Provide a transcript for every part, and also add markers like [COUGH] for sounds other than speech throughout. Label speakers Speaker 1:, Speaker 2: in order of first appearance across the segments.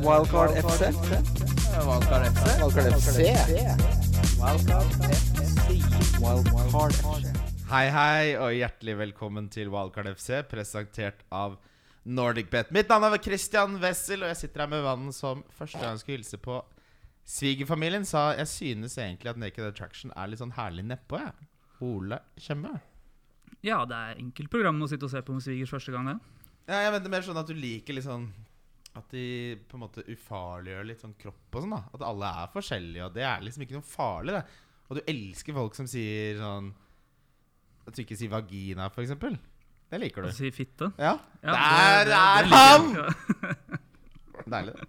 Speaker 1: Wildcard FC.
Speaker 2: Valgkart FC.
Speaker 1: Wildcard FC. Wildcard FC.
Speaker 3: Hei, hei, og hjertelig velkommen til Wildcard FC, presentert av NordicBet. Mitt navn er Christian Wessel, og jeg sitter her med mannen som første gang jeg skulle hilse på svigerfamilien, sa jeg synes egentlig at Naked Attraction er litt sånn herlig nedpå, jeg. Ole Kjemme.
Speaker 4: Ja, det er enkelt program å sitte og se på med svigers første gang, det.
Speaker 3: Ja, jeg mente mer sånn at du liker litt sånn At de på en måte ufarliggjør litt sånn kropp og sånn, da. At alle er forskjellige, og det er liksom ikke noe farlig, det. Og du elsker folk som sier sånn At du ikke sier vagina, for eksempel. Det liker
Speaker 4: Å
Speaker 3: du.
Speaker 4: si Altså, fitte.
Speaker 3: Ja.
Speaker 4: Ja,
Speaker 3: Der
Speaker 4: det- det-
Speaker 3: er
Speaker 4: det liker jeg. Ja.
Speaker 3: Deilig. det.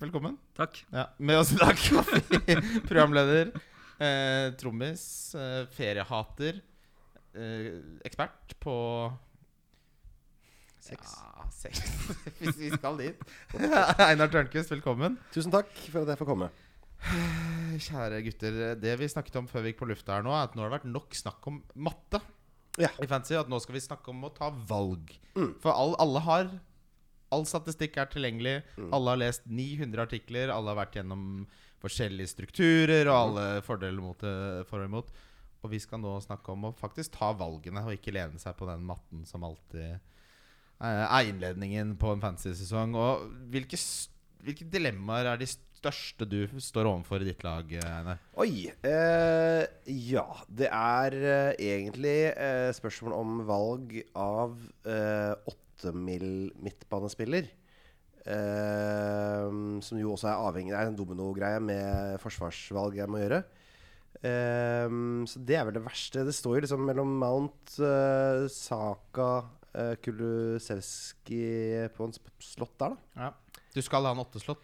Speaker 3: Velkommen.
Speaker 4: Takk.
Speaker 3: Ja, med oss i dag [LAUGHS] programleder, eh, trommis, eh, feriehater, eh, ekspert på Sex. Ja, sex. [LAUGHS] Hvis vi skal dit. [LAUGHS] Einar Tørnquist, velkommen.
Speaker 5: Tusen takk for at jeg får komme.
Speaker 3: Kjære gutter. Det vi snakket om før vi gikk på lufta her nå, er at nå har det vært nok snakk om matte
Speaker 5: Ja.
Speaker 3: i fantasy, at nå skal vi snakke om å ta valg. For all, alle har All statistikk er tilgjengelig. Alle har lest 900 artikler. Alle har vært gjennom forskjellige strukturer og alle fordeler mot det for og imot. Og vi skal nå snakke om å faktisk ta valgene og ikke lene seg på den matten som alltid eh, er innledningen på en fantasy-sesong. Og hvilke, s- hvilke dilemmaer er de største du står overfor i ditt lag, Einar?
Speaker 5: Oi. Eh, ja, det er eh, egentlig eh, spørsmål om valg av eh, 8-mil midtbanespiller. Eh, som jo også er avhengig Det er en dominogreie med forsvarsvalg jeg må gjøre. Eh, så det er vel det verste. Det står jo liksom mellom Mount, eh, Saka, eh, Kulusevski på en sp- slott der, da.
Speaker 3: Ja. Du skal ha en åtteslått.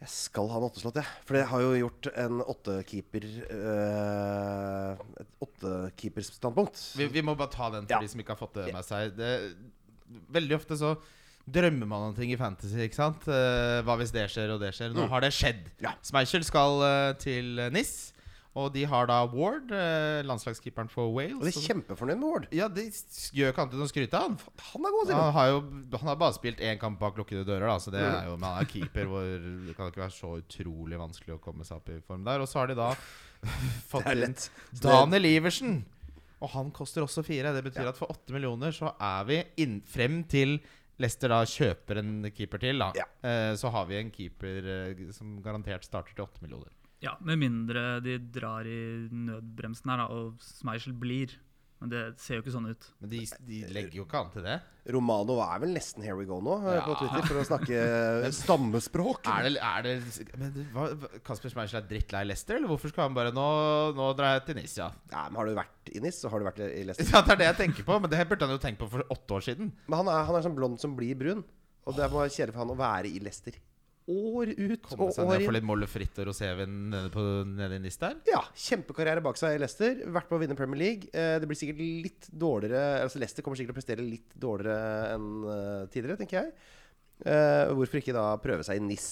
Speaker 5: Jeg skal ha en åtteslått, jeg. For jeg har jo gjort en åttekeeper øh, Et åttekeeperstandpunkt.
Speaker 3: Vi, vi må bare ta den for
Speaker 5: Ja.
Speaker 3: de som ikke har fått det med seg. Det, veldig ofte så drømmer man om ting i fantasy. ikke sant? Eh, hva hvis det skjer, og det skjer? Nå har det skjedd.
Speaker 5: Mm. Ja.
Speaker 3: Schmeichel skal eh, til NIS, og de har da Ward, eh, landslagskeeperen for Wales.
Speaker 5: Og de er kjempefornøyd med Ward.
Speaker 3: ja, de s- gjør ikke annet enn å skryte av han.
Speaker 5: Han er god, sier
Speaker 3: Han
Speaker 5: han.
Speaker 3: har jo han har bare spilt én kamp bak lukkede dører, da, så det er jo, men han er keeper hvor det kan ikke være så utrolig vanskelig å komme seg opp i form der. Og så har de da [LAUGHS] fått
Speaker 5: Det er
Speaker 3: inn
Speaker 5: lett.
Speaker 3: Daniel Iversen. Og han koster også fire. Det betyr at for åtte millioner så er vi inn, frem til Leicester da kjøper en keeper til, da.
Speaker 5: Ja.
Speaker 3: Eh, så har vi en keeper eh, som garantert starter til åtte millioner.
Speaker 4: Ja, med mindre de drar i nødbremsen her, da, og Schmeichel blir. Men det ser jo ikke sånn ut.
Speaker 3: Men eh, de, de legger jo ikke an til det.
Speaker 5: Romano er vel nesten here we go nå øh,
Speaker 3: Ja.
Speaker 5: på Twitter for å
Speaker 3: [LAUGHS]
Speaker 5: snakke stammespråk.
Speaker 3: Er det, er det men det- hva, hva- Kasper Schmeichel er drittlei Leicester, eller hvorfor skal han bare Nå, nå drar jeg til NIS, ja.
Speaker 5: Nei, men Har du vært i NIS, så har du vært i
Speaker 3: [LAUGHS]
Speaker 5: Leicester.
Speaker 3: Ja, det er det jeg tenker på, men det burde han jo tenkt på for åtte år siden.
Speaker 5: Men han er, han er sånn blond som blir brun. Og det må være kjedelig for han å være i Leicester år ut
Speaker 3: Komme
Speaker 5: og
Speaker 3: seg ned
Speaker 5: år
Speaker 3: og få
Speaker 5: inn.
Speaker 3: litt mollefritt og rosévin nede, på- nede i NIS der.
Speaker 5: Ja, kjempekarriere bak seg i Leicester. Vært på å vinne Premier League. Eh, Det blir sikkert litt dårligere Altså Leicester kommer sikkert til å prestere litt dårligere enn eh, tidligere, tenker jeg. Eh, Hvorfor ikke da prøve seg i NIS?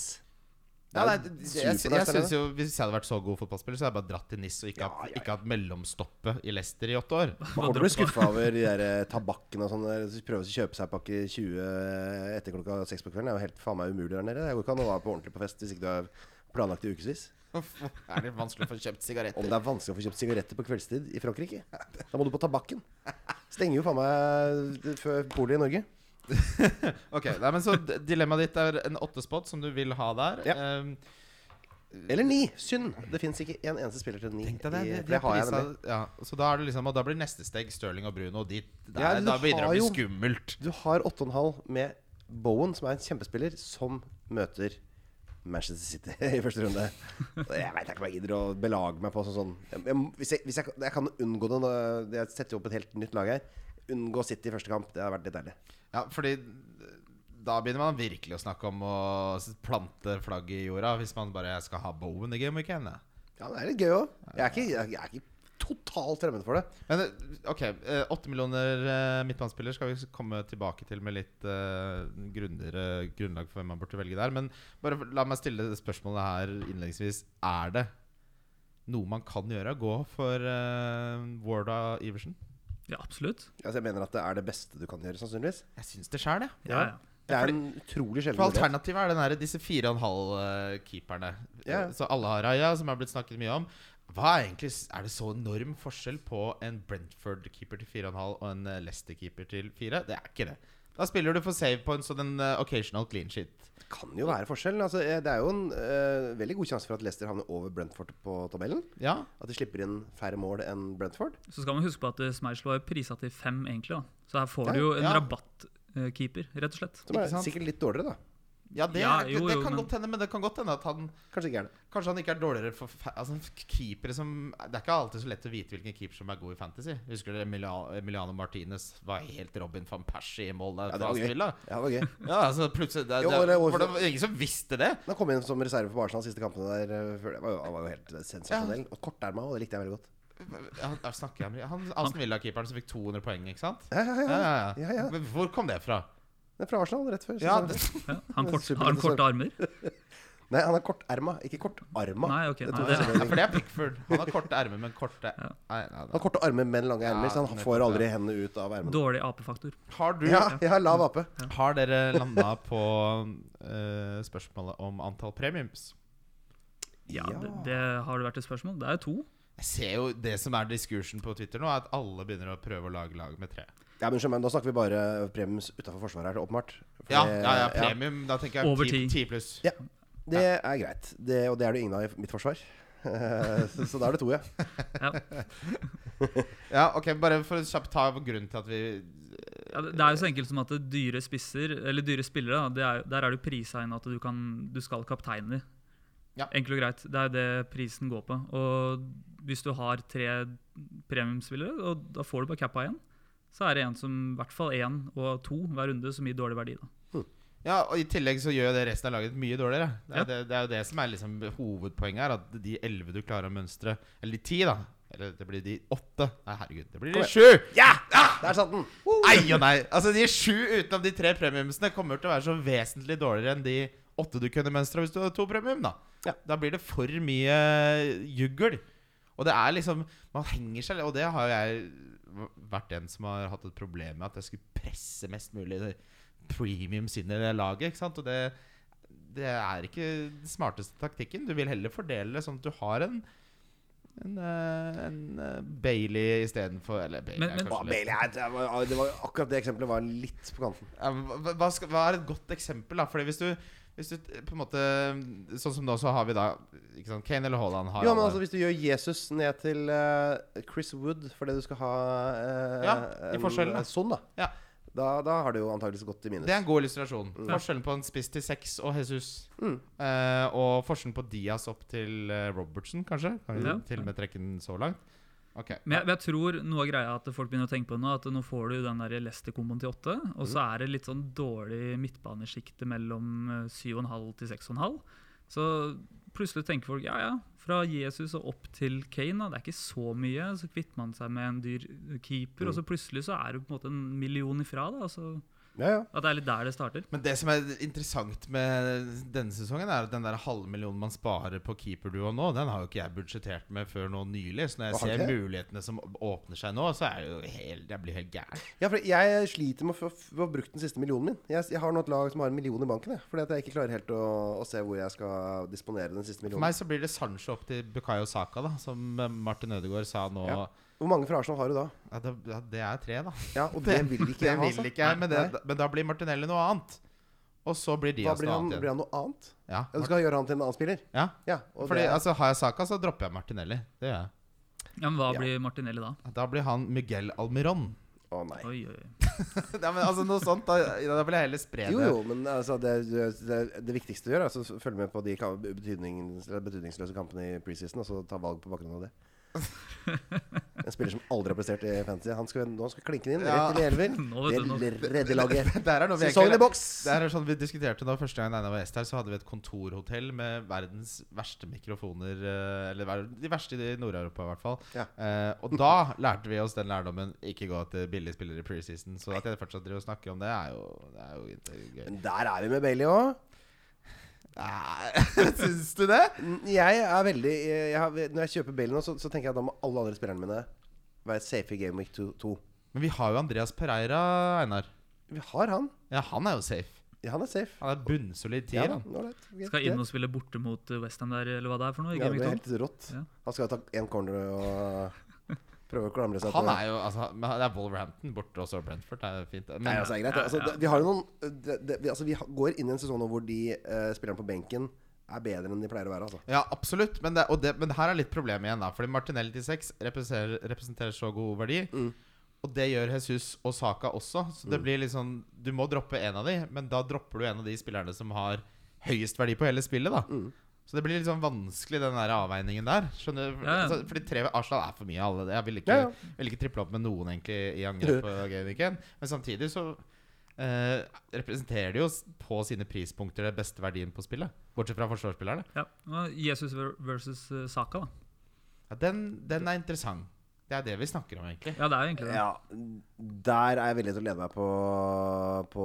Speaker 3: Ja, nei,
Speaker 5: Det er
Speaker 3: det,
Speaker 5: jo
Speaker 3: jeg, jeg,
Speaker 5: supernice, det er
Speaker 3: synes
Speaker 5: det.
Speaker 3: jo Hvis jeg hadde vært så god fotballspiller, så hadde jeg bare dratt til NIS og ikke,
Speaker 5: Ja,
Speaker 3: hatt,
Speaker 5: ja, ja.
Speaker 3: ikke hatt mellomstoppet i Leicester i åtte år.
Speaker 5: Man kommer til å bli skuffa over de der eh, tabakken og sånn. der, så Prøve å kjøpe seg en pakke 20 etter klokka seks på kvelden. Det er jo helt faen meg umulig der nede. Det går ikke an å være på ordentlig på fest hvis ikke du har planlagt det i ukevis.
Speaker 3: [LAUGHS] er det vanskelig å få kjøpt
Speaker 5: Om
Speaker 3: sigaretter?
Speaker 5: det er vanskelig å få kjøpt sigaretter på kveldstid i Frankrike, da må du på tabakken. Stenger jo faen meg eh, før polet i Norge.
Speaker 3: Ok, nei, men så d- Dilemmaet ditt er en åttespot som du vil ha der.
Speaker 5: Ja.
Speaker 3: Ehm,
Speaker 5: Eller ni. Synd. Det fins ikke en eneste spiller til ni.
Speaker 3: tenk deg det,
Speaker 5: i-
Speaker 3: det,
Speaker 5: for
Speaker 3: de
Speaker 5: det har jeg
Speaker 3: prisa,
Speaker 5: nemlig.
Speaker 3: ja, så da, er det liksom, og da blir neste steg Stirling og Bruno. Og de, der,
Speaker 5: Ja, du
Speaker 3: da begynner det å
Speaker 5: har
Speaker 3: bli
Speaker 5: jo-
Speaker 3: skummelt.
Speaker 5: Du har 8,5 med Bowen, som er en kjempespiller, som møter Manchester City [LAUGHS] i første runde. Og Jeg veit ikke om jeg gidder å belage meg på sånn. sånn. Jeg, jeg, hvis jeg, hvis jeg, jeg kan unngå det nå- Jeg setter jo opp et helt nytt lag her. Unngå City i første kamp. Det hadde vært litt deilig.
Speaker 3: Ja, fordi da begynner man virkelig å snakke om å s- plante flagget i jorda. Hvis man bare skal ha Bowen i Game Weekend. Ja.
Speaker 5: Ja, det er litt gøy òg. Jeg, er ikke- jeg, jeg er ikke totalt fremmed for det.
Speaker 3: Men eh, ok, eh, åtte millioner eh, midtbanespiller skal vi komme tilbake til med litt eh, grunnere grunnlag for hvem man burde velge der. Men bare la meg stille det spørsmålet her innledningsvis. Er det noe man kan gjøre? Gå for uh, Warda Iversen?
Speaker 4: Ja, absolutt.
Speaker 5: Altså, jeg mener at det er det beste du kan gjøre, sannsynligvis.
Speaker 3: Jeg syns det sjæl, jeg.
Speaker 4: Ja, ja.
Speaker 5: Det er en utrolig sjelden
Speaker 3: For
Speaker 5: mulighet.
Speaker 3: alternativet er den her, disse fire og en halv eh, keeperne.
Speaker 5: Ja.
Speaker 3: Så alle har Raja, som er blitt snakket mye om. Hva er egentlig s- Er det så enorm forskjell på en Brentford-keeper til fire og en halv og en eh, Leicester-keeper til fire? Det er ikke det. Da spiller du for save points og den eh, occasional clean shit.
Speaker 5: Det kan jo være forskjellen. Altså, eh, det er jo en eh, veldig god sjanse for at Leicester havner over Brentford på tabellen.
Speaker 3: Ja,
Speaker 5: At de slipper inn færre mål enn Brentford.
Speaker 4: Så skal man huske på at eh, Schmeichel var jo prisa til fem, egentlig. da. Så her får du
Speaker 5: Ja,
Speaker 4: jo en
Speaker 3: ja.
Speaker 4: rabattkeeper, rett og slett.
Speaker 5: Som er
Speaker 3: Ikke sant?
Speaker 5: sikkert litt dårligere, da.
Speaker 3: ja, det,
Speaker 4: Ja,
Speaker 3: er,
Speaker 4: jo,
Speaker 3: det, det
Speaker 4: jo,
Speaker 3: kan
Speaker 4: men-
Speaker 3: godt hende, men det kan godt hende at han
Speaker 5: Kanskje ikke er det.
Speaker 3: Kanskje han ikke er dårligere for fa- altså, keepere som Det er ikke alltid så lett å vite hvilken keeper som er god i fantasy. Husker dere Emiliano, Emiliano Martinez var helt Robin van Persie i mål der?
Speaker 5: Ja, det
Speaker 3: for
Speaker 5: var
Speaker 3: Aston
Speaker 5: gøy.
Speaker 3: Villa.
Speaker 5: Ja, det var gøy.
Speaker 3: Ja, altså plutselig det,
Speaker 5: Jo,
Speaker 3: det,
Speaker 5: det var-
Speaker 3: For det var ingen som visste det.
Speaker 5: Han kom inn som reserve for Arsenal de siste kampene der. eh, før det. var jo, han var jo helt sensasjonell. Og korterma, og det likte jeg veldig godt.
Speaker 3: Han, jeg snakker jeg om- han Aston Villa-keeperen som fikk 200 poeng, ikke sant?
Speaker 5: Ja, ja, ja. Ja, ja.
Speaker 3: Men Hvor kom det fra?
Speaker 5: Det er fra Arsenal, rett før.
Speaker 3: Ja,
Speaker 5: sesongen.
Speaker 3: det,
Speaker 4: Ja, han kort,
Speaker 5: Superinteressant.
Speaker 4: har han korte armer?
Speaker 5: Nei, han er korterma, ikke kortarma.
Speaker 4: Nei, ok.
Speaker 5: Det
Speaker 4: Nei,
Speaker 5: tror
Speaker 4: det,
Speaker 5: jeg
Speaker 3: [LAUGHS] ja, for det er Pickford. Han har korte ermer, men korte nei, nei,
Speaker 5: Han
Speaker 3: nei.
Speaker 5: har korte armer, men lange ermer,
Speaker 3: Ja,
Speaker 5: så han
Speaker 3: nettopp,
Speaker 5: får aldri
Speaker 3: ja.
Speaker 5: hendene ut av ermene.
Speaker 4: dårlig apefaktor.
Speaker 3: Har du
Speaker 5: Ja, jeg har lav ape.
Speaker 3: Har dere landa på eh, spørsmålet om antall premiums?
Speaker 4: Ja, det, det har det vært et spørsmål. Det er jo to.
Speaker 3: Jeg ser jo det som er diskursen på Twitter nå, er at alle begynner å prøve å lage lag med tre.
Speaker 5: Ja, men skjønner meg, Nå snakker vi bare premiums utafor Forsvaret her, åpenbart. For
Speaker 3: Ja,
Speaker 5: det-
Speaker 3: ja, ja premium. Da tenker
Speaker 4: Over
Speaker 3: jeg ti, ti
Speaker 4: ti.
Speaker 3: pluss.
Speaker 5: Ja. Det er greit. Det, og det er det ingen av i mitt forsvar. [LAUGHS] så, så da er det to, ja.
Speaker 3: Ja, ok, Bare for å kjapt ta grunnen til at vi
Speaker 4: Ja, det det er jo så enkelt som at dyre spisser, eller dyre spillere, da, det er, der er du prisa inn at du, kan, du skal kapteine de.
Speaker 3: Ja.
Speaker 4: Enkelt og greit. Det er det prisen går på. Og hvis du har tre premiumspillere, og da får du bare cappa igjen, så er det en som, i hvert fall én og to hver runde som gir dårlig verdi. Da.
Speaker 3: Ja, og I tillegg så gjør jo det resten av laget mye dårligere. Det er,
Speaker 4: Ja.
Speaker 3: det, det er jo det som er liksom hovedpoenget her. At de elleve du klarer å mønstre Eller de ti, da. Eller det blir de åtte. Nei, herregud. Det blir de sju!
Speaker 5: Ja! Der satt den!
Speaker 3: Nei og nei! Altså, de sju utenom de tre premiumsene kommer til å være så vesentlig dårligere enn de åtte du kunne mønstra hvis du hadde to premium, da.
Speaker 5: Ja.
Speaker 3: Da blir det for mye juggel. Og det er liksom Man henger seg Og det har jo jeg vært en som har hatt et problem med, at jeg skulle presse mest mulig premiums inn i det laget, ikke sant. Og det, det er ikke den smarteste taktikken. Du vil heller fordele det sånn at du har en en, eh, en eh, Bailey istedenfor Eller Bailey
Speaker 4: Men-
Speaker 3: er
Speaker 4: men-
Speaker 3: kanskje
Speaker 5: Å,
Speaker 3: litt-
Speaker 5: Bailey, jeg- det var, ah, det var, akkurat det eksempelet var litt på kanten.
Speaker 3: ja, hva, hva skal, hva er et godt eksempel? da? Fordi hvis du, hvis du på en måte Sånn som nå, så har vi da ikke sant, Kane eller Haaland har
Speaker 5: Jo, men
Speaker 3: alle-
Speaker 5: altså Hvis du gjør Jesus ned til eh, Chris Wood fordi du skal ha eh,
Speaker 3: Ja, i
Speaker 5: en,
Speaker 3: forskjellen, da.
Speaker 5: eh, Son, da.
Speaker 3: Ja.
Speaker 5: da Da har det jo antakeligvis gått i minus.
Speaker 3: Det er en god illustrasjon.
Speaker 5: Mm.
Speaker 3: Forskjellen på en spiss til seks og Jesus. Eh, og forskjellen på Diaz opp til eh, Robertson, kanskje. Kan vi
Speaker 4: Ja.
Speaker 3: til og med trekke den så langt? Ok.
Speaker 4: Men jeg, men jeg tror noe av greia at folk begynner å tenke på det nå, at nå får du den der Leicester-komboen til åtte, og
Speaker 5: Mm.
Speaker 4: så er det litt sånn dårlig midtbanesjikte mellom eh, 7,5 til 6,5. Så plutselig tenker folk ja, ja, fra Jesus og opp til Kane, da, det er ikke så mye. Så kvitter man seg med en dyr keeper,
Speaker 5: Mm.
Speaker 4: og så plutselig så er du på en måte en million ifra. da, altså,
Speaker 5: Ja, ja.
Speaker 4: At det er litt der det starter.
Speaker 3: Men det som er interessant med denne sesongen, er at den der halve millionen man sparer på keeperduo nå, den har jo ikke jeg budsjettert med før nå nylig. Så når jeg
Speaker 5: Har du
Speaker 3: ser
Speaker 5: ikke?
Speaker 3: mulighetene som åpner seg nå, så er jeg jo helt Jeg blir helt gæren.
Speaker 5: Ja, for jeg sliter med å få, få brukt den siste millionen min. Jeg, jeg har nå et lag som har en million i banken. Jeg, fordi at jeg ikke klarer helt å, å se hvor jeg skal disponere den siste
Speaker 3: For
Speaker 5: millionen.
Speaker 3: meg så blir det Sancho opp til Bukayo Saka, da, som eh, Martin Ødegaard sa nå.
Speaker 5: Ja. Hvor mange fra Arsenal har du da?
Speaker 3: Ja, det, ja, det er tre, da.
Speaker 5: Ja, Og det vil ikke
Speaker 3: Det
Speaker 5: jeg ha.
Speaker 3: vil
Speaker 5: Altså.
Speaker 3: ikke jeg, men,
Speaker 5: Nei.
Speaker 3: det, men da blir Martinelli noe annet. Og så blir
Speaker 5: Da
Speaker 3: Diaz
Speaker 5: blir
Speaker 3: noe
Speaker 5: han,
Speaker 3: annet
Speaker 5: blir
Speaker 3: igjen.
Speaker 5: han noe annet.
Speaker 3: Ja,
Speaker 5: Ja, du skal gjøre han til en annen spiller?
Speaker 3: ja.
Speaker 5: Ja. Og
Speaker 3: Fordi,
Speaker 5: det,
Speaker 3: altså, har jeg Saka, så dropper jeg Martinelli. Det gjør jeg.
Speaker 4: Ja, Men hva
Speaker 5: Ja.
Speaker 4: blir Martinelli da?
Speaker 3: Da blir han Miguel Almiron. [LAUGHS]
Speaker 5: Å nei.
Speaker 4: Oi, oi, oi.
Speaker 3: Nei, men altså noe sånt Da, da vil jeg heller spre det.
Speaker 5: Jo, jo, men altså, det, det, det viktigste du gjør, er altså, å følge med på de ka- betydnings, eller betydningsløse kampene i preseason, og så ta valg på bakgrunn av
Speaker 4: [LAUGHS]
Speaker 5: det. En spiller som aldri har prestert i fantasy. Han skal, nå skal klinke den inn,
Speaker 3: Ja.
Speaker 5: rett inn i elver.
Speaker 4: [LAUGHS] Nå vet du, nå-
Speaker 5: Det redder laget.
Speaker 3: [LAUGHS] Der er noe vi
Speaker 5: Sesongen
Speaker 3: egentlig-
Speaker 5: i boks!
Speaker 3: Det er sånn Vi diskuterte da første gang Einar var gjest her, så hadde vi et kontorhotell med verdens verste mikrofoner. eh, Eller ver- de verste i Nord-Europa, i hvert fall.
Speaker 5: Ja.
Speaker 3: Eh, og da [LAUGHS] lærte vi oss den lærdommen. Ikke gå etter billige spillere i preseason. Så at jeg fortsatt driver og snakker om det, er jo, det er jo ikke gøy.
Speaker 5: Men der er vi med Bailey òg. [LAUGHS]
Speaker 3: Nei, Syns du det?
Speaker 5: Jeg er veldig jeg har, Når jeg kjøper Bailey nå, så, så tenker jeg at da må alle andre spillerne mine være safe i Game Week 2.
Speaker 3: Men vi har jo Andreas Pereira, Einar.
Speaker 5: Vi har han.
Speaker 3: Ja, han er jo safe.
Speaker 5: Ja, han er safe.
Speaker 3: Han er bunnsolid
Speaker 5: Ja,
Speaker 3: tier.
Speaker 5: da,
Speaker 3: han.
Speaker 5: ålreit, greit,
Speaker 4: Skal inn
Speaker 5: greit.
Speaker 4: og spille borte mot Westham der, eller hva det er for noe? i
Speaker 5: ja,
Speaker 4: Game Week
Speaker 5: Det blir
Speaker 4: 12?
Speaker 5: helt rått.
Speaker 4: Ja.
Speaker 5: Han skal ta én corner og prøve å klamre seg
Speaker 3: Han
Speaker 5: til-
Speaker 3: er jo altså, men han- Det er Wolverhampton borte også, og Brentford. Det er jo fint. det. Men
Speaker 5: Nei, altså, det er greit. Altså, det- vi har jo noen det, det, vi, altså, vi har- går inn i en sesong nå hvor de eh, spillerne på benken er bedre enn de pleier å være. Altså.
Speaker 3: Ja, absolutt. Men, det, og det, men her er litt problemet igjen. da Fordi Martinelli til 6 representerer, representerer så god verdi.
Speaker 5: Mm.
Speaker 3: Og det gjør Jesus og Saka også. Så det blir litt sånn Du må droppe en av de, men da dropper du en av de spillerne som har høyest verdi på hele spillet. da
Speaker 5: Mm.
Speaker 3: Så det blir litt sånn vanskelig, den der avveiningen der. Skjønner du?
Speaker 4: Ja, ja.
Speaker 3: Altså, fordi tre ved Arsenal er for mye. alle Jeg ville ikke,
Speaker 5: Ja, ja.
Speaker 3: vil ikke triple opp med noen egentlig i
Speaker 5: [LAUGHS]
Speaker 3: angrep på gameweeken. Men samtidig så eh, representerer de jo s- på sine prispunkter den beste verdien på spillet. Bortsett fra forsvarsspillerne.
Speaker 4: Ja. og Jesus ver- versus eh, Saka, da.
Speaker 3: Ja, den, den er interessant. Det er det vi snakker om, egentlig.
Speaker 4: Ja, det er jo egentlig det.
Speaker 5: Ja, der er jeg villig til å lede meg på, på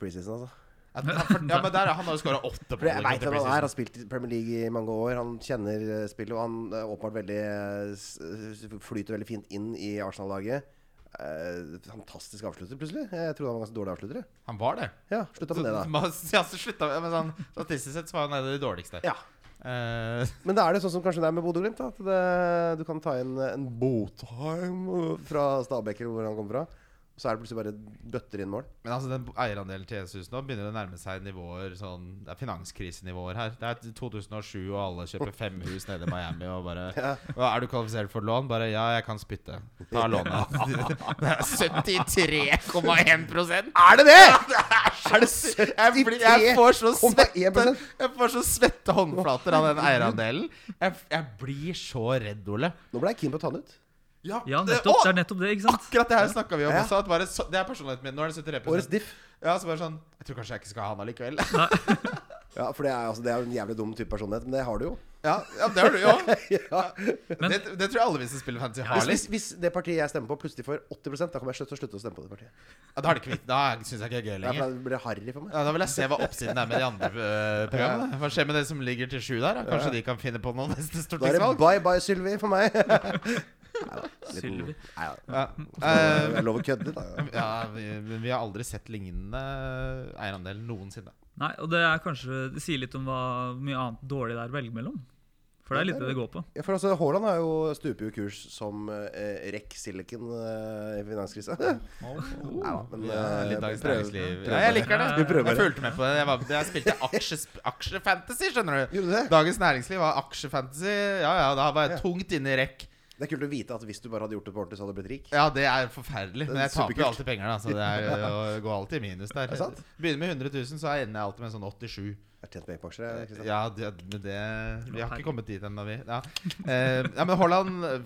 Speaker 5: preseason. Altså.
Speaker 3: At, han, for, ja, men der, er- Han har jo skåra åtte
Speaker 5: For
Speaker 3: mål.
Speaker 5: jeg veit hvem han er. Har spilt i Premier League i mange år. Han kjenner eh, spillet, og han er åpenbart veldig eh, s- s- flyter veldig fint inn i Arsenal-laget. Eh, fantastisk avslutter, plutselig. Jeg trodde han var ganske dårlig avslutter. jeg.
Speaker 3: Han var det.
Speaker 5: Ja, slutta med altså. det, da.
Speaker 3: Man- Ja, så [LAUGHS] slutta vi men sånn, Statistisk sett så var han en av de dårligste.
Speaker 5: Ja.
Speaker 3: Eh,
Speaker 5: Men da er det sånn som kanskje det er med Bodø-Glimt. da, At det, du kan ta inn en Botheim øh, fra Stabæk, eller hvor han kommer fra. Så er det plutselig bare bøtter inn mål.
Speaker 3: men altså den eierandelen til Jesus nå begynner å nærme seg nivåer sånn Det er finanskrisenivåer her. Det er 2007, og alle kjøper fem hus nede i Miami og bare «Å, Er du kvalifisert for lån? Bare ja, jeg kan spytte. Ta lånet. Det
Speaker 5: [LAUGHS]
Speaker 3: er 73,1
Speaker 5: Er det det?!
Speaker 3: Er det 73 jeg, blir, jeg får så
Speaker 5: 73,1%?
Speaker 3: svette Jeg får så svette håndflater av den eierandelen. Jeg, jeg blir så redd, Ole.
Speaker 5: Nå ble jeg keen på å ta den ut.
Speaker 4: Ja,
Speaker 3: det-
Speaker 4: nettopp.
Speaker 3: å,
Speaker 4: Det er nettopp det, ikke sant?
Speaker 3: Akkurat det her snakka vi om
Speaker 5: Ja.
Speaker 3: også. At bare, så, det er personligheten min. Nå er det 73
Speaker 5: Årets diff.
Speaker 3: Ja, så bare sånn Jeg tror kanskje jeg ikke skal ha han allikevel.
Speaker 5: Ja, for det er, altså, det er jo en jævlig dum type personlighet, men det har du jo.
Speaker 3: [LAUGHS] Ja, ja det har du
Speaker 4: [LAUGHS]
Speaker 3: jo.
Speaker 5: [LAUGHS] Ja.
Speaker 3: Det, det tror jeg alle vi som spiller fantasy, har
Speaker 5: Hvis, hvis,
Speaker 3: litt.
Speaker 5: hvis det partiet jeg stemmer på, plutselig får 80 da kommer jeg slutt- til å slutte å stemme på det partiet.
Speaker 3: Ja, da er det kvitt. Da syns jeg ikke det er gøy
Speaker 5: Ja, for
Speaker 3: lenger.
Speaker 5: Da blir det harry for meg.
Speaker 3: Ja, da vil jeg se hva oppsiden er med de andre øh, programmene. Hva skjer med det som ligger til sju der? da? Kanskje de kan finne på noe neste
Speaker 5: Da er det
Speaker 3: stortingsvalg?
Speaker 5: bye bye, Sylvi, for [LAUGHS] meg. Neida, liten-
Speaker 4: Sylvi.
Speaker 5: Neida,
Speaker 3: Ja. Eh,
Speaker 5: Det er lov å kødde litt, da.
Speaker 3: Ja, vi, men vi har aldri sett lignende eierandel noensinne.
Speaker 4: Nei, og det er kanskje Det sier litt om hva hvor mye annet dårlig det er å velge mellom. For det er litt det det går på.
Speaker 5: Ja, for altså, Haaland er jo stuper jo kurs som eh, REC Silicon eh, i finanskrisa. [LAUGHS] Neida, men,
Speaker 3: Ja,
Speaker 5: eh,
Speaker 3: litt Dagens
Speaker 5: prøv-
Speaker 3: Næringsliv.
Speaker 5: prøv-
Speaker 3: Ja, jeg liker det.
Speaker 4: Vi
Speaker 5: prøver
Speaker 3: Jeg
Speaker 5: det.
Speaker 3: fulgte med på det. Jeg, var, jeg spilte aksjes, aksjefantasy, skjønner du.
Speaker 5: Gjorde du det?
Speaker 3: Dagens Næringsliv var aksjefantasy. Ja, ja, da var jeg tungt inne i rekk.
Speaker 5: Det er kult å vite at hvis du bare hadde gjort det på ordentlig, så hadde du blitt rik.
Speaker 3: Ja, det er forferdelig. Men jeg taper jo
Speaker 5: Superkult.
Speaker 3: alltid penger, da. Så det er, å- går alltid i minus der.
Speaker 5: det sant?
Speaker 3: Begynner med 100 000, så ender jeg alltid med sånn 87.
Speaker 5: Jeg har tjent penger på aksjer. jeg,
Speaker 3: Eh,
Speaker 5: Kristian.
Speaker 3: Ja, det, men det Vi har
Speaker 4: herregud.
Speaker 3: ikke kommet dit ennå, vi. Ja, eh, ja men Haaland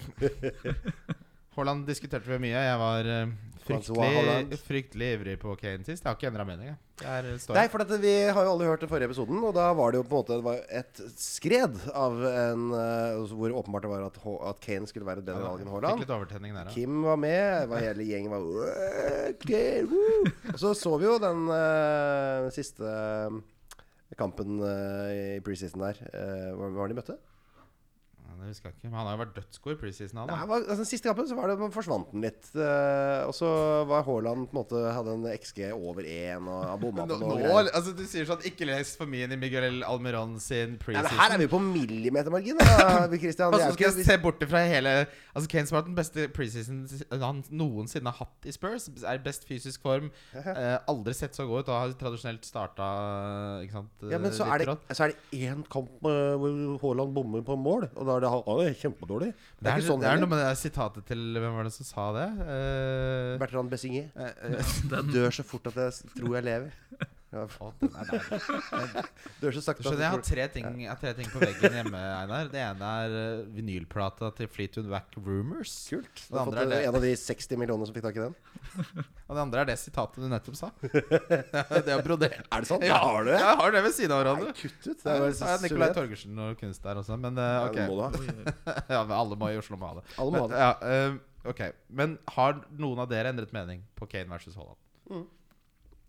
Speaker 3: eh, Haaland diskuterte vi mye. Jeg var eh,
Speaker 5: Francois Haaland.
Speaker 3: fryktelig, fryktelig ivrig på Kane sist. Jeg har ikke endra mening, jeg. eh, Der står
Speaker 5: Nei,
Speaker 3: jeg.
Speaker 5: for dette, Vi har jo alle hørt den forrige episoden, og da var det jo på en måte det var et skred av en eh, Hvor åpenbart det var at, Ha- at Kane skulle være et bedre valg enn
Speaker 3: Fikk
Speaker 5: Haaland.
Speaker 3: litt overtenning der, ja.
Speaker 5: Kim var med, det var hele gjengen var «Øh, Kane, woo!» Og så så vi jo den eh, siste eh, kampen eh, i preseason der. Eh, hva hva var det de møtte?
Speaker 3: Ja, Det husker jeg ikke. Men han har jo vært dødsgod i preseason, han.
Speaker 5: Nei,
Speaker 3: Da.
Speaker 5: det var, altså, den siste kampen så var det, man forsvant den litt. eh, og så var Haaland på en måte hadde en XG over 1 og han bomma
Speaker 3: Men Nå,
Speaker 5: på noe.
Speaker 3: nå,
Speaker 5: greier.
Speaker 3: altså Du sier sånn Ikke les for mye inn i Miguel Almiron sin
Speaker 5: Nei, men her
Speaker 3: preseason.
Speaker 5: er vi på millimetermargin. da,
Speaker 3: [LAUGHS]
Speaker 5: vi, Christian.
Speaker 3: Og
Speaker 5: Det
Speaker 3: så
Speaker 5: er
Speaker 3: Altså,
Speaker 5: jo
Speaker 3: skal jeg
Speaker 5: ikke,
Speaker 3: se bort fra hele Altså Kane som har hatt den beste preseason han noensinne har hatt i Spurs. Er i best fysisk form. Eh, aldri sett så god ut. Og har tradisjonelt starta Ikke sant? eh,
Speaker 5: ja, men så
Speaker 3: litt
Speaker 5: er, det,
Speaker 3: rått.
Speaker 5: så er det én kamp eh, hvor Haaland bommer på mål, og da er det, han er kjempedårlig. Det er ikke sånn
Speaker 3: det er noe
Speaker 5: heller.
Speaker 3: med det der sitatet til Hvem var det som sa det? Eh,
Speaker 5: Bertrand Bessinger.
Speaker 3: eh, eh,
Speaker 5: Jeg dør så fort at jeg s- tror jeg lever. Ja,
Speaker 3: å, den er
Speaker 5: [LAUGHS]
Speaker 3: deilig.
Speaker 5: dør så
Speaker 3: Du
Speaker 5: sakte
Speaker 3: skjønner, jeg har
Speaker 5: at jeg tror
Speaker 3: tre ting, jeg har tre ting på veggen hjemme, Einar. Det ene er eh, vinylplata til Fleetwood Wack Rumors.
Speaker 5: Kult. Du
Speaker 3: Det
Speaker 5: har
Speaker 3: andre
Speaker 5: fått
Speaker 3: er det,
Speaker 5: en av de 60 millionene som fikk tak i den.
Speaker 3: og det andre er det sitatet du nettopp
Speaker 5: [LAUGHS]
Speaker 3: sa. [LAUGHS] det å brodere.
Speaker 5: Er det sant?
Speaker 3: Ja,
Speaker 5: Har du det?
Speaker 3: Jeg har det ved siden av hverandre.
Speaker 5: Nei, kutt ut. Det
Speaker 3: Ja,
Speaker 5: er jo
Speaker 3: så er Nicolai
Speaker 5: suverent.
Speaker 3: Torgersen og kunst der også, men eh,
Speaker 5: Ja,
Speaker 3: ok.
Speaker 5: det må du ha.
Speaker 3: [LAUGHS] ja, men alle må i Oslo må ha det.
Speaker 5: Alle må ha
Speaker 3: men,
Speaker 5: det.
Speaker 3: Ja, eh, ok, Men har noen av dere endret mening på Kane versus Haaland?
Speaker 5: Mm.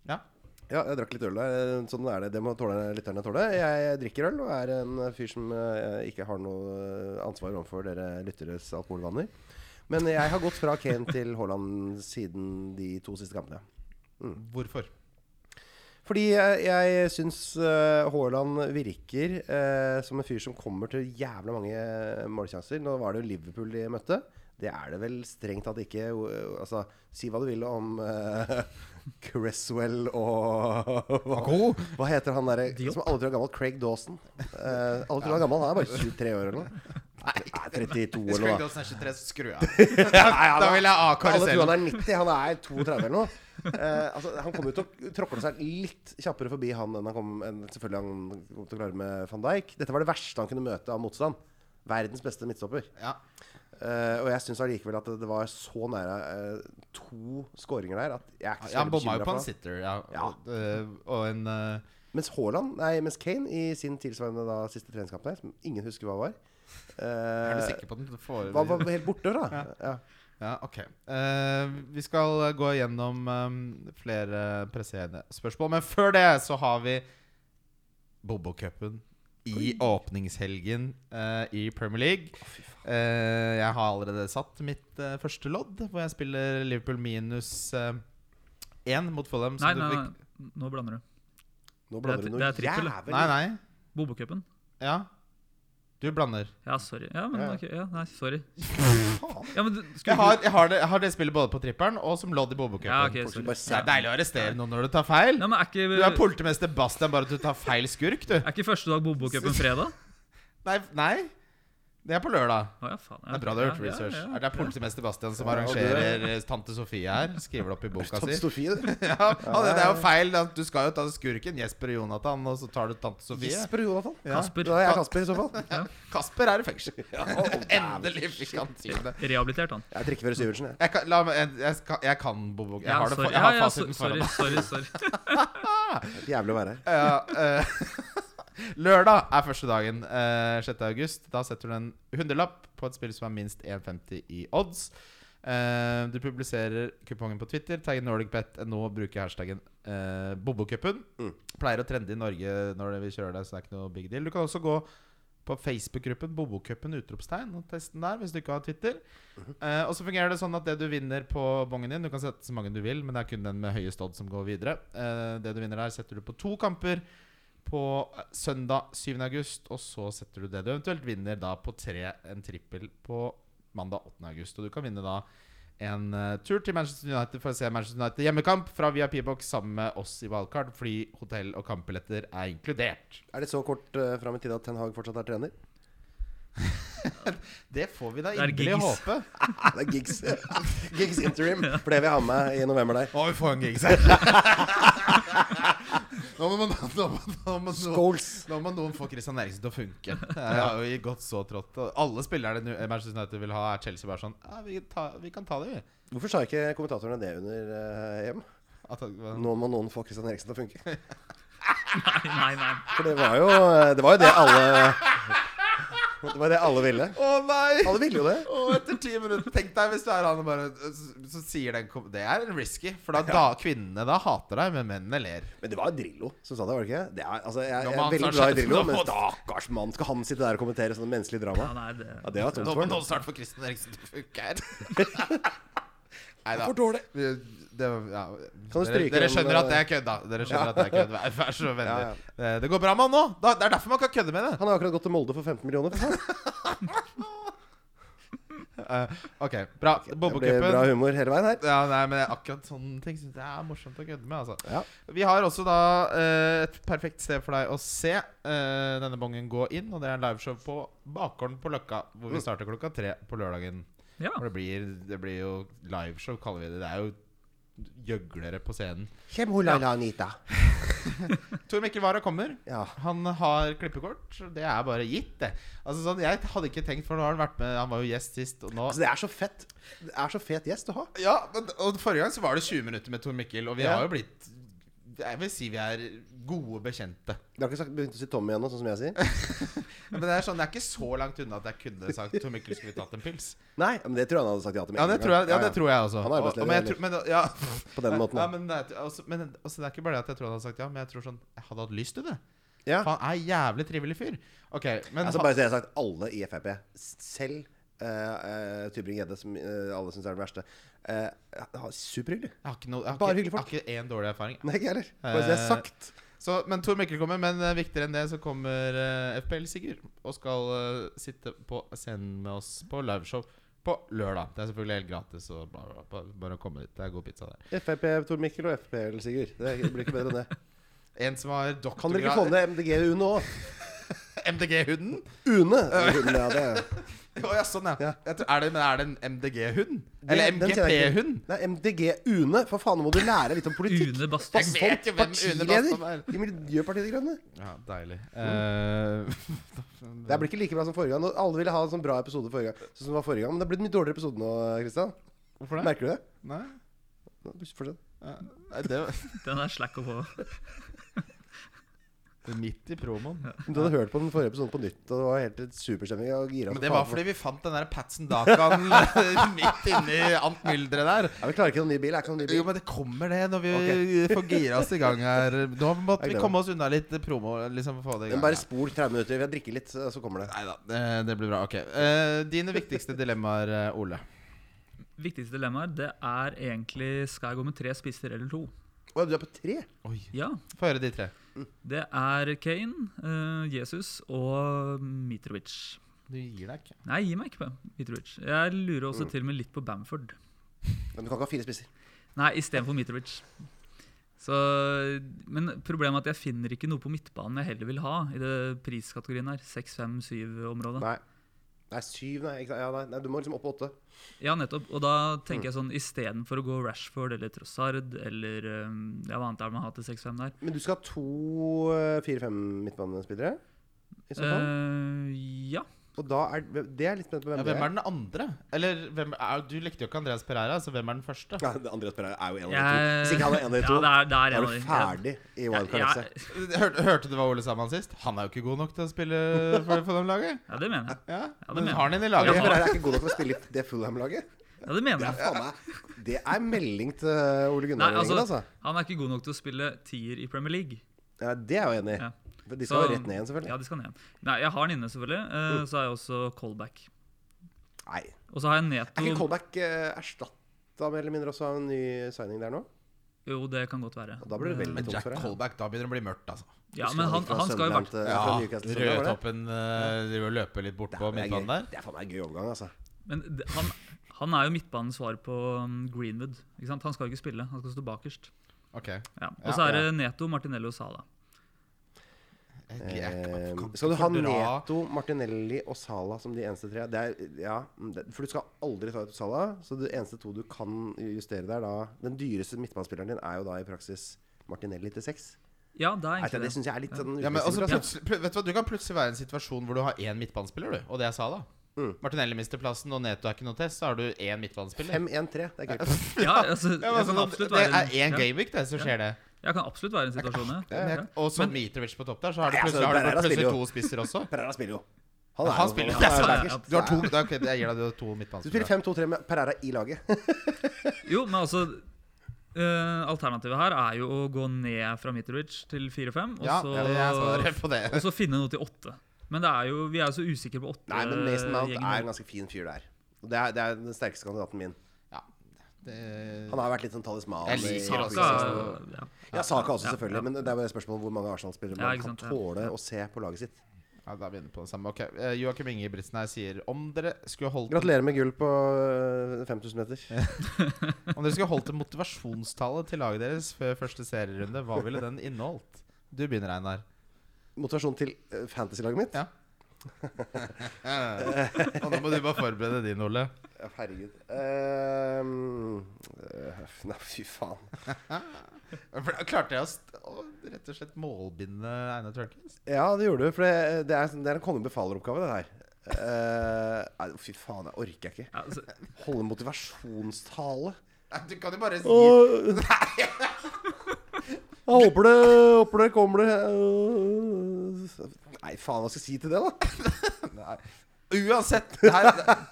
Speaker 3: Ja?
Speaker 5: Ja, jeg drakk litt øl der. Sånn er det. Det må tåle, lytterne tåle. Jeg drikker øl og er en fyr som eh, ikke har noe ansvar overfor dere lytteres alkoholvaner. Men jeg har gått fra Mm. Kane til Haaland siden de to siste kampene.
Speaker 3: Hvorfor?
Speaker 5: Fordi jeg, jeg syns eh, Haaland virker eh, som en fyr som kommer til jævla mange målsjanser. Nå var det jo Liverpool de møtte. Det er det vel strengt tatt ikke. eh, Altså, si hva du vil om eh, [LAUGHS] Cresswell og [LAUGHS] hva, hva heter han derre
Speaker 4: Diop.
Speaker 5: som alle tror er gammel? Craig Dawson. Eh, alle tror han er gammel, han er bare 23 år eller noe. Nei, 32
Speaker 3: Hvis
Speaker 5: eller noe.
Speaker 3: Craig Dawson er 23, så [LAUGHS] skrur jeg av. Da vil jeg avkare
Speaker 5: Alle tror
Speaker 3: selv.
Speaker 5: han er 90, han er 32 eller noe. Eh, altså, han kommer jo til å tråkle seg litt kjappere forbi han enn han kom enn selvfølgelig han kom til å klare med van Dijk. Dette var det verste han kunne møte av motstand. Verdens beste midtstopper.
Speaker 3: Ja.
Speaker 5: Eh, og jeg syns allikevel at det- det var så nære eh, to skåringer der at jeg er ikke
Speaker 3: Ja,
Speaker 5: så
Speaker 3: han bomma
Speaker 5: bekymra
Speaker 3: jo på en
Speaker 5: for han.
Speaker 3: sitter, ja.
Speaker 5: Ja.
Speaker 3: Eh, Og en eh,
Speaker 5: Mens Haaland, nei, mens Kane i sin tilsvarende da, siste treningskamp der, som ingen husker hva var eh,
Speaker 3: Er du sikker på at den får
Speaker 5: Var, var helt borte, da. Ja.
Speaker 3: Ja, ok. Eh, vi skal eh, gå gjennom eh, flere presserende spørsmål. Men før det så har vi Bobokupen i åpningshelgen eh, i Premier League. Eh, jeg har allerede satt mitt eh, første lodd, hvor jeg spiller Liverpool minus eh, én mot Fulham. så
Speaker 4: Nei,
Speaker 3: du
Speaker 4: nei,
Speaker 3: fikk-
Speaker 4: nei, nå blander du. Det
Speaker 5: Nå
Speaker 4: er
Speaker 5: blander du
Speaker 4: tri-
Speaker 5: noe
Speaker 4: det er trippel.
Speaker 5: jævlig
Speaker 3: nei, nei.
Speaker 4: Bobokupen.
Speaker 3: Ja. Du blander.
Speaker 4: Ja, sorry. Ja, men
Speaker 5: Ja.
Speaker 4: ok. Ja, nei, sorry. Ja, men du, skulle
Speaker 3: Jeg har, jeg har, det, jeg har det spillet både på trippelen og som lodd i Bobokupen.
Speaker 4: Ja, ok,
Speaker 5: Folk
Speaker 4: sorry.
Speaker 5: bare
Speaker 3: Så Det
Speaker 5: ser
Speaker 3: er deilig å arrestere noen når du tar feil.
Speaker 4: Ja, men er ikke,
Speaker 3: Du er politimester Bastian, bare at du tar feil skurk, du.
Speaker 4: er ikke første dag Bobokupen fredag?
Speaker 3: Nei, nei. Det er på lørdag.
Speaker 4: Å ja, faen. Ja,
Speaker 3: Det er bra du har gjort research. Er Det er politimester Bastian som arrangerer eh, tante Sofie her. Skriver det opp i boka
Speaker 5: Tante
Speaker 3: si.
Speaker 5: Sofie, du.
Speaker 3: [LAUGHS] Ja, og det, det er jo feil. da. Du skal jo ta skurken Jesper og Jonathan, og så tar du tante Sofie.
Speaker 5: Jesper og Jonathan.
Speaker 3: Ja.
Speaker 4: Kasper.
Speaker 5: Da er jeg Kasper i så fall. [LAUGHS]
Speaker 3: Kasper er i fengsel.
Speaker 5: Endelig.
Speaker 3: Endelig fikk han si det.
Speaker 4: Rehabilitert, han.
Speaker 5: Jeg drikker før Syvertsen, jeg.
Speaker 3: Jeg kan, la, meg- jeg, jeg, skal- jeg kan Bobo. Jeg
Speaker 4: Ja,
Speaker 3: har, det, for-
Speaker 4: sorry.
Speaker 3: jeg har
Speaker 4: Ja, ja,
Speaker 3: fasiten
Speaker 4: so-
Speaker 3: foran meg.
Speaker 4: Sorry, sorry. sorry. [LAUGHS]
Speaker 5: Det er Jævlig å være her.
Speaker 3: Ja, eh, [LAUGHS] lørdag er første dagen. eh, 6. august. Da setter du en hundrelapp på et spill som er minst 1,50 i odds. Eh, du publiserer kupongen på Twitter. Tagg NordicBet.no. Bruker hashtaggen uh, Bobokupen.
Speaker 5: Mm.
Speaker 3: Pleier å trende i Norge når vi kjører det, så det er ikke noe big deal. Du kan også gå på Facebook-gruppen Bobokupen utropstegn og teste den der hvis du ikke har Twitter. Eh, og så fungerer det sånn at det du vinner på bongen din Du kan sette så mange du vil, men det er kun den med høyest odd som går videre. Eh, det du vinner der, setter du på to kamper på eh, søndag 7. august, og så setter du det du eventuelt vinner da på tre, en trippel på mandag 8. august. Og du kan vinne da en eh, tur til Manchester United for å se Manchester United hjemmekamp fra VIP-boks sammen med oss i valgkart, fordi hotell og kampbilletter er inkludert.
Speaker 5: Er det så kort uh, fram i tid at Ten Hag fortsatt er trener?
Speaker 3: Det får vi da
Speaker 4: Det er
Speaker 3: inderlig
Speaker 4: gigs.
Speaker 3: håpe.
Speaker 5: Ah, det er gigs. [LAUGHS] gigs interim. For det vil jeg ha med i november der.
Speaker 3: Å, vi får en gig selv. nå, må man, nå, må, nå, må noen,
Speaker 5: Goals.
Speaker 3: nå må noen få Christian Eriksen til å funke. Jeg har jo gått så trått. Og alle spillerne nu- Manchester United vil ha, er Chelsea bare sånn ja, vi, ta, vi kan ta det, vi.
Speaker 5: Hvorfor sa ikke kommentatorene det under eh, EM?
Speaker 3: At, han-
Speaker 5: Nå må noen få Christian Eriksen til å funke.
Speaker 4: Nei, nei, nei.
Speaker 5: For det var jo eh, det, var jo det alle [LAUGHS] Det var det alle ville.
Speaker 3: Å nei!
Speaker 5: Alle ville jo det.
Speaker 3: Og etter ti minutter Tenk deg hvis du er han og bare Så, så sier den kom- Det er risky, for da, da kvinnene da hater deg, men mennene ler.
Speaker 5: Men det var Drillo som sa det, var det ikke? Det er, altså, jeg, jeg
Speaker 3: men han
Speaker 5: er veldig
Speaker 3: sa
Speaker 5: glad i
Speaker 3: sjef,
Speaker 5: Drillo,
Speaker 3: da
Speaker 5: men
Speaker 3: må-
Speaker 5: stakkars mann, skal han sitte der og kommentere sånne menneskelige drama?
Speaker 4: Ja, nei det.
Speaker 5: Ja, det var tungt
Speaker 3: Nå
Speaker 5: for
Speaker 3: må
Speaker 5: han.
Speaker 3: noen snart få Christian Eriksen til å funke her.
Speaker 5: [LAUGHS]
Speaker 3: Nei da.
Speaker 5: For dårlig.
Speaker 3: Det, ja.
Speaker 5: Kan du
Speaker 3: dere,
Speaker 5: stryke
Speaker 3: dere
Speaker 5: den,
Speaker 3: skjønner at det
Speaker 5: eh,
Speaker 3: er kødd, da. Dere skjønner at det er kødd. Vær- Vær så vennlig.
Speaker 5: Ja,
Speaker 3: Eh, Det går bra med han nå. Da, det er derfor man kan kødde med det.
Speaker 5: Han har akkurat gått til Molde for 15 millioner. for faen.
Speaker 3: Eh, OK, bra.
Speaker 5: Det blir
Speaker 3: Bobbecupen.
Speaker 5: bra humor hele veien her.
Speaker 3: Ja, nei, men akkurat sånne ting synes jeg er morsomt å kødde med. Altså.
Speaker 5: Ja.
Speaker 3: Vi har også da eh, et perfekt sted for deg å se eh, denne bongen gå inn, og det er en liveshow på Bakgården på Løkka, hvor
Speaker 5: Mm.
Speaker 3: vi starter klokka tre på lørdagen.
Speaker 4: Ja.
Speaker 3: Og det blir, det blir jo liveshow, kaller vi det. Det er jo gjøglere på scenen.
Speaker 5: Kjem hun Laila Anita.
Speaker 3: Tor Mikkel Wara kommer.
Speaker 5: Ja.
Speaker 3: Han har klippekort. Det er bare gitt, det. Altså sånn, Jeg hadde ikke tenkt, for nå har han vært med Han var jo gjest sist, og nå
Speaker 5: Altså, det er så fett. Det er så fet gjest å ha.
Speaker 3: Ja, men, og forrige gang så var det 20 minutter med Tor Mikkel, og vi
Speaker 5: Ja.
Speaker 3: har jo blitt Jeg vil si vi er gode bekjente.
Speaker 5: Du har ikke sagt, begynt å si Tommy ennå, sånn som jeg sier?
Speaker 3: Men det er sånn, det er ikke så langt unna at jeg kunne sagt Tor Mikkel skulle vi tatt en pils.
Speaker 5: Nei, men det tror jeg han hadde sagt ja til. med
Speaker 3: Ja,
Speaker 5: en
Speaker 3: det
Speaker 5: gang.
Speaker 3: tror jeg, ja,
Speaker 5: Ja, ja.
Speaker 3: det tror jeg også.
Speaker 5: Han er arbeidsledig,
Speaker 3: Og- men jeg tror- men, ja.
Speaker 5: På den måten,
Speaker 3: Ja,
Speaker 5: da.
Speaker 3: men, det er- også, men også, det er ikke bare det at jeg tror han hadde sagt ja, men jeg tror sånn Jeg hadde hatt lyst til det.
Speaker 5: Ja.
Speaker 3: For han er en jævlig trivelig fyr. Ok, men
Speaker 5: Altså,
Speaker 3: ha-
Speaker 5: bare så jeg har sagt alle i Frp. Selv eh, eh, Tybring-Gjedde, som eh, alle syns er den verste, eh, har superhyggelig.
Speaker 3: Jeg har ikke, noe- jeg har
Speaker 5: Bare
Speaker 3: ikke,
Speaker 5: hyggelige folk.
Speaker 3: Jeg har ikke én dårlig erfaring.
Speaker 5: Nei, ikke jeg heller. Bare så det er
Speaker 3: Eh,
Speaker 5: sagt.
Speaker 3: Så, men Tor Mikkel kommer, men eh, viktigere enn det så kommer eh, FPL Sigurd. Og skal eh, sitte på scenen med oss på liveshow på lørdag. Det er selvfølgelig helt gratis. Og bla, bla, bla. Bare å komme dit. Det er god pizza der.
Speaker 5: Frp Tor Mikkel og FPL Sigurd. Det blir ikke bedre enn det.
Speaker 3: En som har
Speaker 5: Kan dere ikke få
Speaker 3: doktorgrad
Speaker 5: ned MDG-UNE òg?
Speaker 3: MDG-hunden?
Speaker 5: UNE!
Speaker 3: [LAUGHS]
Speaker 5: Hun, ja, det er.
Speaker 3: Å ja, sånn, ja.
Speaker 5: Ja.
Speaker 3: Jeg tror, er, det, men er det en MDG-hund?
Speaker 5: Det-
Speaker 3: Eller
Speaker 5: den kjenner jeg ikke.
Speaker 3: MGP-hund?
Speaker 5: Nei, MDG-UNE. For faen, nå må du lære litt om politikk.
Speaker 4: Une
Speaker 3: Jeg
Speaker 4: Bastholm.
Speaker 3: vet jo hvem Une Bastholm
Speaker 5: Partileder
Speaker 3: er!
Speaker 5: i Miljøpartiet De Grønne.
Speaker 3: Ja, deilig. Eh,
Speaker 5: Det her blir ikke like bra som forrige gang. og Alle ville ha en sånn bra episode forrige gang. Sånn som det var forrige gang Men det har blitt en mye dårligere episode nå, Kristian.
Speaker 3: hvorfor det?
Speaker 5: Merker du det?
Speaker 3: Nei?
Speaker 5: Fortsett.
Speaker 3: Ja, nei, det var
Speaker 4: Den er slack å få.
Speaker 3: det er midt i promoen.
Speaker 5: Men Du hadde hørt på den forrige episoden på nytt, og det var helt superstemning. Jeg var gira
Speaker 3: Men
Speaker 5: som
Speaker 3: det
Speaker 5: faen
Speaker 3: var
Speaker 5: for-
Speaker 3: fordi vi fant den der Patson [LAUGHS] Dakan midt inni alt mylderet der.
Speaker 5: Ja, Vi klarer ikke noen ny bil. Er ikke noen ny bil.
Speaker 3: Jo, men det kommer det når vi [LAUGHS] får gira oss i gang her. Nå måtte
Speaker 5: Jeg
Speaker 3: vi
Speaker 5: gleder
Speaker 3: komme oss unna litt promo. Liksom, få det i
Speaker 5: Men
Speaker 3: gang
Speaker 5: bare
Speaker 3: her.
Speaker 5: spol 30 minutter. Jeg drikker litt, så kommer det.
Speaker 3: Nei da, det, det blir bra. Ok. Eh, dine
Speaker 5: [LAUGHS]
Speaker 3: viktigste dilemmaer, eh, Ole.
Speaker 4: Viktigste dilemmaer det er egentlig skal jeg gå med tre spisser eller to.
Speaker 5: Å, du er på tre?
Speaker 3: Oi.
Speaker 4: Ja,
Speaker 3: Få høre de tre.
Speaker 4: Det er Kane, eh, Jesus og Mitrovic.
Speaker 3: Du gir deg ikke.
Speaker 4: Nei, gi meg ikke på Mitrovic. Jeg lurer
Speaker 5: Mm.
Speaker 4: også til og med litt på Bamford.
Speaker 5: Men du kan ikke ha fire spisser.
Speaker 4: Nei, istedenfor Mitrovic. Så, men problemet er at jeg finner ikke noe på midtbanen jeg heller vil ha i det priskategorien her. 6-5-7-området.
Speaker 5: Nei. Nei, syv, nei. Ikke, sant? ja, nei. nei. Du må liksom opp på åtte.
Speaker 4: Ja, nettopp. Og da
Speaker 5: Mm.
Speaker 4: tenker jeg sånn istedenfor å gå Rashford eller Trossard eller eh, Ja, hva annet er det man har til 6-5 der?
Speaker 5: Men du skal ha to eh, fire-fem midtbanespillere? I så fall.
Speaker 4: Eh, ja.
Speaker 5: og da er Det er litt spent på hvem,
Speaker 3: Ja, hvem er den andre? Eller hvem er, Du likte jo ikke Andreas Pereira, så hvem er den første?
Speaker 5: Nei, det Andreas Pereira er jo en av de to.
Speaker 4: Jeg-
Speaker 5: Hvis ikke han er en av de
Speaker 4: Ja,
Speaker 5: to,
Speaker 4: det er, det er
Speaker 5: da
Speaker 4: en
Speaker 5: er
Speaker 4: av de.
Speaker 5: du ferdig i
Speaker 4: Ja,
Speaker 5: wildcard-lekset.
Speaker 3: Hørte, hørte du hva Ole sa om han sist? Han er jo ikke god nok til å spille for, for dem
Speaker 5: [LAUGHS]
Speaker 3: laget.
Speaker 4: ja, det mener jeg.
Speaker 3: Ja,
Speaker 4: det
Speaker 3: Men
Speaker 4: mener
Speaker 3: har han en i
Speaker 5: Andreas
Speaker 3: laget?
Speaker 5: Pereira er ikke god nok til å spille i det Fulham-laget.
Speaker 4: Ja, det mener
Speaker 5: Det
Speaker 4: jeg.
Speaker 5: er faen meg Det er melding til eh, Ole
Speaker 4: Nei,
Speaker 5: Gunnar Ringen,
Speaker 4: altså,
Speaker 5: altså.
Speaker 4: han er ikke god nok til å spille tier i Premier League.
Speaker 5: Ja, det er jeg jo enig i.
Speaker 4: Ja.
Speaker 5: For De skal
Speaker 4: Så-
Speaker 5: jo rett ned igjen, selvfølgelig.
Speaker 4: Ja, de skal ned igjen. Nei, jeg har den inne, selvfølgelig. eh, Så har jeg også callback.
Speaker 5: Nei.
Speaker 4: Og så har jeg
Speaker 5: Er ikke
Speaker 4: Neto.
Speaker 5: Colback erstatta mer eller mindre også av en ny signing der nå?
Speaker 4: Jo, det kan godt være.
Speaker 5: Og da blir det veldig
Speaker 3: Men
Speaker 5: tungt
Speaker 3: Jack
Speaker 5: for deg.
Speaker 3: Colback, da begynner det å bli mørkt, altså.
Speaker 4: Ja, men han, han skal jo i hvert
Speaker 5: Sunderland til-
Speaker 3: Ja,
Speaker 5: fra Newcastle, Sunderland, var det?
Speaker 3: Rødtoppen eh, driver og løper litt bort på
Speaker 5: Det er
Speaker 3: midtbanen
Speaker 5: gøy.
Speaker 3: der.
Speaker 5: Det er faen meg en gøy overgang, altså.
Speaker 4: Men d- han, han er jo midtbanens svar på um, Greenwood. Ikke sant? Han skal jo ikke spille, han skal stå bakerst.
Speaker 3: Ok Jeg-
Speaker 4: Ja.
Speaker 3: Ja,
Speaker 4: Og så er
Speaker 3: ja.
Speaker 4: det Neto, Martinello og Sala.
Speaker 3: jeg- jeg kan
Speaker 5: Eh,
Speaker 3: ikke
Speaker 5: skal du ha
Speaker 3: fordra-
Speaker 5: Neto, Martinelli og Sala som de eneste tre? Det er, ja, mm, det, for du skal aldri ta ut Sala. Så det eneste to du kan justere der da Den dyreste midtbanespilleren din er jo da i praksis Martinelli til seks.
Speaker 4: Ja, det er
Speaker 5: Nei, Det,
Speaker 4: egentlig
Speaker 5: det syns jeg er litt sånn
Speaker 3: ja, men altså, også,
Speaker 5: upresist.
Speaker 3: plutselig, pl- Vet Du hva, du kan plutselig være i en situasjon hvor du har én midtbanespiller, du. Og det er Sala.
Speaker 5: Mm.
Speaker 3: Martinelli mister plassen, og Neto er ikke noe test, så har du én midtbanespiller.
Speaker 5: 5-1-3. Det er gøy.
Speaker 4: det. Ja, altså, jeg
Speaker 3: Ja, men
Speaker 4: kan
Speaker 3: sånn,
Speaker 4: absolutt
Speaker 3: det
Speaker 4: være
Speaker 3: er én
Speaker 4: ja,
Speaker 3: gameweek, det, så skjer det.
Speaker 4: jeg kan absolutt være i en situasjon, ja.
Speaker 3: Men
Speaker 4: ja.
Speaker 3: jeg- Og så Mitrovic på topp der, så har du
Speaker 5: Nei, altså,
Speaker 3: plutselig, har du
Speaker 5: Pereira
Speaker 3: plutselig
Speaker 5: spiller jo.
Speaker 3: to spisser også.
Speaker 5: Pereira spiller jo.
Speaker 3: Han,
Speaker 5: er jo-
Speaker 3: spiller
Speaker 5: han er
Speaker 4: Ja,
Speaker 5: backers.
Speaker 4: ja,
Speaker 3: Du har to, da, ok, jeg gir deg du har to
Speaker 5: Du spiller
Speaker 3: midtbanespillere.
Speaker 5: 5-2-3 med Pereira i laget. [LAUGHS]
Speaker 4: Jo, men altså eh, Alternativet her er jo å gå ned fra Mitrovic til 4-5, og
Speaker 3: Ja,
Speaker 4: så
Speaker 3: jeg svarer på det.
Speaker 4: Og så finne noe til åtte. Men det er jo, vi er jo så usikre på åtte.
Speaker 5: Nei, men Mason Mount
Speaker 4: gjengen.
Speaker 5: er en ganske fin fyr der. Og Det er, det er den sterkeste kandidaten min.
Speaker 3: Ja, det
Speaker 5: Han har vært litt sånn talisman.
Speaker 3: Jeg
Speaker 5: i-
Speaker 3: liker
Speaker 5: i-
Speaker 3: også-
Speaker 4: Saka ja.
Speaker 5: Ja, Saka også,
Speaker 4: Ja,
Speaker 5: selvfølgelig.
Speaker 4: ja.
Speaker 5: Men det er bare et spørsmål om hvor mange Arsenal-spillere
Speaker 4: Ja,
Speaker 5: man
Speaker 4: ikke
Speaker 5: kan
Speaker 4: sant, ja.
Speaker 5: tåle å se på laget sitt.
Speaker 3: Ja, da er vi inne på det samme. Ok, eh, Joakim Inge Britzen her sier om dere skulle holdt
Speaker 5: Gratulerer med gull på øh, 5000 meter.
Speaker 3: Om dere skulle holdt en motivasjonstale til laget deres før første serierunde, hva ville den inneholdt? Du begynner, Einar.
Speaker 5: Motivasjon til øh, fantasy-laget mitt?
Speaker 3: Ja. Og nå må du bare forberede din, Ole.
Speaker 5: Ja, herregud. Ehm, øh, nei, fy faen.
Speaker 3: For da klarte jeg å, st å rett og slett målbinde Einar Tørnquist.
Speaker 5: Ja, det gjorde du. For det, det, er, sånn- det er en kongen befaler-oppgave, det her. Eh, nei, fy faen, det orker jeg ikke.
Speaker 4: Ja, altså,
Speaker 5: Holde motivasjonstale.
Speaker 3: Nei, Du kan jo bare si
Speaker 5: Åh, Jeg håper det, håper det kommer det øh, Nei, faen, hva skal jeg si til det, da?
Speaker 3: Uansett, det her,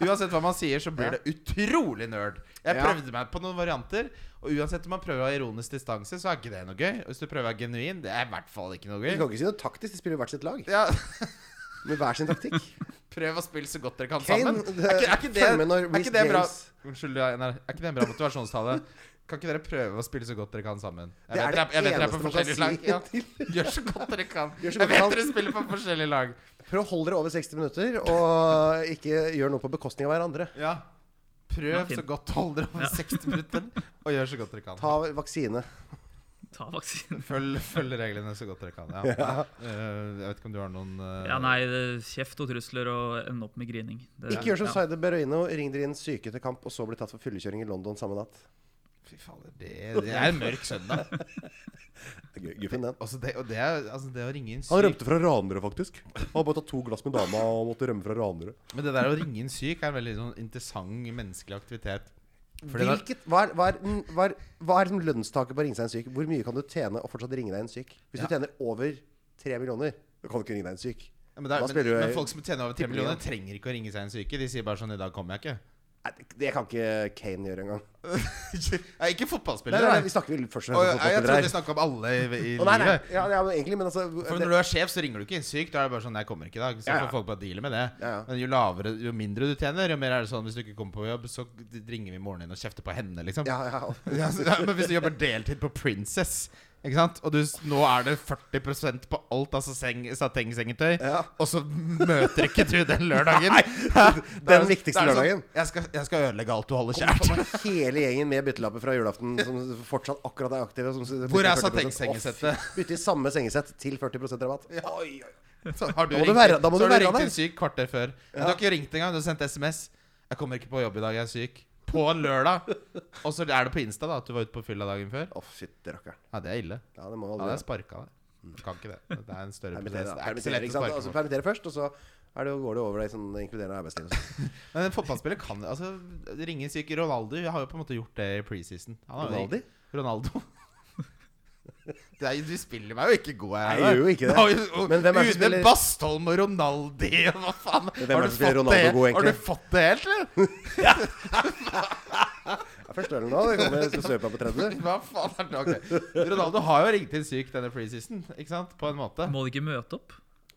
Speaker 3: uansett hva man sier, så blir
Speaker 5: Ja.
Speaker 3: det utrolig nerd. Jeg
Speaker 5: Ja.
Speaker 3: prøvde meg på noen varianter, og uansett om man prøver å ha ironisk distanse, så er ikke det noe gøy. Og hvis du prøver å være genuin, det er i hvert fall ikke noe
Speaker 5: Vi kan
Speaker 3: gøy.
Speaker 5: ikke si noe taktisk. De spiller hvert sitt lag
Speaker 3: Ja,
Speaker 5: med hver sin taktikk.
Speaker 3: Prøv å spille så godt dere kan
Speaker 5: Kane,
Speaker 3: sammen.
Speaker 5: det-
Speaker 3: Er ikke, er ikke, det,
Speaker 5: følg med når
Speaker 3: er
Speaker 5: Reece
Speaker 3: ikke det bra
Speaker 5: James-
Speaker 3: Unnskyld, ja, nei, er ikke det en bra motivasjonstale? Kan ikke dere prøve å spille så godt dere kan sammen? Jeg
Speaker 5: Det er
Speaker 3: vet dere er-
Speaker 5: det
Speaker 3: jeg vet dere er på
Speaker 5: eneste man kan
Speaker 3: forskjellige lag.
Speaker 5: si
Speaker 3: Ja. Gjør så godt dere kan.
Speaker 5: Gjør så
Speaker 3: Jeg
Speaker 5: godt
Speaker 3: vet
Speaker 5: dere kan.
Speaker 3: dere spiller på forskjellige lag.
Speaker 5: Prøv å holde dere over 60 minutter, og ikke gjør noe på bekostning av hverandre.
Speaker 3: Ja.
Speaker 4: Den er
Speaker 3: Prøv
Speaker 4: fin.
Speaker 3: så godt hold dere over
Speaker 4: Ja.
Speaker 3: 60 minutter, og gjør så godt dere kan.
Speaker 5: Ta vaksine.
Speaker 4: Ta vaksinen.
Speaker 3: Følg, følg reglene så godt dere kan. Ja. Eh, jeg vet ikke om du har noen eh,
Speaker 4: Ja, nei, det- kjeft og trusler og ende opp med grining. Det-
Speaker 5: Ikke gjør som
Speaker 4: ja.
Speaker 5: Saide Beroino. Ring dere inn syke til kamp, og så bli tatt for fyllekjøring i London samme natt.
Speaker 3: Fy fader, det, det er en mørk søndag.
Speaker 5: Det er gøy- Guffen, den.
Speaker 3: Også det, og det, er, altså det å ringe inn
Speaker 5: Han
Speaker 3: syk
Speaker 5: rømte fra ranere, faktisk. Han hadde bare tatt to glass med dama og måtte rømme fra ranere.
Speaker 3: Men det der å ringe inn syk er en veldig sånn interessant menneskelig aktivitet. For det der,
Speaker 5: Hvilket, hva er, hva er, hva er, hva er liksom lønnstaket på å ringe seg en syk? Hvor mye kan du tjene og fortsatt ringe deg en syk? Hvis
Speaker 3: Ja.
Speaker 5: du tjener over tre millioner, da kan du ikke ringe deg en syk.
Speaker 3: Ja, men, det
Speaker 5: Da
Speaker 3: er, men,
Speaker 5: spiller du-
Speaker 3: men folk som tjener over 3
Speaker 5: Tippeligaen.
Speaker 3: millioner, trenger ikke å ringe seg en syke. De sier bare sånn 'I dag kommer [LAUGHS] jeg
Speaker 5: Nei, det- det kan ikke Kane gjøre engang.
Speaker 3: ikke'. Nei, ikke
Speaker 5: Nei,
Speaker 3: fotballspillere.
Speaker 5: nei, nei,
Speaker 3: nei.
Speaker 5: vi snakker vel først og
Speaker 3: Å, ja,
Speaker 5: fremst om
Speaker 3: jeg trodde vi
Speaker 5: fotballspillere her.
Speaker 3: snakka om alle i, i
Speaker 5: Å, nei, nei.
Speaker 3: livet.
Speaker 5: Ja, ja, men egentlig, men altså
Speaker 3: For
Speaker 5: det-
Speaker 3: Når du er sjef, så ringer du ikke inn syk. Da er det bare sånn 'Jeg kommer ikke i dag'. Så
Speaker 5: Ja, ja.
Speaker 3: får folk bare deale med det.
Speaker 5: Ja, ja.
Speaker 3: Men jo lavere, jo mindre du tjener, jo mer er det sånn 'Hvis du ikke kommer på jobb, så ringer vi moren din og kjefter på henne', liksom.
Speaker 5: Ja, ja.
Speaker 3: Ja, så- ja, men hvis du jobber deltid på Princess ikke sant? Og du, s- nå er det 40 på alt av saseng- satengsengetøy,
Speaker 5: Ja.
Speaker 3: og så møter ikke du den
Speaker 5: [LAUGHS]
Speaker 3: lørdagen. Da er
Speaker 5: Den
Speaker 3: det-
Speaker 5: viktigste
Speaker 3: da er det
Speaker 5: lørdagen.
Speaker 3: Sånn, jeg, skal, jeg skal ødelegge alt du holder
Speaker 5: Kom
Speaker 3: kjært.
Speaker 5: med hele gjengen med byttelapper fra julaften som [LAUGHS] fortsatt akkurat er aktive. Som
Speaker 3: Hvor er
Speaker 5: 40%.
Speaker 3: satengsengesettet?
Speaker 5: Å, fy, Bytte i samme sengesett til 40 rabatt. Oi, oi.
Speaker 3: [LAUGHS] Så har du
Speaker 5: Da må du
Speaker 3: ringt,
Speaker 5: være- da må
Speaker 3: så
Speaker 5: du
Speaker 3: har du
Speaker 5: være
Speaker 3: ringt
Speaker 5: der.
Speaker 3: en syk kvarter før. Men Du har ikke ringt engang. Du har sendt SMS. 'Jeg kommer ikke på jobb i dag, jeg er syk'. På en lørdag. Og så er det på Insta da at du var ute på fylla dagen før.
Speaker 5: Å, fytti rakkeren.
Speaker 3: Ja, det er ille.
Speaker 5: Ja, det må
Speaker 3: Da
Speaker 5: aldri
Speaker 3: hadde jeg
Speaker 5: gjøre.
Speaker 3: sparka deg. Du kan ikke det. Det er en større prosess.
Speaker 5: Permittere,
Speaker 3: Det
Speaker 5: da.
Speaker 3: er ikke så
Speaker 5: Permittere,
Speaker 3: lett å
Speaker 5: ikke sant?
Speaker 3: sparke
Speaker 5: Altså,
Speaker 3: folk.
Speaker 5: permittere først, og så er det, går det over i sånn inkluderende arbeidsliv.
Speaker 3: [LAUGHS] Men en fotballspiller kan altså, Ringe syk Ronaldo har jo på en måte gjort det i preseason. Han har jo-
Speaker 5: Ronaldi?
Speaker 3: [LAUGHS] Ronaldo. Det er, du spiller meg jo ikke god her.
Speaker 5: Nei, jeg gjør jo ikke det. Men hvem er det som
Speaker 3: Une
Speaker 5: spiller-
Speaker 3: Bastholm og Ronaldi og hva faen?
Speaker 5: hvem er det som spiller Ronaldo
Speaker 3: det,
Speaker 5: god, egentlig?
Speaker 3: har du fått det helt, eller?
Speaker 5: Ja, Første ølen nå. Det kommer til å søpe på 30.
Speaker 3: Hva faen er det? ok. Ronaldo har jo ringt inn syk denne preseason, ikke sant? På en måte.
Speaker 4: Må du ikke møte opp?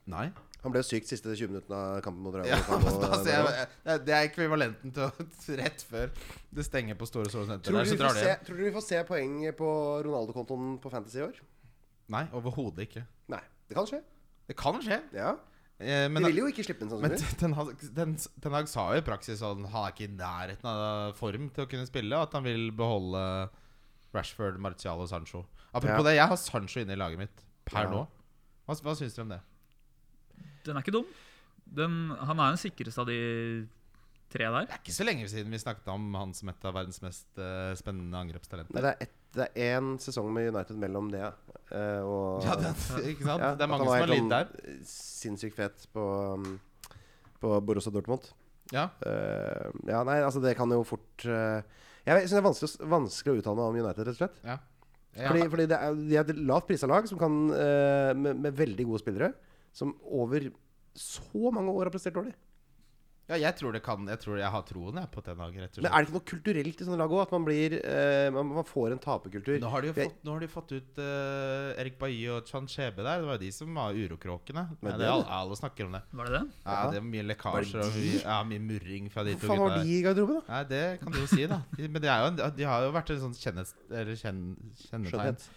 Speaker 3: Nei.
Speaker 5: Han ble jo syk siste 20 minuttene av kampen mot Real.
Speaker 3: [LAUGHS] Ja,
Speaker 5: Madrid.
Speaker 3: men [LAUGHS] da
Speaker 5: Og-
Speaker 3: ser jeg, det- det er ekvivalenten til å- [LAUGHS] rett før det stenger på Store Solo Senter.
Speaker 5: Tror
Speaker 3: Der,
Speaker 5: du,
Speaker 3: så
Speaker 5: vi får
Speaker 3: drar de
Speaker 5: se,
Speaker 3: hjem.
Speaker 5: tror du vi får se poeng på Ronaldo-kontoen på Fantasy i år?
Speaker 3: Nei, overhodet ikke.
Speaker 5: Nei. Det kan skje.
Speaker 3: Det kan skje.
Speaker 5: Ja.
Speaker 3: Eh,
Speaker 5: De
Speaker 3: men
Speaker 5: vil jo ikke slippe den sånn.
Speaker 3: Men
Speaker 5: sannsynligvis.
Speaker 3: Ten Hag, Ten, Ten Hag sa jo i praksis at han er ikke i nærheten av form til å kunne spille, og at han vil beholde Rashford, Martial og Sancho. Apropos
Speaker 5: Ja.
Speaker 3: det, jeg har Sancho inne i laget mitt per
Speaker 5: Ja.
Speaker 3: nå. Hva, hva syns dere om det?
Speaker 4: Den er ikke dum. Den, han er den sikreste av de tre der.
Speaker 3: Det er ikke så lenge siden vi snakket om han som et av verdens mest eh, spennende angrepstalenter.
Speaker 5: Nei, det er ett- det er én sesong med United mellom det eh, og
Speaker 3: Ja, det, ikke sant?
Speaker 5: Ja,
Speaker 3: det er
Speaker 5: at han
Speaker 3: mange som har
Speaker 5: helt
Speaker 3: lidd der.
Speaker 5: sånn Sinnssykt fet på, um, på Borussia Dortmund.
Speaker 3: Ja.
Speaker 5: Eh, ja, nei, altså det kan jo fort eh, Jeg syns det er vanskelig, å s- vanskelig å uttale meg om United, rett og slett.
Speaker 3: ja. Ja.
Speaker 5: Fordi, fordi det er, de er et lavt prisa lag som kan, eh, med, med veldig gode spillere, som over så mange år har prestert dårlig.
Speaker 3: ja, jeg tror det kan Jeg tror jeg har troen jeg, på Ten Hag, rett og slett.
Speaker 5: Men er det ikke noe kulturelt i sånne lag òg? At man, blir, eh, man, man får en taperkultur?
Speaker 3: Nå har de jo
Speaker 5: Jeg-
Speaker 3: fått, nå har de fått ut eh, Erik Bailly og Chan Chebe der. Det var jo de som var urokråkene.
Speaker 5: Men
Speaker 3: Ja,
Speaker 5: det-
Speaker 3: det er alle, alle snakker om det.
Speaker 4: Var det det?
Speaker 3: Ja,
Speaker 5: Ja.
Speaker 3: det er mye lekkasjer og mye, ja, mye murring fra de
Speaker 5: Hva
Speaker 3: to
Speaker 5: faen
Speaker 3: gutta
Speaker 5: var
Speaker 3: der.
Speaker 5: de i garderoben, da?
Speaker 3: Nei, det kan du jo si, da. De- Men det er jo en, de har jo vært en sånn kjennes, eller kjenn, kjennetegn
Speaker 5: Skjønnhet.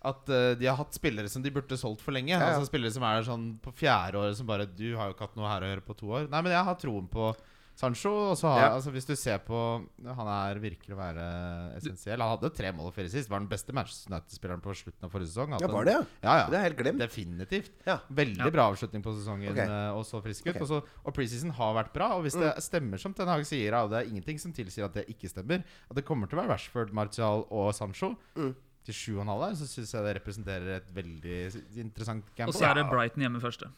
Speaker 3: At eh, de har hatt spillere som de burde solgt for lenge.
Speaker 5: ja.
Speaker 3: Altså Spillere som er der sånn på fjerde året som bare Du har jo ikke hatt noe her å gjøre på to år. Nei, men jeg har troen på Sancho. Og så har
Speaker 5: Ja.
Speaker 3: altså, Hvis du ser på Han er, virker å være essensiell. Han hadde jo tre mål og fire sist. Var den beste Manchester United-spilleren på slutten av forrige sesong. Hatt
Speaker 5: Ja,
Speaker 3: en-
Speaker 5: var det, ja?
Speaker 3: Ja, ja.
Speaker 5: Det er helt glemt.
Speaker 3: Definitivt.
Speaker 5: Ja.
Speaker 3: Veldig
Speaker 4: Ja.
Speaker 3: bra avslutning på sesongen
Speaker 5: Ok.
Speaker 3: eh, og så frisk ut.
Speaker 5: Ok. Mm.
Speaker 3: Og, så, og preseason har vært bra. Og hvis det stemmer som Ten Hag sier, og det er ingenting som tilsier at det ikke stemmer, at det kommer til å være Rashford, Martial og Sancho
Speaker 5: Mm.
Speaker 3: til sju og en halv der, så syns jeg det representerer et veldig interessant
Speaker 4: Og
Speaker 3: gamble.
Speaker 4: så er det Brighton hjemme første.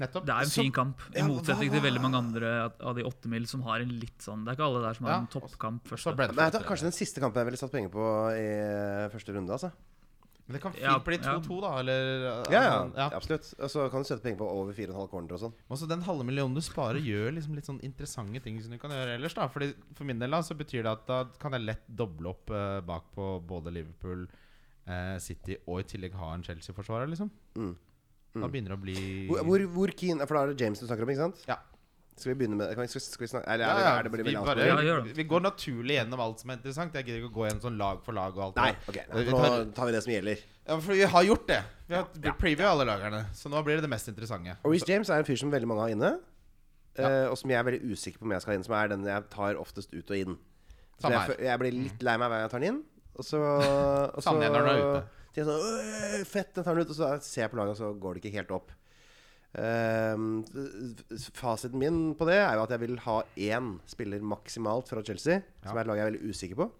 Speaker 3: Nettopp.
Speaker 4: Det er en
Speaker 3: Så-
Speaker 4: fin kamp, i
Speaker 5: Ja, hva-
Speaker 4: motsetning til
Speaker 5: hva-
Speaker 4: veldig mange andre at- av de åtte mil som har en litt sånn Det er ikke alle der som har
Speaker 3: Ja,
Speaker 4: en toppkamp
Speaker 3: så er
Speaker 4: første.
Speaker 3: Brentford.
Speaker 5: Nei, det er kanskje den siste kampen jeg ville satt penger på i første runde. altså
Speaker 3: Men det kan fint
Speaker 4: Ja,
Speaker 3: bli
Speaker 4: ja.
Speaker 3: 2-2, da. Eller
Speaker 5: Ja, ja,
Speaker 3: altså, ja.
Speaker 5: absolutt. Og så kan du sette penger på over 4,5 corner og sånn.
Speaker 3: Men Også den halve millionen du sparer, gjør liksom litt sånn interessante ting som du kan gjøre ellers. da Fordi For min del da så betyr det at da kan jeg lett doble opp eh, bak på både Liverpool, eh, City og i tillegg ha en
Speaker 5: Mm.
Speaker 3: Chelsea-forsvarer, liksom. Da begynner det å bli
Speaker 5: Hvor, hvor, hvor keen For da er det James du snakker om, ikke sant?
Speaker 3: Ja.
Speaker 5: Skal vi begynne med kan vi, skal, skal vi snakke Eller er det, er det blir
Speaker 3: vi,
Speaker 5: veldig
Speaker 3: bare,
Speaker 5: avsporing?
Speaker 4: Ja, gjør det.
Speaker 3: vi går naturlig gjennom alt som er interessant. Jeg gidder ikke å gå gjennom sånn lag for lag. og alt
Speaker 5: Nei,
Speaker 3: det.
Speaker 5: ok.
Speaker 3: Vi
Speaker 5: Nå
Speaker 3: tar,
Speaker 5: tar vi det som gjelder.
Speaker 3: ja, for vi har gjort det. Vi har preview alle lagerne. Så nå blir det det mest interessante.
Speaker 5: Reece James er en fyr som veldig mange har inne. eh, Og som jeg er veldig usikker på om jeg skal ha inn. Som er den jeg tar oftest ut og inn. Så
Speaker 3: Samme
Speaker 5: jeg,
Speaker 3: her.
Speaker 5: fø- jeg blir litt lei meg hver gang jeg tar den inn. Og så,
Speaker 3: [LAUGHS]
Speaker 5: og så
Speaker 3: Savner jeg når den er ute.
Speaker 5: tenker jeg Altså, sånn, «Øh, Fett, den tar den ut. Og så ser jeg på laget, og så går det ikke helt opp. Ehm, f- fasiten min på det er jo at jeg vil ha én spiller maksimalt fra Chelsea. Som
Speaker 3: Ja.
Speaker 5: er et lag jeg er veldig usikker på.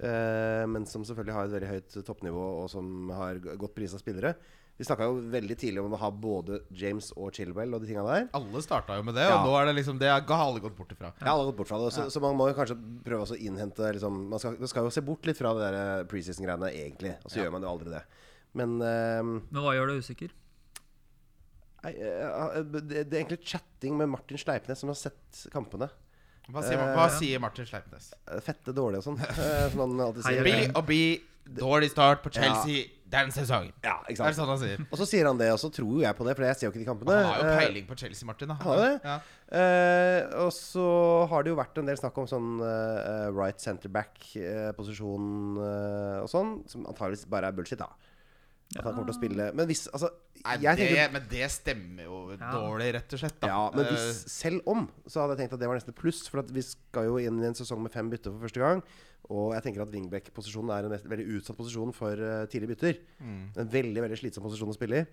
Speaker 5: Eh, men som selvfølgelig har et veldig høyt toppnivå, og som har g- godt pris av spillere. Vi snakka jo veldig tidlig om å ha både James og Chilwell og de tinga der.
Speaker 3: Alle starta jo med det, og
Speaker 5: Ja.
Speaker 3: nå er det liksom Det har alle gått bort ifra.
Speaker 5: Jeg har alle gått bort fra det, så, så man må jo kanskje prøve også å innhente liksom, man, skal, man skal jo se bort litt fra det der eh, preseason-greiene, egentlig. Og så gjør man jo aldri det. Men eh,
Speaker 4: Men hva gjør deg usikker?
Speaker 5: nei, eh, det, det er egentlig chatting med Martin Sleipnes, som har sett kampene.
Speaker 3: Hva sier, hva sier Martin Sleipnes?
Speaker 5: Eh, Fette dårlig
Speaker 3: [LAUGHS]
Speaker 5: og sånn, eh, som han alltid
Speaker 4: Hei,
Speaker 5: sier.
Speaker 3: Bli og bli dårlig start på Chelsea den sesongen.
Speaker 5: Ja,
Speaker 3: Det
Speaker 5: ikke
Speaker 3: er
Speaker 5: sant.
Speaker 3: sånn han sier.
Speaker 5: Og så sier han det, og så tror jo jeg på det, for jeg ser jo ikke de kampene.
Speaker 3: Han har jo
Speaker 5: Eh,
Speaker 3: peiling på Chelsea, Martin. Da.
Speaker 5: har det?
Speaker 3: Ja.
Speaker 5: Eh, og så har det jo vært en del snakk om sånn eh, right center back-posisjon og sånn, som antageligvis bare er bullshit, da. At han kommer til å spille Men hvis Altså,
Speaker 3: Nei,
Speaker 5: jeg
Speaker 3: det,
Speaker 5: tenker
Speaker 3: men det stemmer jo
Speaker 4: Ja.
Speaker 3: dårlig, rett og slett. Da.
Speaker 5: ja, men
Speaker 3: Eh,
Speaker 5: hvis, selv om, så hadde jeg tenkt at det var nesten et pluss. For at vi skal jo inn i en sesong med fem bytter for første gang. Og jeg tenker at wingback-posisjonen er en nest- veldig utsatt posisjon for eh, tidlige bytter.
Speaker 3: Mm.
Speaker 5: En veldig veldig slitsom posisjon å spille i.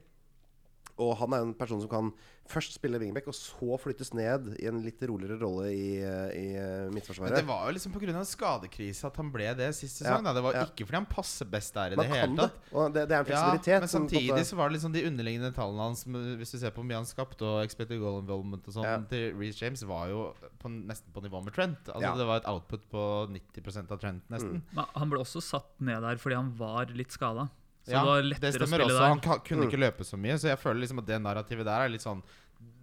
Speaker 5: Og han er en person som kan først spille wingback, og så flyttes ned i en litt roligere rolle i, eh, i eh,
Speaker 3: Men det
Speaker 5: midtforsvaret.
Speaker 3: var jo liksom pga. skadekrise at han ble det sist sesong.
Speaker 5: Ja,
Speaker 3: da. Det var
Speaker 5: ja.
Speaker 3: ikke fordi han passer best der i
Speaker 5: Man
Speaker 3: det
Speaker 5: kan
Speaker 3: hele
Speaker 5: det.
Speaker 3: tatt.
Speaker 5: Og det, det er en
Speaker 3: Ja,
Speaker 5: fleksibilitet.
Speaker 3: men
Speaker 5: som eh, på en måte-
Speaker 3: samtidig så var det liksom de underliggende tallene hans med- Hvis du ser på hvor mye han skapte og expected goal involvement og sånn,
Speaker 5: Ja.
Speaker 3: til Reece James var jo på, nesten på nivå med Trent. Altså
Speaker 5: Ja.
Speaker 3: Det var et output på 90 av Trent, nesten.
Speaker 4: Men Han ble også satt ned der fordi han var litt skada. Så
Speaker 3: Ja,
Speaker 4: det var
Speaker 3: det
Speaker 4: lettere å
Speaker 3: stemmer
Speaker 4: spille
Speaker 3: også. Han
Speaker 4: der.
Speaker 3: ka- kunne
Speaker 5: Mm.
Speaker 3: ikke løpe så mye, så jeg føler liksom at det narrativet der er litt sånn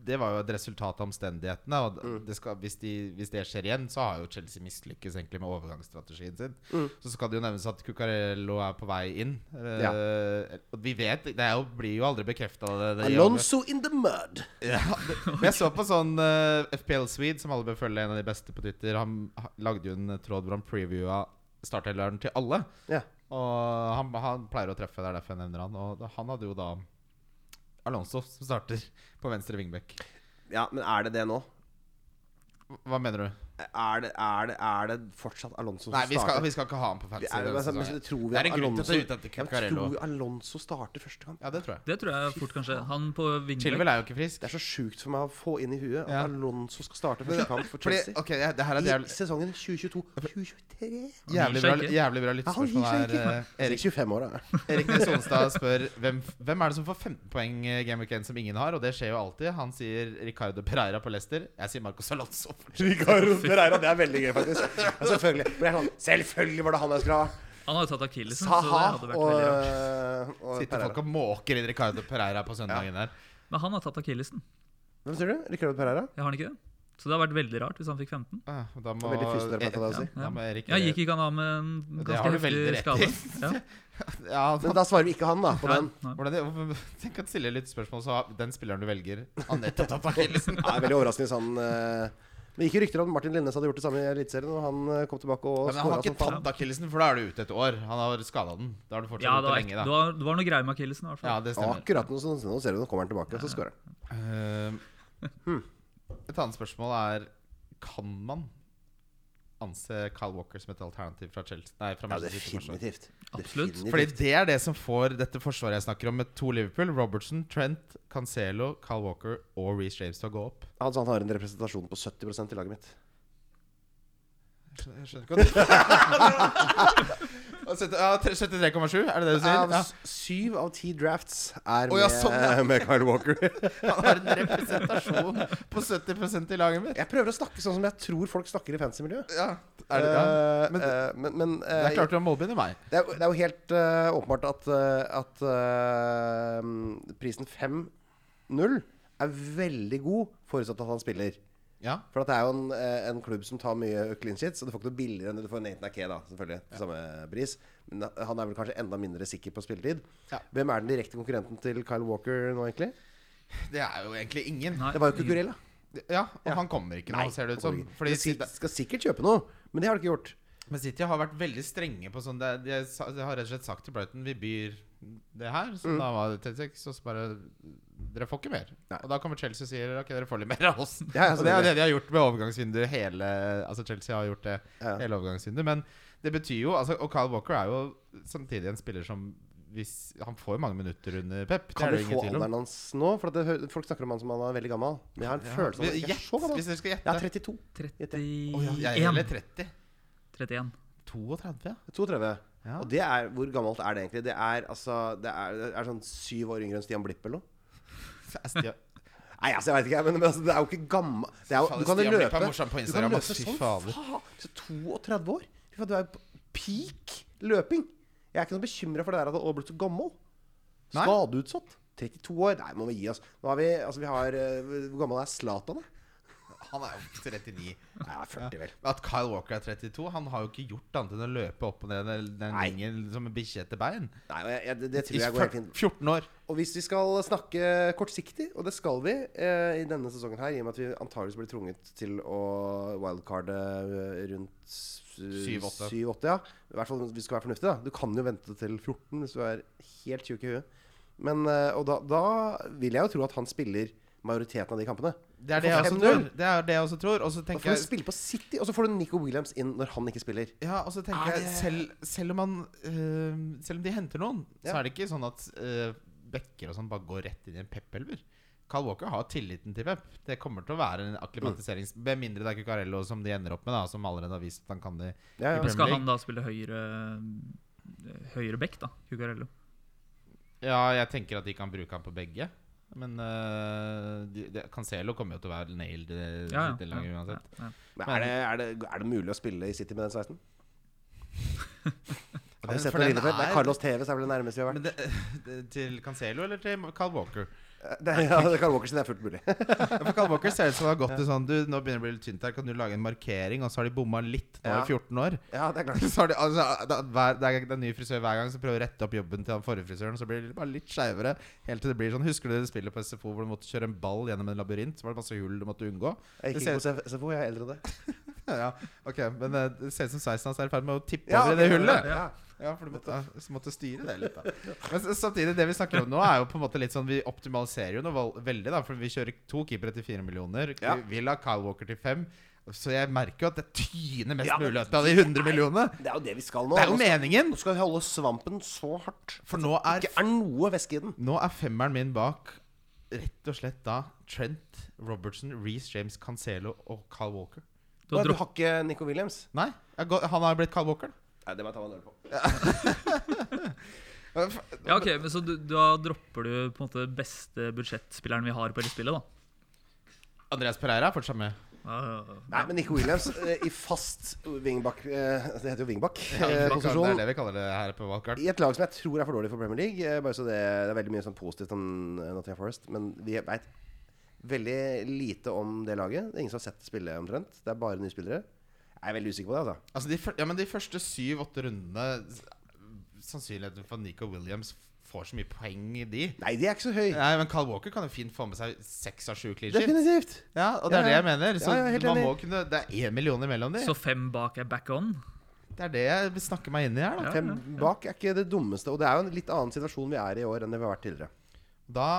Speaker 3: det var jo et resultat av omstendighetene. Og
Speaker 5: Mm.
Speaker 3: det skal, hvis, de, hvis det skjer igjen, så har jo Chelsea mislykkes egentlig med overgangsstrategien sin. Så skal det jo nevnes at Cuccarello er på vei inn. Eh,
Speaker 5: Mm. Ja.
Speaker 3: og vi vet Det er jo, blir jo aldri bekrefta.
Speaker 5: Alonso in the mud!
Speaker 4: [LAUGHS]
Speaker 3: Men jeg så på sånn eh, FPL Swede, som alle bør følge, en av de beste på Twitter. Han ha- lagde jo en tråd hvor han previewa startheleren til alle.
Speaker 5: Ja.
Speaker 3: Og han, han pleier å treffe, det er derfor jeg nevner han. Og da- han hadde jo da Alonso som starter på venstre wingback.
Speaker 5: ja, men er det det nå?
Speaker 3: Hva mener du?
Speaker 5: Er det, er det, er det fortsatt Alonso som
Speaker 3: Nei, vi skal,
Speaker 5: starter?
Speaker 3: vi skal ikke ha han på
Speaker 5: Vi
Speaker 3: fantasy.
Speaker 5: er,
Speaker 3: denne
Speaker 5: men, men,
Speaker 3: sesongen.
Speaker 5: det tror vi
Speaker 3: Det er
Speaker 5: at
Speaker 3: en grunn til at det er ute
Speaker 5: Alonso,
Speaker 3: etter
Speaker 5: Ja, men
Speaker 3: Cuccarello.
Speaker 5: tror vi Alonso starter første kamp?
Speaker 3: Ja, det tror jeg.
Speaker 4: Det tror jeg fort kanskje. Han på
Speaker 3: Chilwell
Speaker 4: vingbekk.
Speaker 3: er jo ikke frisk.
Speaker 5: Det er så sjukt for meg å få inn i huet at
Speaker 3: Ja.
Speaker 5: Alonso skal starte
Speaker 3: Men-
Speaker 5: første kamp for
Speaker 3: Fordi,
Speaker 5: Chelsea.
Speaker 3: ok, det det her er et
Speaker 5: I
Speaker 3: jævlig,
Speaker 5: sesongen 2022-2023?
Speaker 3: jævlig,
Speaker 4: seg
Speaker 3: bra,
Speaker 4: ikke.
Speaker 3: jævlig bra
Speaker 5: Ja, han gir
Speaker 3: lyttespørsmål
Speaker 5: seg
Speaker 3: her.
Speaker 5: ikke.
Speaker 3: eh, Erik
Speaker 5: Erik 25 år,
Speaker 3: [LAUGHS]
Speaker 5: da.
Speaker 3: Erik Nes Onstad spør hvem, hvem er det som får 15 poeng eh, Game Week 1 som ingen har? Og det skjer jo alltid. Han sier Ricardo Pereira på Leicester. Jeg sier Marcos Alonso.
Speaker 5: Ricardo Pereira, det er veldig gøy, faktisk. [LAUGHS] Ja, selvfølgelig. Men jeg er sånn, selvfølgelig var det han jeg skulle ha!
Speaker 4: Han har jo tatt akillesen, så det
Speaker 5: Saha
Speaker 4: hadde vært
Speaker 5: og, eh,
Speaker 4: veldig rart.
Speaker 5: og
Speaker 3: Sitter folk
Speaker 5: Pereira.
Speaker 3: og måker inn Ricardo Pereira på søndagen her.
Speaker 4: Men han har tatt akillesen.
Speaker 5: Hvem sier du? Ricardo Pereira?
Speaker 4: Jeg har han ikke det? Så det hadde vært veldig rart hvis han fikk 15.
Speaker 3: Ah, Da må, E-
Speaker 5: Veldig fysioterapeut av deg å si.
Speaker 3: da må Erik
Speaker 4: Ja, gikk ikke han av med en
Speaker 3: Det har
Speaker 4: ganske
Speaker 3: du veldig
Speaker 4: heftig
Speaker 3: rett
Speaker 4: skade?
Speaker 3: [LAUGHS]
Speaker 4: Ja.
Speaker 3: ja,
Speaker 5: Men
Speaker 3: han,
Speaker 5: da svarer vi ikke han, da, på
Speaker 4: Nei,
Speaker 5: den.
Speaker 4: nei.
Speaker 3: hvordan, det- hvorfor- [LAUGHS] Tenk at stiller litt spørsmål, så har den spilleren du velger, har
Speaker 5: [LAUGHS]
Speaker 3: nettopp tatt akillesen.
Speaker 5: Ja, det er veldig overraskende hvis han eh, Det gikk jo rykter om at Martin Linnes hadde gjort det samme i Eliteserien, og han eh, kom tilbake og
Speaker 3: Men han har
Speaker 5: skåra
Speaker 3: ikke
Speaker 5: som faen.
Speaker 3: tatt akillesen, for da er du ute et år. Han har skada den. Da har du fortsatt
Speaker 4: ja, det
Speaker 3: ute
Speaker 4: var,
Speaker 3: lenge,
Speaker 4: ek- det
Speaker 3: da.
Speaker 4: var, det var noe greier med akillesen. i hvert fall.
Speaker 3: Ja, det stemmer.
Speaker 5: Akkurat nå, så nå ser du, nå kommer han tilbake, og så skårer han.
Speaker 3: Ehm,
Speaker 5: Hmm.
Speaker 3: Et annet spørsmål er Kan man anse Kyle Walker som et alternativ fra Chelsea Nei, fra
Speaker 5: Ja,
Speaker 3: Manchester City? forsvar?
Speaker 5: definitivt.
Speaker 4: Absolutt.
Speaker 5: Definitivt.
Speaker 3: Fordi det er det som får dette forsvaret jeg snakker om, med to Liverpool, Robertson, Trent, Cancelo, Kyle Walker og Reece James til å gå opp.
Speaker 5: Altså, han har en representasjon på 70 i laget mitt.
Speaker 3: Jeg skjønner- Jeg skjønner ikke hva [LAUGHS] du Og sytti- ja, tre- 73,7? Er det det du sier?
Speaker 5: Av
Speaker 3: Ja.
Speaker 5: s- Syv av ti drafts er
Speaker 3: Å, ja,
Speaker 5: med,
Speaker 3: sånn, ja.
Speaker 5: [LAUGHS] med Kyle
Speaker 3: [LAUGHS]
Speaker 5: Walker.
Speaker 3: Han har en representasjon på 70 i laget mitt.
Speaker 5: Jeg prøver å snakke sånn som jeg tror folk snakker i fancy-miljøet.
Speaker 3: Ja, er det, ja. Men-
Speaker 5: Men, men, men
Speaker 3: Der
Speaker 5: eh,
Speaker 3: klarte du å målbegynne meg.
Speaker 5: Det er, jo- det er jo helt eh, åpenbart at, eh, at eh, prisen 5-0 er veldig god, forutsatt at han spiller.
Speaker 3: Ja.
Speaker 5: For at det er jo en, eh, en klubb som tar mye clean shit, så du får ikke noe billigere enn det du får Nathan Ake, da, selvfølgelig, til samme pris. Men da- han er vel kanskje enda mindre sikker på spilletid.
Speaker 3: Ja.
Speaker 5: Hvem er den direkte konkurrenten til Kyle Walker nå, egentlig?
Speaker 3: Det er jo egentlig ingen.
Speaker 4: Nei,
Speaker 5: Det var jo Cucurella.
Speaker 3: Ja, og han kommer ikke nå,
Speaker 5: Nei,
Speaker 3: ser det ut
Speaker 5: han
Speaker 3: som.
Speaker 5: kommer ikke.
Speaker 3: Fordi
Speaker 5: Men City
Speaker 3: Zidane-
Speaker 5: skal sikkert kjøpe noe, men det har de ikke gjort.
Speaker 3: Men City har vært veldig strenge på sånn det, de, sa- de har rett og slett sagt til Brighton Vi byr det her. Så da var det 36, og så bare Dere får ikke mer.
Speaker 5: Nei.
Speaker 3: Og da kommer Chelsea og sier Ok, dere får litt mer av oss.
Speaker 5: Ja,
Speaker 3: [LAUGHS]
Speaker 5: ja,
Speaker 3: og det er
Speaker 5: selvfølgelig.
Speaker 3: det de har gjort med overgangsvinduet hele Altså Chelsea har gjort det
Speaker 5: Ja.
Speaker 3: hele overgangsvinduet. Men det betyr jo altså, Og Kyle Walker er jo samtidig en spiller som hvis, Han får jo mange minutter under Pep.
Speaker 5: Kan
Speaker 3: det er det
Speaker 5: vi få
Speaker 3: ingen tvil om.
Speaker 5: alderen hans nå? For at det, hø- folk snakker om han som han er veldig gammel. Men jeg har en følelse av at han ikke er
Speaker 3: Gjett,
Speaker 5: så gammel.
Speaker 3: hvis dere skal
Speaker 5: Jeg
Speaker 3: gjette.
Speaker 5: er 32.
Speaker 4: 31.
Speaker 3: Å, ja, jeg er heller 30.
Speaker 4: 31.
Speaker 3: 32, ja.
Speaker 5: 32.
Speaker 3: Ja.
Speaker 5: Og det er, hvor gammelt er det egentlig? Det er, altså, det er, det er sånn syv år yngre enn Stian Blipp eller noe.
Speaker 3: Stian-
Speaker 5: Nei, altså, jeg vet ikke, men, men altså, det er jo ikke gammel det er jo, Du kan
Speaker 3: Stian Blipp er
Speaker 5: løpe,
Speaker 3: morsom på
Speaker 5: du kan
Speaker 3: Instagram,
Speaker 5: løpe
Speaker 3: ass. Fy
Speaker 5: sånn
Speaker 3: fader.
Speaker 5: faen! Så 32 år? Fy faen, du er jo på peak løping. Jeg er ikke noe bekymra for det der at du har blitt så gammel.
Speaker 3: Nei.
Speaker 5: Skadeutsatt. 32 år? Nei, må vi gi oss. Nå har vi, altså, vi har, eh, Hvor gammel er Zlatan, da?
Speaker 3: Han er jo 39.
Speaker 5: Nei, han er 40, vel.
Speaker 3: At Kyle Walker er 32 Han har jo ikke gjort annet enn å løpe opp og ned den, den
Speaker 5: Nei.
Speaker 3: ringen som en bikkje etter bein.
Speaker 5: Nei, og jeg, jeg, det, det
Speaker 3: I
Speaker 5: tror jeg går helt fint.
Speaker 3: 14 år.
Speaker 5: Og hvis vi skal snakke kortsiktig, og det skal vi eh, i denne sesongen her, i og med at vi antageligvis blir tvunget til å wildcarde eh, rundt s-
Speaker 3: Syv-åtte.
Speaker 5: syv-åtte, ja. I hvert fall hvis vi skal være fornuftige, da. Du kan jo vente til 14 hvis du er helt tjukk i huet. Men, eh, og da, da vil jeg jo tro at han spiller majoriteten av de kampene.
Speaker 3: Det er det jeg også
Speaker 5: 5-0.
Speaker 3: tror. Det er det jeg også tror. Og så
Speaker 5: Da
Speaker 3: tenker
Speaker 5: får du
Speaker 3: jeg
Speaker 5: spille på City, og så får du Nico Williams inn når han ikke spiller.
Speaker 3: ja, og så tenker
Speaker 5: Er
Speaker 3: jeg
Speaker 5: det-
Speaker 3: selv, selv om han øh, Selv om de henter noen, så
Speaker 5: Ja.
Speaker 3: er det ikke sånn at øh, bekker og sånn bare går rett inn i en Pep-elver. Kyle Walker har tilliten til Pep. Det kommer til å være en akklimatiserings... Med mindre det er Cucarello som de ender opp med, da som allerede har vist at han kan det.
Speaker 5: Ja,
Speaker 4: Men
Speaker 5: ja.
Speaker 4: skal han da spille høyre eh, Høyre back, da? Cucarello.
Speaker 3: Ja, jeg tenker at de kan bruke han på begge. Men øh, de, de, Cancelo kommer jo til å være nailed eh, ja, ja, lange uansett.
Speaker 4: ja.
Speaker 5: Men er, det, er, det, er det mulig å spille i City med
Speaker 3: [LAUGHS]
Speaker 5: den sveisen? Har
Speaker 3: Den-
Speaker 5: du sett
Speaker 3: for den
Speaker 5: noe lignende før?
Speaker 3: er-
Speaker 5: Det er Carlos Tevez er vel det nærmeste vi har vært.
Speaker 3: Men det, [LAUGHS] det- til Cancelo eller til Carl Walker?
Speaker 5: Eh, Det er, ja, det kan Walker sin er fullt mulig.
Speaker 3: Ja, For Carl Walker ser ut som det har gått til sånn Du, nå begynner det å bli litt tynt her, kan du lage en markering? Og så har de bomma litt, nå er
Speaker 5: Ja.
Speaker 3: det 14 år.
Speaker 5: [LAUGHS] Ja, det er klart.
Speaker 3: [LAUGHS] Så har de, altså, det, er hver, det er det er en ny frisør hver gang som prøver å rette opp jobben til den forrige frisøren. Så blir det bare litt skeivere. Helt til det blir sånn Husker du det spillet på SFO hvor du måtte kjøre en ball gjennom en labyrint? Så var det masse hull du måtte unngå.
Speaker 5: Jeg
Speaker 3: Det
Speaker 5: gikk
Speaker 3: ser
Speaker 5: ikke
Speaker 3: ut
Speaker 5: på SF- SFO, jeg er eldre enn det.
Speaker 3: ja, ok, Men eh, det ser ut som sveisen hans er i ferd med å tippe over i det hullet.
Speaker 5: Ja.
Speaker 3: Ja, for du måtte, ja, så måtte styre det litt, da. Men s- samtidig, det vi snakker om nå, er jo på en måte litt sånn Vi optimaliserer jo noe val- veldig, da. For vi kjører to keepere til fire millioner.
Speaker 5: Ja.
Speaker 3: Vi vil ha Kyle Walker til fem. Så jeg merker jo at det tyner mest
Speaker 5: Ja, men
Speaker 3: mulig ut av de 100 millionene.
Speaker 5: Det er jo det vi skal nå.
Speaker 3: Det er jo
Speaker 5: Nå skal-
Speaker 3: meningen!
Speaker 5: Nå skal vi holde svampen så hardt.
Speaker 3: For nå er,
Speaker 5: Ikke er noe væske i den.
Speaker 3: nå er femmeren min bak rett og slett da Trent, Robertson, Reece James, Cancelo og Kyle Walker.
Speaker 4: Du har
Speaker 5: du
Speaker 4: dropp,
Speaker 5: har ikke Nico Williams?
Speaker 3: Nei, jeg har gå- han har blitt Kyle Walker.
Speaker 5: Nei, det må jeg ta meg en øl på.
Speaker 4: ja, ok, men Så du, da dropper du på en måte beste budsjettspilleren vi har på hele spillet, da?
Speaker 3: Andreas Pereira er fortsatt med.
Speaker 4: Ja, ja, ja.
Speaker 5: Nei, men Nico [LAUGHS] Williams eh, i fast wingback eh, Det heter
Speaker 3: Det
Speaker 5: jo
Speaker 3: er
Speaker 5: wingback-posisjon.
Speaker 3: det vi kaller det her på Wildcard.
Speaker 5: I et lag som jeg tror er for dårlig for Premier League. eh, Bare så det, det er veldig mye sånn positivt om eh, Nottingham Forest, men vi veit veldig lite om det laget. Det er ingen som har sett spille omtrent. Det er bare nye spillere. Jeg er veldig usikker på det, altså.
Speaker 3: Altså de, fyr- ja, men de første syv-åtte rundene s- Sannsynligheten for at Nico Williams får så mye poeng i de.
Speaker 5: Nei, de er ikke så høy.
Speaker 3: Nei, men Carl Walker kan jo fint få med seg seks av sju clean sheets.
Speaker 5: Definitivt.
Speaker 3: Ja, og det
Speaker 5: Ja,
Speaker 3: er det
Speaker 5: ja.
Speaker 3: jeg mener. Så
Speaker 5: Ja, ja, helt
Speaker 3: man
Speaker 5: enig.
Speaker 3: må kunne, det er én million mellom de.
Speaker 4: Så fem bak er back on?
Speaker 3: Det er det jeg snakker meg inn i her. Da.
Speaker 4: Ja,
Speaker 5: Fem
Speaker 4: ja.
Speaker 5: bak er ikke det dummeste. Og det er jo en litt annen situasjon vi er i i år enn det vi har vært tidligere.
Speaker 3: da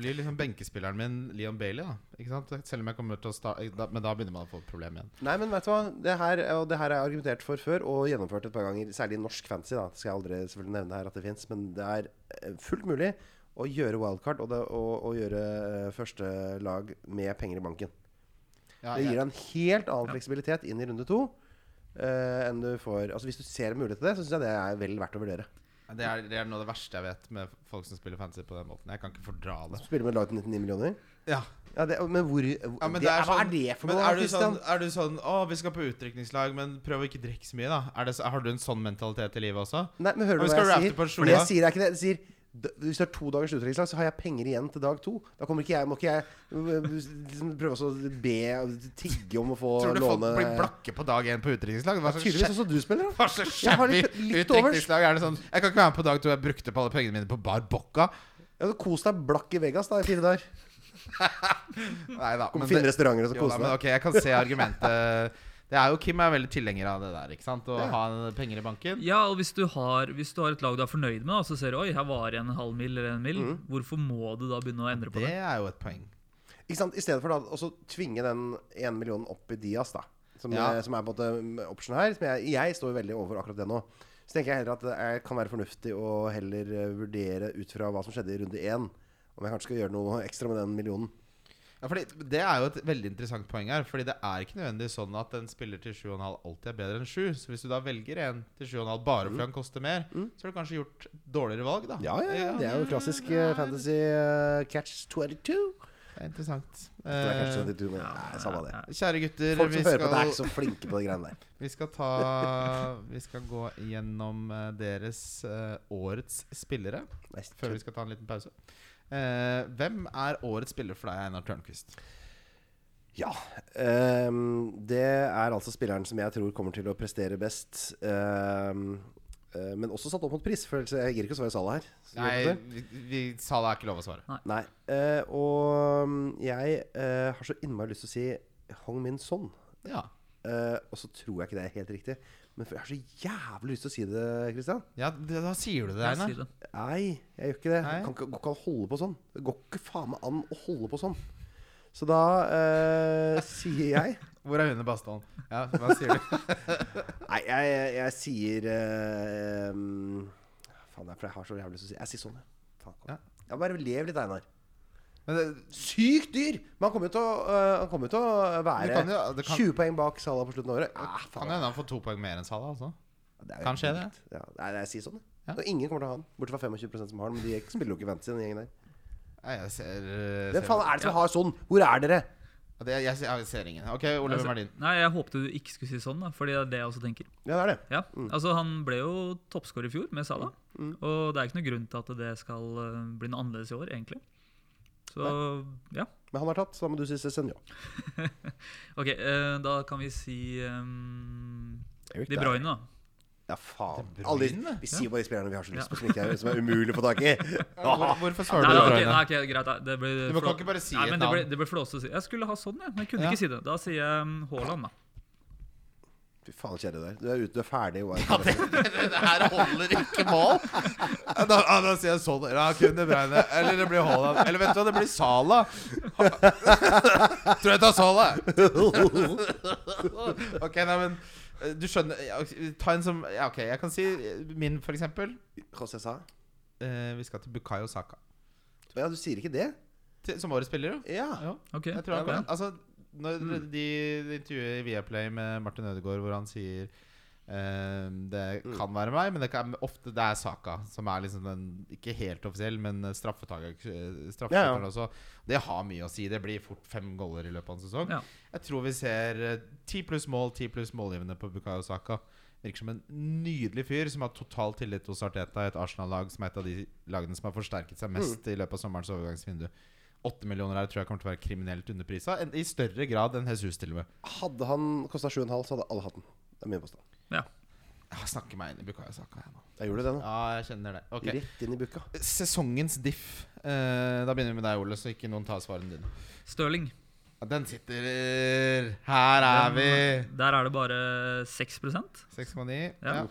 Speaker 3: blir liksom benkespilleren min Leon Bailey, da. Ikke sant? Selv om jeg kommer til å sta- da, Men da begynner man å få problem igjen.
Speaker 5: Nei, men vet du hva? Det her, og det her har jeg argumentert for før og gjennomført et par ganger, særlig i norsk fantasy. da Det skal jeg aldri selvfølgelig nevne her at det fins, men det er eh, fullt mulig å gjøre wildcard og, det, og, og gjøre eh, første lag med penger i banken.
Speaker 3: Ja,
Speaker 5: Det gir
Speaker 3: jeg,
Speaker 5: deg en helt annen fleksibilitet inn i runde to. eh, enn du får Altså Hvis du ser en mulighet til det, så syns jeg det er vel verdt å vurdere.
Speaker 3: det, er, det er noe av det verste jeg vet med folk som spiller fantasy på den måten. Jeg kan ikke fordra det.
Speaker 5: Spille med et lag til 99 millioner.
Speaker 3: Ja
Speaker 5: Ja, det, men hvor
Speaker 3: Ja, men
Speaker 5: det,
Speaker 3: det er
Speaker 5: Hva
Speaker 3: sånn,
Speaker 5: er det for
Speaker 3: men
Speaker 5: noe?
Speaker 3: er du
Speaker 5: Christian?
Speaker 3: sånn, er du sånn Å, vi skal på utdrikningslag, men prøv å ikke drikke så mye, da. Er det, så- har du en sånn mentalitet i livet også?
Speaker 5: Nei, men hører
Speaker 3: Men
Speaker 5: du
Speaker 3: vi
Speaker 5: hva
Speaker 3: skal
Speaker 5: jeg
Speaker 3: rappe på
Speaker 5: sier?
Speaker 3: en
Speaker 5: For det jeg
Speaker 3: skjorta.
Speaker 5: sier er ikke det. Jeg sier d- hvis det er to dagers utdrikningslag, så har jeg penger igjen til dag to. Da kommer ikke jeg, må ikke jeg øh, liksom, prøve også å be tigge om å få
Speaker 3: Tror du folk
Speaker 5: låne
Speaker 3: blir blakke på dag én på utdrikningslag? Hva slags
Speaker 5: Tydeligvis også du spiller,
Speaker 3: skje-
Speaker 5: da.
Speaker 3: hva slags
Speaker 5: Jeg har
Speaker 3: shabby
Speaker 5: litt- litt overs.
Speaker 3: utdrikningslag er det sånn Jeg kan ikke være med på dag to, jeg brukte opp alle pengene mine på Bar Bocca.
Speaker 5: Ja, du Kos deg blakk i Vegas da i fire dager.
Speaker 3: Nei da. men
Speaker 5: Finne
Speaker 3: det-
Speaker 5: restauranter og så
Speaker 3: Jo da,
Speaker 5: kose
Speaker 3: men
Speaker 5: deg.
Speaker 3: ok, jeg kan se argumentet. Det er jo Kim er veldig tilhenger av det der, ikke sant? Å ha penger i banken.
Speaker 4: Ja, og hvis du, har, hvis du har et lag du er fornøyd med, da, så ser du oi, her var igjen en halv mil eller en mil, hvorfor må du da begynne å endre på
Speaker 3: Det
Speaker 4: det?
Speaker 3: er jo et poeng.
Speaker 5: Ikke sant? I stedet for da å så tvinge den én millionen opp i Dias, da. Som,
Speaker 3: Ja.
Speaker 5: eh, som er på en måte option her. Som jeg, jeg står jo veldig overfor akkurat det nå. Så tenker jeg heller at det er, kan være fornuftig å heller eh, vurdere ut fra hva som skjedde i runde én. Om jeg kanskje skal gjøre noe ekstra med den millionen.
Speaker 3: Ja, fordi Det er jo et veldig interessant poeng her. Fordi det er ikke nødvendigvis sånn at en spiller til 7,5 alltid er bedre enn 7. Så hvis du da velger en til 7,5 bare
Speaker 5: Mm.
Speaker 3: fordi han koster mer, så har du kanskje gjort dårligere valg, da.
Speaker 5: Det er jo klassisk eh, fantasy eh, catch 22.
Speaker 3: Det er interessant.
Speaker 5: Det er catch
Speaker 3: Eh,
Speaker 5: 22, men nei, samme det.
Speaker 3: kjære gutter,
Speaker 5: Folk
Speaker 3: vi
Speaker 5: som hører på, det er
Speaker 3: skal,
Speaker 5: ikke så flinke på de greiene der.
Speaker 3: vi skal ta
Speaker 5: [LAUGHS]
Speaker 3: Vi skal gå gjennom eh, deres eh, årets spillere
Speaker 5: Nei,
Speaker 3: [LAUGHS] før vi skal ta en liten pause. Eh, hvem er årets spiller for deg, Einar Tørnquist?
Speaker 5: Ja. ehm, det er altså spilleren som jeg tror kommer til å prestere best. ehm, eh, men også satt opp mot pris, for ellers jeg gir ikke å svare Salah her. Så du vet
Speaker 3: Nei,
Speaker 5: det.
Speaker 3: vi, vi sa det er ikke lov å svare.
Speaker 5: Nei. eh, og mm, jeg eh, har så innmari lyst til å si Hong Min Son.
Speaker 3: Ja,
Speaker 5: Eh, og så tror jeg ikke det er helt riktig. Men for jeg har så jævlig lyst til å si det, Christian.
Speaker 3: ja da da sier du det,
Speaker 4: Jeg
Speaker 3: Einar.
Speaker 4: sier det.
Speaker 5: Nei, jeg gjør ikke det.
Speaker 3: Nei.
Speaker 5: Jeg kan ikke, går ikke an å holde på sånn. Det går ikke faen meg an å holde på sånn. Så da eh, sier jeg
Speaker 3: Hvor er hun i Bastholm? Ja, hva sier [LAUGHS] du?
Speaker 5: Nei, jeg, jeg, jeg sier eh, um, Faen, det er for jeg har så jævlig lyst til å si Jeg sier sånn, jeg. Faen, kom.
Speaker 3: Ja.
Speaker 5: Ja, bare lev litt, Einar.
Speaker 3: Men det,
Speaker 5: Sykt dyr! Men han kommer jo til å, eh, han kommer jo til å
Speaker 3: Det
Speaker 5: være
Speaker 3: kan jo- det kan-
Speaker 5: 20 poeng bak Salah på slutten av året. Ja,
Speaker 3: kan
Speaker 5: faen,
Speaker 3: hende han får to poeng mer enn Salah. Altså.
Speaker 5: det er jo
Speaker 3: kan skje
Speaker 5: helt vilt. Ja, nei, nei, jeg sier sånn, jeg.
Speaker 3: Ja.
Speaker 5: Og ingen kommer til å ha han, bortsett fra 25 som har han. Men de spiller jo ikke fantasy, den gjengen der.
Speaker 3: Nei, jeg ser, eh,
Speaker 5: Hvem
Speaker 3: ser
Speaker 5: faen er det som har sånn? Hvor er dere?
Speaker 3: Ja, det, jeg, ser- jeg ser ingen. OK, Ole, hvem er din?
Speaker 4: Altså, Nei, jeg håpte du ikke skulle si sånn, da, fordi det er det jeg også tenker.
Speaker 5: Ja, det er det.
Speaker 4: Ja,
Speaker 3: Mm.
Speaker 4: altså Han ble jo toppskårer i fjor med Salah, og det er ikke noe grunn til at det skal eh, bli noe annerledes i år, egentlig. Så ja.
Speaker 5: Men han har tatt, så da må du si Cézinho.
Speaker 4: Ok, eh, da kan vi si um, De Bruyne, da.
Speaker 5: Ja, faen.
Speaker 3: De Bruyne?
Speaker 5: Alle, de- vi sier bare de spillerne vi har så lyst på, som, ikke er, som er umulig å få
Speaker 3: [LAUGHS]
Speaker 5: tak i.
Speaker 3: Hvor, hvorfor svarer du
Speaker 4: Nei, nei,
Speaker 3: De
Speaker 4: ok,
Speaker 3: Bruyne?
Speaker 4: nei, ok, greit. da. Det ble
Speaker 3: Du må- kan
Speaker 4: flå-
Speaker 3: ikke bare si
Speaker 4: nei,
Speaker 3: et
Speaker 4: men det ble,
Speaker 3: navn.
Speaker 4: det ble flåst å si. Jeg skulle ha sånn, jeg, men jeg kunne
Speaker 3: Ja.
Speaker 4: ikke si det. Da sier jeg um, Haaland, da.
Speaker 5: Fy faen, kjære der. Du er ute, du er ferdig. Hva er det?
Speaker 3: Det her holder ikke mål! [LAUGHS] Ja, Da, ja, da sier jeg sånn. Ja, kun De Bruyne. Eller det blir Haaland. Eller vet du hva, det blir Salah. [LAUGHS] Tror jeg tar Salah. [LAUGHS] OK, nei, men eh, du skjønner ja, Ta en som ja, OK, jeg kan si eh, min, for eksempel.
Speaker 5: Hva sa jeg sa?
Speaker 3: Eh, vi skal til Bukayo Saka.
Speaker 5: Ja, du sier ikke det?
Speaker 3: Til, som årets spiller, jo.
Speaker 5: Ja.
Speaker 3: jo.
Speaker 4: Ok,
Speaker 3: Jeg tror han
Speaker 4: ja.
Speaker 3: kan Altså når de de intervjuet i Viaplay med Martin Ødegaard, hvor han sier ehm, Det kan være meg, men det kan, ofte det er saka. Som er liksom den ikke helt offisiell, men straffetaker- eh, straffeskytteren
Speaker 5: Ja, ja.
Speaker 3: også. Det har mye å si. Det blir fort fem goller i løpet av en sesong.
Speaker 4: Ja.
Speaker 3: Jeg tror vi ser eh, ti pluss mål, ti pluss målgivende på Bukayo Saka. Virker som en nydelig fyr som har total tillit hos Arteta, et Arsenal-lag som er et av de lagene som har forsterket seg mest i løpet av sommerens overgangsvindu. Åtte millioner her tror jeg kommer til å være kriminelt underprisa. en- I større grad enn Jesus, til og med.
Speaker 5: Hadde han kosta 7,5, så hadde alle hatt den. Det er min påstand.
Speaker 4: Ja.
Speaker 3: Jeg snakker meg inn i Bukayo Saka. Jeg nå.
Speaker 5: Jeg gjorde det nå.
Speaker 3: Ja, jeg kjenner det. Ok.
Speaker 5: Rett inn i bukka.
Speaker 3: Sesongens diff. Eh, da begynner vi med deg, Ole, så ikke noen tar svarene dine.
Speaker 4: Stirling.
Speaker 3: Ja, den sitter Her er vi!
Speaker 4: Den- eh, Der er det bare 6 Den,
Speaker 3: 6,9. Ja.
Speaker 4: Ja.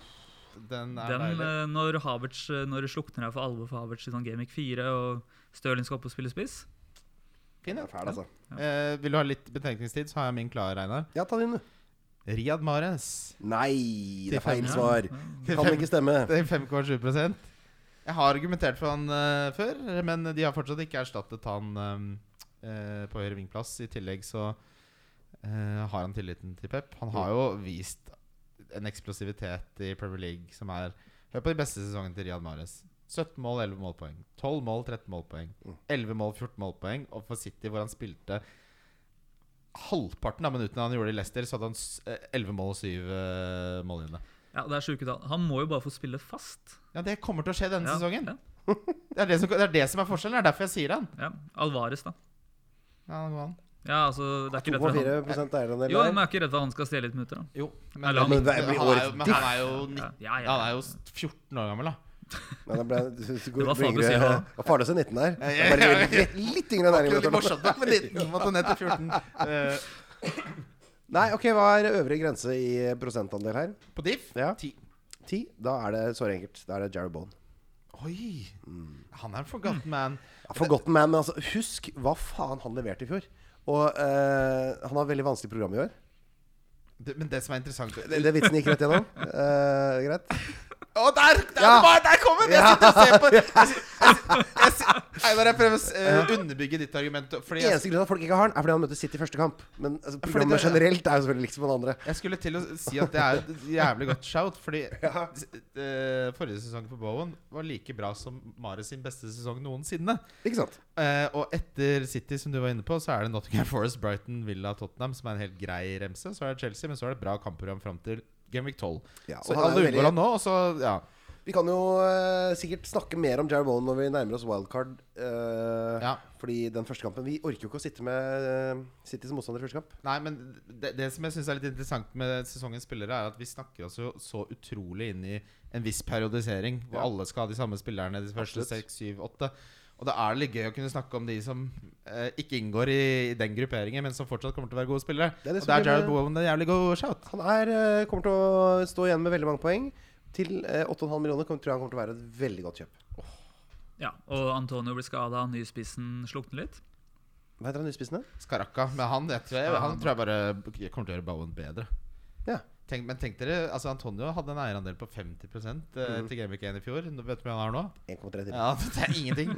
Speaker 3: Den er deilig.
Speaker 4: eh, Når Havertz eh, Når det slukner her for alvor for Havertz i sånn Gamic 4, og Stirling skal opp og spille spiss
Speaker 3: Fin, ja.
Speaker 5: Det er fæl, altså.
Speaker 3: Eh, vil du ha litt betenkningstid, så har jeg min klar, Reinar.
Speaker 5: Ja, ta den, du.
Speaker 3: Riyad Mahrez.
Speaker 5: Nei,
Speaker 3: Til
Speaker 5: det er feil
Speaker 3: fem.
Speaker 5: svar. Kan ikke stemme.
Speaker 3: Det er 5,7 Jeg har argumentert for han eh, før, men de har fortsatt ikke erstattet han eh, eh, på høyre vingplass. I tillegg så eh, har han tilliten til Pep. Han har jo vist en eksplosivitet i Premier League som er Hør på de beste sesongene til Riyad Mahrez. 17 mål, 11 målpoeng. 12 mål, 13 målpoeng. 11 mål, 14 målpoeng. Og for City, hvor han spilte halvparten av minuttene han gjorde i Leicester, så hadde han s- eh, 11 mål og 7 eh, målgivende.
Speaker 4: Ja, det er sjuke tall. Han må jo bare få spille fast.
Speaker 3: Ja, det kommer til å skje denne
Speaker 4: Ja,
Speaker 3: sesongen.
Speaker 4: ja,
Speaker 3: Det er det, som, det er det som er forskjellen. Det er derfor jeg sier han.
Speaker 4: ja. Alvarez, da.
Speaker 3: Ja, det går an.
Speaker 4: Ja, altså, det er ikke rett for
Speaker 5: 2,4
Speaker 4: han.
Speaker 5: eierandel
Speaker 4: Jo, men
Speaker 5: der.
Speaker 4: jeg er ikke redd for at han skal stjele litt minutter. da.
Speaker 3: Jo, men,
Speaker 4: Eller han-
Speaker 3: men,
Speaker 5: Men det blir
Speaker 3: han er jo,
Speaker 5: årets
Speaker 3: men han er jo
Speaker 4: Ja,
Speaker 3: 19
Speaker 4: ja, ja.
Speaker 3: Han er jo 14 år gammel, da.
Speaker 5: Men det, ble, det
Speaker 4: var farlig å si, ja.
Speaker 5: Det var farlig å si 19 der. Det er Bare litt, litt yngre
Speaker 3: Det er jo
Speaker 5: enn
Speaker 3: litt
Speaker 5: Erling.
Speaker 3: morsomt da, [LAUGHS] men 19 måtte ned til 14. Eh,
Speaker 5: Nei, ok, hva er øvre grense i prosentandel her?
Speaker 3: på diff
Speaker 5: Ja.
Speaker 3: 10.
Speaker 5: 10? Da er det såre enkelt. Da er det Jared Bone.
Speaker 3: Oi! Han er en forgotten man.
Speaker 5: Ja, Forgotten Man, men altså, husk hva faen han leverte i fjor. Og eh, han har veldig vanskelig program i år.
Speaker 3: Det, men det som er interessant Å,
Speaker 5: Den den vitsen gikk
Speaker 3: [LAUGHS]
Speaker 5: rett gjennom. Eh, greit.
Speaker 3: der! Der,
Speaker 5: Ja.
Speaker 3: var- der kom den! Jeg
Speaker 5: Ja.
Speaker 3: sitter og ser på jeg, sit- jeg, sit- jeg, [LAUGHS] sit- Einar, jeg prøver å s- eh, underbygge ditt argument. Fordi jeg,
Speaker 5: Eneste grunn til at folk ikke har den, er fordi han møter City i første kamp. Men
Speaker 3: Fordi
Speaker 5: altså, programmet
Speaker 3: det-
Speaker 5: generelt er jo selvfølgelig likt som den andre.
Speaker 3: jeg skulle til å si at det er et jævlig godt shout, fordi s- eh, forrige sesong på Bowen var like bra som Mare sin beste sesong noensinne.
Speaker 5: Ikke sant?
Speaker 3: Eh, og etter City, som du var inne på, så er det Nottingham Forest, Brighton, Villa, Tottenham, som er en helt grei remse. Så er det Chelsea, men så er det et bra kampprogram fram til Gameweek 12.
Speaker 5: Ja, og
Speaker 3: så
Speaker 5: han er
Speaker 3: alle
Speaker 5: veldig-
Speaker 3: unngår han nå, og så Ja.
Speaker 5: Vi kan jo eh, sikkert snakke mer om Jared Bowen når vi nærmer oss wildcard. eh,
Speaker 3: Ja.
Speaker 5: Fordi den første kampen Vi orker jo ikke å sitte med eh, City som motstander i første kamp.
Speaker 3: Nei, men det, det som jeg syns er litt interessant med sesongens spillere, er at vi snakker oss jo så utrolig inn i en viss periodisering, hvor
Speaker 5: Ja.
Speaker 3: alle skal ha de samme spillerne de første
Speaker 5: Absolutt.
Speaker 3: seks, syv, åtte. Og da er det litt gøy å kunne snakke om de som eh, ikke inngår i, i den grupperingen, men som fortsatt kommer til å være gode spillere.
Speaker 5: Det er det
Speaker 3: og
Speaker 5: som
Speaker 3: der er
Speaker 5: blir med-
Speaker 3: Jared Bowen en jævlig god shout.
Speaker 5: Han er, eh, kommer til å stå igjen med veldig mange poeng. Til eh, 8,5 millioner kom- tror jeg han kommer til å være et veldig godt kjøp.
Speaker 4: Ja, og Antonio blir skada, nyspissen slukner litt.
Speaker 5: Hva heter han nyspissende?
Speaker 3: Skaraka. Men han, jeg tror jeg,
Speaker 4: Ja,
Speaker 3: han
Speaker 4: han-
Speaker 3: tror jeg bare kommer til å gjøre Bowen bedre.
Speaker 5: Ja.
Speaker 3: Tenk, men tenk dere, altså Antonio hadde en eierandel på 50 eh, til Gameweek 1 i fjor. Nå Vet du hvem han har nå?
Speaker 5: 1,3 til.
Speaker 3: Ja, Det er [LAUGHS] ingenting.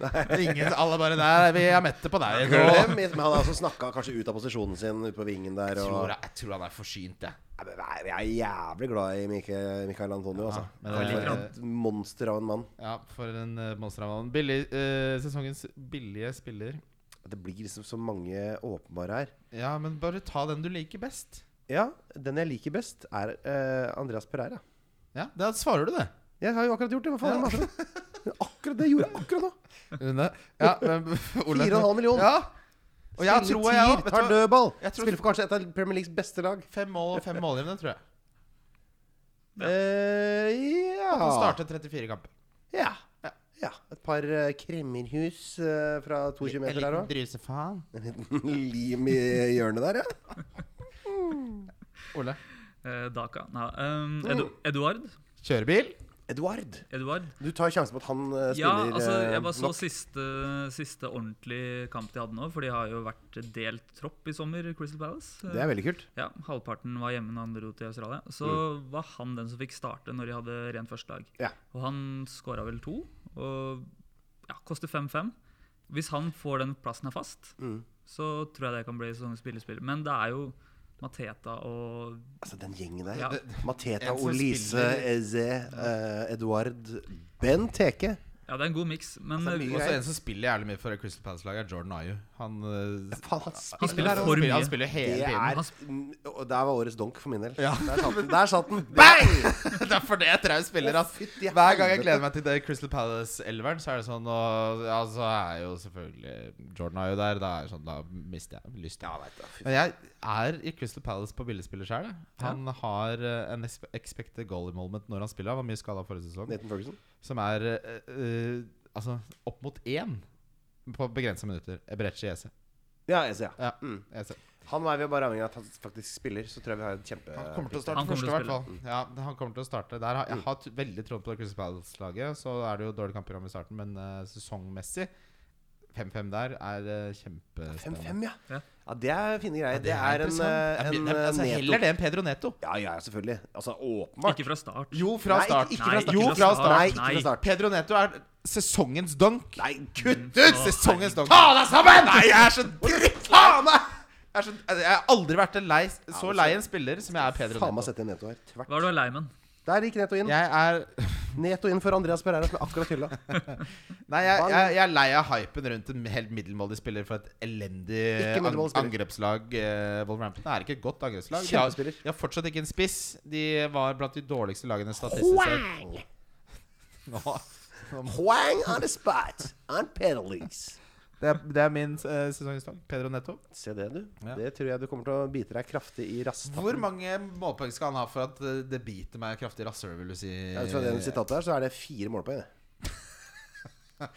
Speaker 3: Ingen, alle bare Nei, vi er mette på deg. Nå.
Speaker 5: Glem, men liksom. han har også snakka kanskje ut av posisjonen sin ute på vingen der.
Speaker 3: Jeg tror,
Speaker 5: Og...
Speaker 3: jeg tror han er forsynt, jeg.
Speaker 5: Nei, men Jeg jeg er jævlig glad i Mikael, Mikael Antonio, altså.
Speaker 3: men
Speaker 5: Han
Speaker 4: det er
Speaker 5: er
Speaker 4: litt
Speaker 5: et monster av en mann.
Speaker 3: Ja, for en eh, monster av en Billig, eh, sesongens billige spiller.
Speaker 5: Det blir liksom så mange åpenbare her.
Speaker 3: Ja, men bare ta den du liker best.
Speaker 5: Ja, den jeg liker best, er eh, Andreas Pereira.
Speaker 3: Ja, Da svarer du det.
Speaker 5: Jeg har jo akkurat gjort det. Hva faen er det med det? [LAUGHS] Akkurat det gjorde jeg akkurat nå.
Speaker 3: Rune. [LAUGHS] Ja, men, [LAUGHS] Ole.
Speaker 5: 4,5 million.
Speaker 3: Ja. Og jeg tror jeg
Speaker 5: Spiller
Speaker 3: òg.
Speaker 5: tier, tar dødball.
Speaker 3: Jeg tror-
Speaker 5: Spiller for kanskje et av Premier Leagues beste lag.
Speaker 3: Fem mål og fem målgivende, tror jeg.
Speaker 5: Ja. Eh, ja.
Speaker 3: Han startet 34 kamper.
Speaker 5: ja. Ja. Et par eh, kremmerhus eh, fra 22 meter der òg.
Speaker 3: drusefaen.
Speaker 5: [LAUGHS] En liten lim i hjørnet der, ja.
Speaker 3: Ole.
Speaker 4: Eh, Daka. Nei,
Speaker 3: Mm.
Speaker 4: ehm, Edu Eduard?
Speaker 3: Kjørebil.
Speaker 5: Eduard.
Speaker 4: Eduard?
Speaker 5: Du tar sjansen på at han eh,
Speaker 4: Ja,
Speaker 5: spiller
Speaker 4: altså,
Speaker 5: eh,
Speaker 4: jeg bare så
Speaker 5: nok.
Speaker 4: siste, siste ordentlige kamp de hadde nå, for de har jo vært delt tropp i sommer, Crystal Palace. Eh,
Speaker 5: Det er veldig kult.
Speaker 4: Ja, Halvparten var hjemme når han dro til Australia. Så var han den som fikk starte når de hadde rent førstelag.
Speaker 5: Mm. Ja.
Speaker 4: Og han skåra vel to, og ja, koster 5-5. Hvis han får den plassen her fast,
Speaker 5: Mm.
Speaker 4: så tror jeg det kan bli sånn spillespill. Men det er jo Mateta og
Speaker 5: Altså, den gjengen der.
Speaker 4: Ja.
Speaker 5: Mateta,
Speaker 3: En som
Speaker 5: Olise,
Speaker 3: spiller-
Speaker 5: Eze, eh, Eduard Ben Teke.
Speaker 4: Ja, det er en god miks, men
Speaker 5: Altså, det er mye
Speaker 3: Også
Speaker 5: Greit.
Speaker 3: en som spiller jævlig mye for Crystal Palace-laget, er Jordan Ayu. Han, eh,
Speaker 5: Faen, han
Speaker 4: han
Speaker 5: spiller
Speaker 4: spiller
Speaker 5: der
Speaker 4: for
Speaker 3: han
Speaker 4: mye.
Speaker 3: spiller hele
Speaker 5: Det
Speaker 3: tiden.
Speaker 5: er,
Speaker 4: Han
Speaker 5: og der var årets donk for min del.
Speaker 3: Ja.
Speaker 5: Der satt den. Der satt den. [LAUGHS] Bang!
Speaker 3: Derfor [LAUGHS] det er et traust spiller, ass.
Speaker 5: fytti
Speaker 3: Hver gang jeg
Speaker 5: helvete.
Speaker 3: gleder meg til det Crystal Palace-elveren, så er det sånn og, Ja, så er jo selvfølgelig Jordan er jo der. Da er det sånn, da mister jeg lyst. Men jeg er i Crystal Palace på billigspiller sjøl. Han har eh, en expe- expected goal involvement når han spiller. Han var mye skada forrige sesong.
Speaker 5: Nathan Ferguson.
Speaker 3: Som er eh, eh, altså opp mot én på begrensa minutter. Ebrechi Eze.
Speaker 5: Ja, jeg ser, ja.
Speaker 3: Ja,
Speaker 5: Mm.
Speaker 3: Eze.
Speaker 5: Han er vi bare avhengig av at han faktisk spiller, så tror jeg vi har en kjempe
Speaker 3: Han kommer til å starte
Speaker 4: Eh, Han kommer
Speaker 3: første, i
Speaker 4: til å
Speaker 3: hvert fall. Ja, han kommer til å starte der. har-
Speaker 5: Mm.
Speaker 3: Jeg har t veldig tro på det Crystal Palace-laget. Så er det jo dårlig kampprogram i starten, men eh, sesongmessig 5-5 der er uh,
Speaker 5: 5-5,
Speaker 3: kjempespennende.
Speaker 5: ja.
Speaker 4: Ja.
Speaker 5: ja. Det er fine greier. det, er en,
Speaker 3: interessant.
Speaker 5: eh, en
Speaker 3: Jeg- jeg- altså,
Speaker 5: eh,
Speaker 3: Heller
Speaker 5: Neto.
Speaker 3: det enn Pedro Neto.
Speaker 5: Ja, ja, selvfølgelig. Altså, åpenbart.
Speaker 4: Ikke fra start.
Speaker 3: Jo, fra
Speaker 5: Nei,
Speaker 3: start.
Speaker 5: Ikke fra
Speaker 4: Nei,
Speaker 5: start.
Speaker 3: Jo, fra start.
Speaker 5: Nei, ikke
Speaker 4: Nei.
Speaker 5: fra start.
Speaker 3: Pedro Neto er sesongens dunk.
Speaker 5: Nei, kutt!
Speaker 3: Ut!
Speaker 4: Å,
Speaker 3: Sesongens dunk.
Speaker 5: Ta deg sammen!
Speaker 3: Nei, jeg er så drittlei!
Speaker 5: Faen meg!
Speaker 3: Jeg, er så, jeg har aldri vært en lei, så
Speaker 5: men
Speaker 3: lei en spiller som jeg er Pedro
Speaker 5: Faen meg
Speaker 3: Neto.
Speaker 5: sette Neto her. Tvert.
Speaker 4: Hva er det du er lei men?
Speaker 5: Der gikk Neto inn.
Speaker 3: Jeg er
Speaker 5: Neto inn for Andreas Pereira, som jeg akkurat hylla.
Speaker 3: Nei, jeg, jeg, jeg er lei av hypen rundt en helt middelmådig spiller for et elendig
Speaker 5: Ikke
Speaker 3: ang
Speaker 5: middelmådig spiller.
Speaker 3: angrepslag. Uh, Wolverhampton er ikke et godt angrepslag. De har,
Speaker 5: Kjempespiller.
Speaker 3: de har fortsatt ikke en spiss. De var blant de dårligste lagene statistisk sett. Nå-
Speaker 5: Hwang on the spot on pedalies.
Speaker 3: Det er, det er min uh, sesongstang. Pedro Netto.
Speaker 5: Se det, du.
Speaker 3: Ja.
Speaker 5: Det tror jeg du kommer til å bite deg kraftig i rasttappen.
Speaker 3: Hvor mange målpoeng skal han ha for at eh, det biter meg kraftig i rasshølet, vil du si?
Speaker 5: Ja, Ut fra det sitatet her, så er det fire målpoeng. det.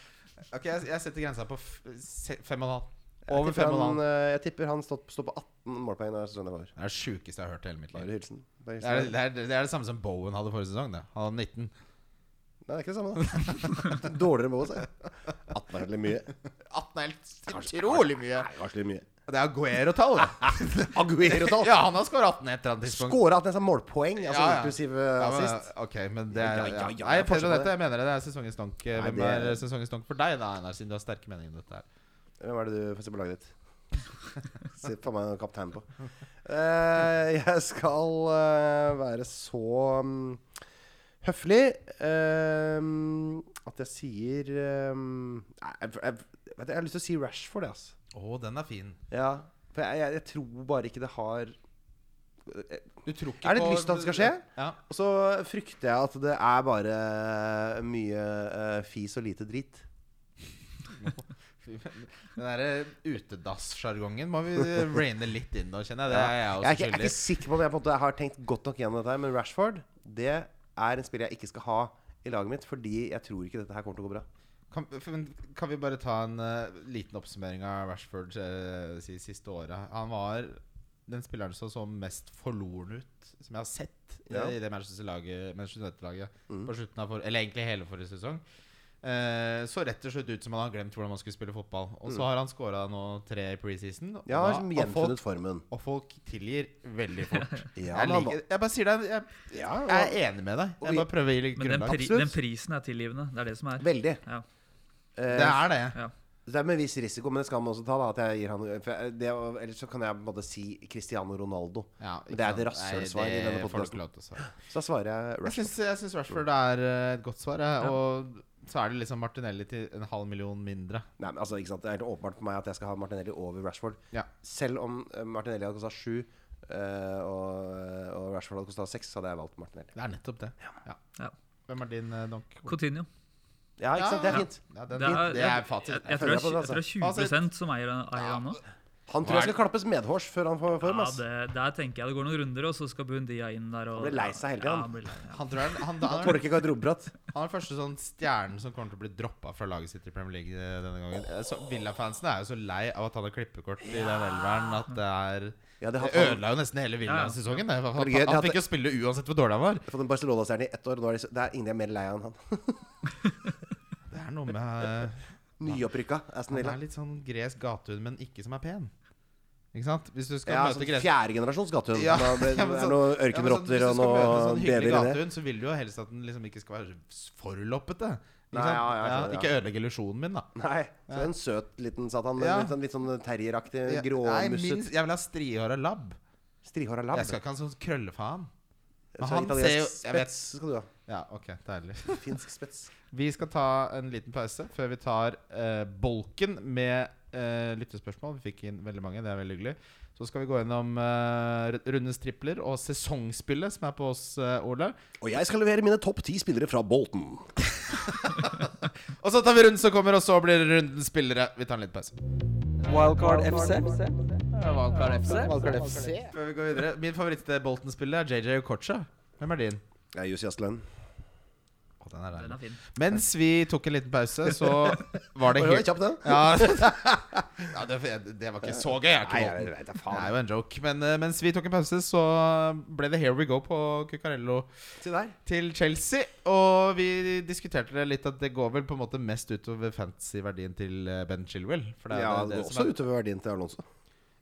Speaker 3: Ok, jeg, jeg setter grensa på f se- fem og en halv.
Speaker 5: Jeg
Speaker 3: Over
Speaker 5: tipper
Speaker 3: fem og en
Speaker 5: han,
Speaker 3: halv.
Speaker 5: eh, Jeg tipper han står står på 18 målpoeng denne sesongen. her.
Speaker 3: Det er det sjukeste jeg har hørt i hele mitt liv.
Speaker 5: Bare hilsen. Bare
Speaker 3: Det er
Speaker 5: hilsen.
Speaker 3: det, er, det er det samme som Bowen hadde forrige sesong. Det. Han hadde 19.
Speaker 5: Nei, det er ikke det samme. da. [LAUGHS] Dårligere mål, sa jeg. 18 er veldig mye.
Speaker 3: 18 er helt utrolig mye.
Speaker 5: Nei, det var ikke mye.
Speaker 3: Det er Aguero-tall. det.
Speaker 5: Aguero-tall.
Speaker 3: [LAUGHS] Ja, han har skåra 18 et eller annet tidspunkt.
Speaker 5: Skåra 18 nesten målpoeng, altså
Speaker 3: Ja, ja.
Speaker 5: inklusiv
Speaker 3: Ja,
Speaker 5: eh,
Speaker 3: men-
Speaker 5: assist.
Speaker 3: ok, men det er
Speaker 5: Ja, ja,
Speaker 3: ja.
Speaker 5: ja, ja,
Speaker 3: Nei,
Speaker 5: jeg forstår
Speaker 3: Pedro, dette,
Speaker 5: det.
Speaker 3: jeg mener det. Det er sesongens stonk. eh, Hvem
Speaker 5: det
Speaker 3: er
Speaker 5: er-
Speaker 3: sesongens stonk for deg, da, Einar, siden du har sterke meninger om dette? her
Speaker 5: Hvem er det du får se på laget ditt? Se faen meg kaptein på. Eh, jeg skal eh, være så mm, høflig eh, at jeg sier eh, Nei, jeg, jeg, vet du, jeg har lyst til å si Rashford, jeg, altså.
Speaker 3: Å, den er fin.
Speaker 5: Ja, for jeg, jeg, jeg tror bare ikke det har Og
Speaker 3: Du tror ikke
Speaker 5: Er det
Speaker 3: på-
Speaker 5: lyst til at det skal skje?
Speaker 3: Ja.
Speaker 5: så frykter jeg at det er bare mye eh, fis og lite drit.
Speaker 3: Den derre utedass-sjargongen må vi raine litt inn nå, kjenner jeg. Det
Speaker 5: Ja.
Speaker 3: er jeg
Speaker 5: Jeg er, ikke,
Speaker 3: også
Speaker 5: jeg er
Speaker 3: skyldig.
Speaker 5: ikke sikker på om jeg på en måte har tenkt godt nok gjennom dette, her, men Rashford det er en spiller jeg ikke skal ha i laget mitt, fordi jeg tror ikke dette her kommer til å gå bra.
Speaker 3: Kan, f- men kan vi bare ta en eh, liten oppsummering av Rashford eh, si, siste året? Han var den spilleren som så mest forloren ut som jeg har sett i,
Speaker 5: Ja. Mm.
Speaker 3: i det Manchester laget- Manchester United-laget. På slutten av for, Eller egentlig hele forrige sesong. Eh, så rett og slett ut som han har glemt hvordan man skulle spille fotball. Og så har han skåra nå tre i preseason. og
Speaker 5: Jeg Mm. har
Speaker 3: da-
Speaker 5: liksom
Speaker 3: og, folk,
Speaker 5: gjenfunnet formen.
Speaker 3: og folk tilgir veldig
Speaker 5: [LAUGHS]
Speaker 3: fort.
Speaker 5: Ja,
Speaker 3: jeg,
Speaker 5: men han
Speaker 3: liker, jeg bare sier det. Jeg,
Speaker 5: Ja,
Speaker 3: jeg er enig med deg. Jeg bare prøver å gi litt
Speaker 4: Men den,
Speaker 3: grunnlag.
Speaker 4: pri,
Speaker 5: Absolutt.
Speaker 4: den prisen er tilgivende. Det er det som er.
Speaker 5: Veldig.
Speaker 4: Ja.
Speaker 5: Eh,
Speaker 3: Det er det.
Speaker 4: Ja.
Speaker 5: det er med en viss risiko, men det skal man også ta. da At jeg gir han for jeg- det, Ellers så kan jeg på en måte si Cristiano Ronaldo.
Speaker 3: Ja,
Speaker 5: Men det er
Speaker 3: ikke
Speaker 5: et
Speaker 3: sant? Nei,
Speaker 5: rasshølsvar i denne
Speaker 3: det får du ikke
Speaker 5: podcasten.
Speaker 3: lov til å svare.
Speaker 5: Så da svarer jeg
Speaker 3: Jeg
Speaker 5: Rashford.
Speaker 3: syns, jeg syns Rashford er eh, et godt svar. jeg. Og så er det liksom Martinelli til en halv million mindre.
Speaker 5: Nei, men altså, ikke sant? Det er helt åpenbart for meg at jeg skal ha Martinelli over Rashford.
Speaker 3: Ja.
Speaker 5: Selv om eh, Martinelli hadde kosta sju, eh, og, og Rashford hadde kosta seks, så hadde jeg valgt Martinelli.
Speaker 3: Det er nettopp det. Ja.
Speaker 4: Ja.
Speaker 3: Hvem er din eh, donk?
Speaker 4: Coutinho.
Speaker 5: Ja, ikke sant? Det er fint.
Speaker 3: Ja, den, det, er, det er fasit.
Speaker 4: Jeg, jeg,
Speaker 5: følger
Speaker 4: tror det
Speaker 5: på det,
Speaker 4: er- jeg
Speaker 5: altså.
Speaker 4: tror det er 20 som eier, eier han nå.
Speaker 5: Han tror jeg skal klappes medhårs før han får form.
Speaker 4: Ja,
Speaker 5: ass.
Speaker 4: det, der tenker jeg det går noen runder, og så skal Buendia inn der. Og,
Speaker 5: Han blir lei seg hele tiden.
Speaker 4: Ja, han blir lei, ja.
Speaker 3: Han, tror jeg, han, han,
Speaker 5: Han tåler ikke garderobebratt.
Speaker 3: han er den første sånn stjernen som kommer til å bli droppa fra laget sitt i Premier League eh, denne gangen. Eh, Så Villa-fansen er jo så lei av at han har klippekort i den elveren at det er
Speaker 5: Ja,
Speaker 3: Det
Speaker 5: det har han
Speaker 3: ødela jo nesten hele Villa-sesongen. det. Han,
Speaker 5: Men det er gøy,
Speaker 3: han,
Speaker 5: det
Speaker 3: han
Speaker 5: at-
Speaker 3: fikk jo spille uansett hvor dårlig han var.
Speaker 5: fått en Barcelona-stjerne i ett år. og Nå er det, så- det er ingen jeg er mer lei av enn han.
Speaker 3: Det er noe med eh,
Speaker 5: Nyopprykka Aston
Speaker 3: Han
Speaker 5: Villa.
Speaker 3: er litt sånn gresk gatehund, men ikke som er pen. Ikke sant? Hvis du skal
Speaker 5: Ja,
Speaker 3: møte
Speaker 5: sånn
Speaker 3: gresk
Speaker 5: fjerde generasjons gatehund.
Speaker 3: Ja,
Speaker 5: Da det
Speaker 3: [LAUGHS] ja, men
Speaker 5: er
Speaker 3: sånn- Ja, men
Speaker 5: noe
Speaker 3: sånn, hvis du
Speaker 5: ørkenrotter og
Speaker 3: skal møte
Speaker 5: noe
Speaker 3: en sånn hyggelig
Speaker 5: bever i det.
Speaker 3: gatehund, så vil du jo helst at den liksom ikke skal være for loppete. Ikke,
Speaker 5: Nei,
Speaker 3: sant?
Speaker 5: ja, ja, jeg skjønner,
Speaker 3: ikke
Speaker 5: ja.
Speaker 3: ødelegge illusjonen min, da.
Speaker 5: Nei, så en søt liten satan. men
Speaker 3: Ja.
Speaker 5: Litt sånn, litt sånn terrieraktig,
Speaker 3: Nei,
Speaker 5: gråmusset.
Speaker 3: minst, jeg vil ha strihåra labb.
Speaker 5: Strihåra labb.
Speaker 3: Jeg skal ikke ha en sånn krøllefaen. Men
Speaker 5: Så
Speaker 3: han
Speaker 5: italiensk
Speaker 3: ser jo jeg vet.
Speaker 5: Spets skal du ha.
Speaker 3: Ja, ok, deilig.
Speaker 5: Finsk spets.
Speaker 3: Vi skal ta en liten pause før vi tar eh, bolken med eh, lyttespørsmål. Vi fikk inn veldig mange, det er veldig hyggelig. Så skal vi gå gjennom eh, ru- rundens tripler og sesongspillet som er på oss, eh, Ole.
Speaker 5: Og jeg skal levere mine topp ti spillere fra Bolton.
Speaker 3: Og så tar vi runden som kommer, og så blir det rundens spillere. Vi tar en liten pause.
Speaker 1: Wildcard FC.
Speaker 2: Valkar FC.
Speaker 1: Wildcard FC.
Speaker 3: Før vi går videre Min favoritt til Bolton-spiller er JJ Okocha. Hvem er din?
Speaker 5: Jeg er Jussi Astlund.
Speaker 3: Å, den er
Speaker 4: Den
Speaker 3: deilig.
Speaker 4: er fin.
Speaker 3: Mens vi tok en liten pause,
Speaker 5: [LAUGHS]
Speaker 3: så var det
Speaker 5: Var det
Speaker 3: helt
Speaker 5: kjapt, den? [LAUGHS]
Speaker 3: ja. ja, det, det var ikke så gøy. Jeg er ikke
Speaker 5: Nei,
Speaker 3: Bolton.
Speaker 5: jeg vet da
Speaker 3: Det
Speaker 5: faen.
Speaker 3: er jo en joke. Men eh, mens vi tok en pause, så ble det Here We Go på Cuccarello
Speaker 5: Se der.
Speaker 3: til Chelsea. Og vi diskuterte det litt at det går vel på en måte mest utover fantasy-verdien til eh, Ben Chilwell. For det er
Speaker 5: Ja,
Speaker 3: det,
Speaker 5: det
Speaker 3: det
Speaker 5: går
Speaker 3: som
Speaker 5: også
Speaker 3: er-
Speaker 5: utover verdien til Alonso.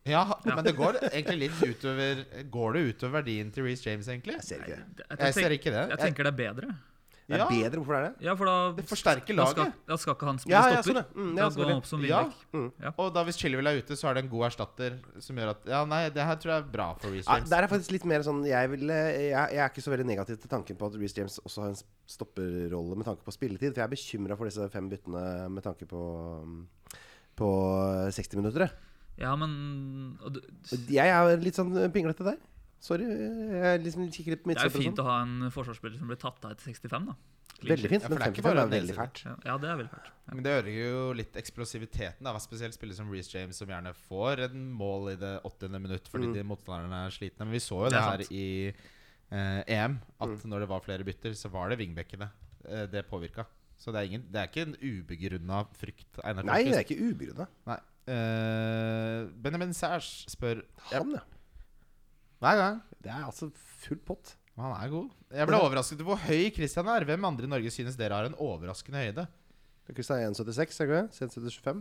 Speaker 3: Ja, men det går egentlig litt utover Går det utover verdien til Reece James, egentlig?
Speaker 5: Jeg ser ikke det.
Speaker 4: Jeg,
Speaker 3: Jeg ser
Speaker 4: tenker-
Speaker 3: ikke det.
Speaker 4: jeg tenker det er bedre.
Speaker 5: Det er
Speaker 3: Ja.
Speaker 5: bedre. Hvorfor er det?
Speaker 4: Ja, for da,
Speaker 3: Det forsterker
Speaker 4: da, skal,
Speaker 3: laget.
Speaker 4: da skal ikke han spille
Speaker 5: Ja, ja,
Speaker 4: stopper.
Speaker 5: sånn, ja. Mm, ja,
Speaker 4: da går
Speaker 5: sorry.
Speaker 4: han opp som
Speaker 3: Ja.
Speaker 4: wingback.
Speaker 3: Og da hvis Chilwell er ute, så er det en god erstatter som gjør at Ja, nei, det her tror jeg er bra for Reece
Speaker 5: Ja,
Speaker 3: James.
Speaker 5: der er faktisk litt mer sånn jeg, ville, jeg, jeg er ikke så veldig negativ til tanken på at Reece James også har en stopperrolle med tanke på spilletid. For jeg er bekymra for disse fem byttene med tanke på, um, på 60 minutter. jeg.
Speaker 4: Ja, men og du-
Speaker 5: Og Jeg Mm. er litt sånn pinglete der. Sorry. Jeg liksom kikker litt på
Speaker 4: Det er jo
Speaker 5: midtstopper.
Speaker 4: fint å
Speaker 5: og sånn.
Speaker 4: ha en forsvarsspiller som blir tatt av etter 65, da.
Speaker 5: Veldig fint.
Speaker 3: Ja, for
Speaker 5: Men
Speaker 3: det er ikke
Speaker 5: 55
Speaker 3: bare
Speaker 5: er
Speaker 3: den
Speaker 5: veldig
Speaker 3: eneste.
Speaker 5: fælt.
Speaker 4: Ja, ja, det er veldig fælt. Ja.
Speaker 3: Men det ødelegger jo litt eksplosiviteten. Da. Spesielt spillere som Reece James, som gjerne får en mål i det åttiende minutt fordi de motstanderne er slitne. Men vi så jo
Speaker 4: Mm. Det
Speaker 3: det,
Speaker 4: er Mm.
Speaker 3: her i eh, EM, at når det var flere bytter, så var det wingbackene eh, det påvirka. Så det er, ingen, det er ikke en ubegrunna frykt. Einar
Speaker 5: Nei, det
Speaker 3: Tørnquist.
Speaker 5: er ikke ubegrunna.
Speaker 3: Nei. Eh, Benjamin Sæsj spør
Speaker 5: Han, ja.
Speaker 3: Nei, nei.
Speaker 5: Det er altså full pott.
Speaker 3: Han er god. Jeg ble overrasket over hvor høy Christian er. Hvem andre i Norge synes dere har en overraskende høyde?
Speaker 5: Kristian er 1,76, er det ikke det?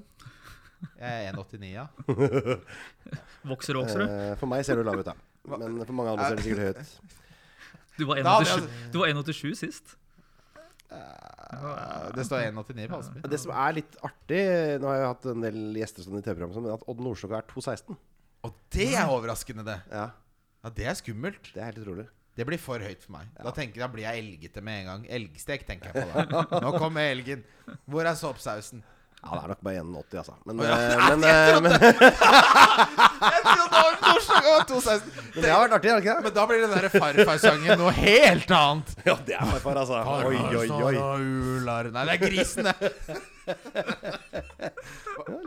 Speaker 5: 1,75.
Speaker 3: Jeg er 1,89, ja.
Speaker 4: Vokser og vokser, du.
Speaker 5: Eh, for meg ser du lav ut, da. Men for mange andre ser det sikkert høy ut.
Speaker 4: Du var
Speaker 3: Da hadde
Speaker 4: 1,87
Speaker 5: altså-
Speaker 4: du var 1,87 sist.
Speaker 3: Eh, Det står 1,89 på Halsby.
Speaker 5: Det som er litt artig Nå har jeg hatt en del gjester sånn i TV-programmet, men at Odd Nordstoga er 2,16.
Speaker 3: Og det er overraskende, det.
Speaker 5: Ja,
Speaker 3: Ja, Det er skummelt.
Speaker 5: det er helt utrolig.
Speaker 3: Det blir for høyt for meg. Da, tenker, da blir jeg elgete med en gang. Elgstek, tenker jeg på da. Nå kommer elgen. Hvor er [LAUGHS] soppsausen?
Speaker 5: Ja, det er nok bare 1,80, altså. Men,
Speaker 3: Å, ja.
Speaker 5: eh, men, eh, men, men
Speaker 3: Jeg trodde det var Nordstoga og 2,16.
Speaker 5: det har vært artig, har det ikke det?
Speaker 3: Men da blir den der farfarsangen noe helt annet.
Speaker 5: Ja, det er farfar, altså. Oi, oi, oi.
Speaker 3: Farfar og ular. Nei, det er grisen, det.
Speaker 5: Ja,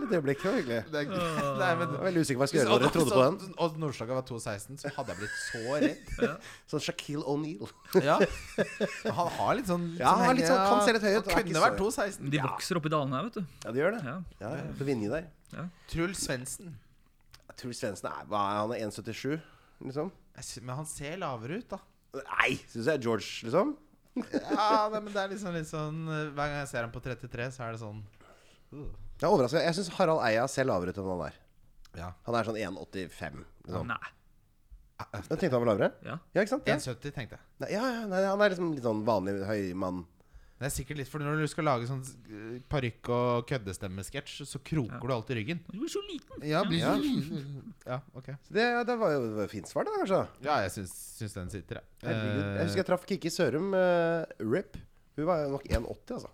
Speaker 5: litt øyeblikk, det var hyggelig.
Speaker 3: Det er- Nei, men
Speaker 5: Jeg var veldig usikker på hva
Speaker 3: Hvis
Speaker 5: jeg skulle gjøre.
Speaker 3: Odd,
Speaker 5: når Dere trodde på den.
Speaker 3: Odd- Odd Nordstoga var 2,16, så hadde jeg blitt [LAUGHS] så redd.
Speaker 5: Sånn Shaquille O'Neal.
Speaker 3: Ja. Han har litt sånn
Speaker 5: Ja, han har litt sånn-
Speaker 3: henger-
Speaker 5: kan se litt høy ut,
Speaker 3: Han
Speaker 5: er ikke
Speaker 3: kunne
Speaker 5: så-
Speaker 3: vært 2,16.
Speaker 4: De vokser oppi dalene her, vet du.
Speaker 5: Ja, det gjør det.
Speaker 4: Ja.
Speaker 5: Ja, ja, På Vinje der.
Speaker 3: Truls Svendsen.
Speaker 5: Truls Svendsen er hva er han? han er 1,77, liksom?
Speaker 3: Jeg sy- Men han ser lavere ut, da.
Speaker 5: Nei, syns jeg er George, liksom.
Speaker 3: Ja, nei, men det er liksom litt sånn eh, Hver gang jeg ser ham på 33, så er det sånn
Speaker 5: Jeg er overrasket. Jeg syns Harald Eia ser lavere ut enn han er.
Speaker 3: Ja.
Speaker 5: Han er sånn 1,85. Liksom.
Speaker 4: Nei.
Speaker 5: Jeg tenkte han var lavere?
Speaker 4: Ja.
Speaker 5: Ja, ikke sant? Ja,
Speaker 3: 1,70, tenkte jeg.
Speaker 5: nei, ja, ja nei, han er liksom litt sånn vanlig høymann.
Speaker 3: Det er sikkert litt for Når du skal lage sånn eh, parykk- og køddestemmesketsj, så kroker du alltid ryggen.
Speaker 4: Du er så liten.
Speaker 3: Ja,
Speaker 5: Ja.
Speaker 3: ja ok.
Speaker 5: Så det, det var jo det var jo fint svar, det, kanskje.
Speaker 3: Ja, jeg syns, syns den sitter, jeg.
Speaker 5: Herregud. Jeg husker
Speaker 3: Eh,
Speaker 5: jeg traff Kikki Sørum, eh, RIP. Hun var jo nok 1,80, altså.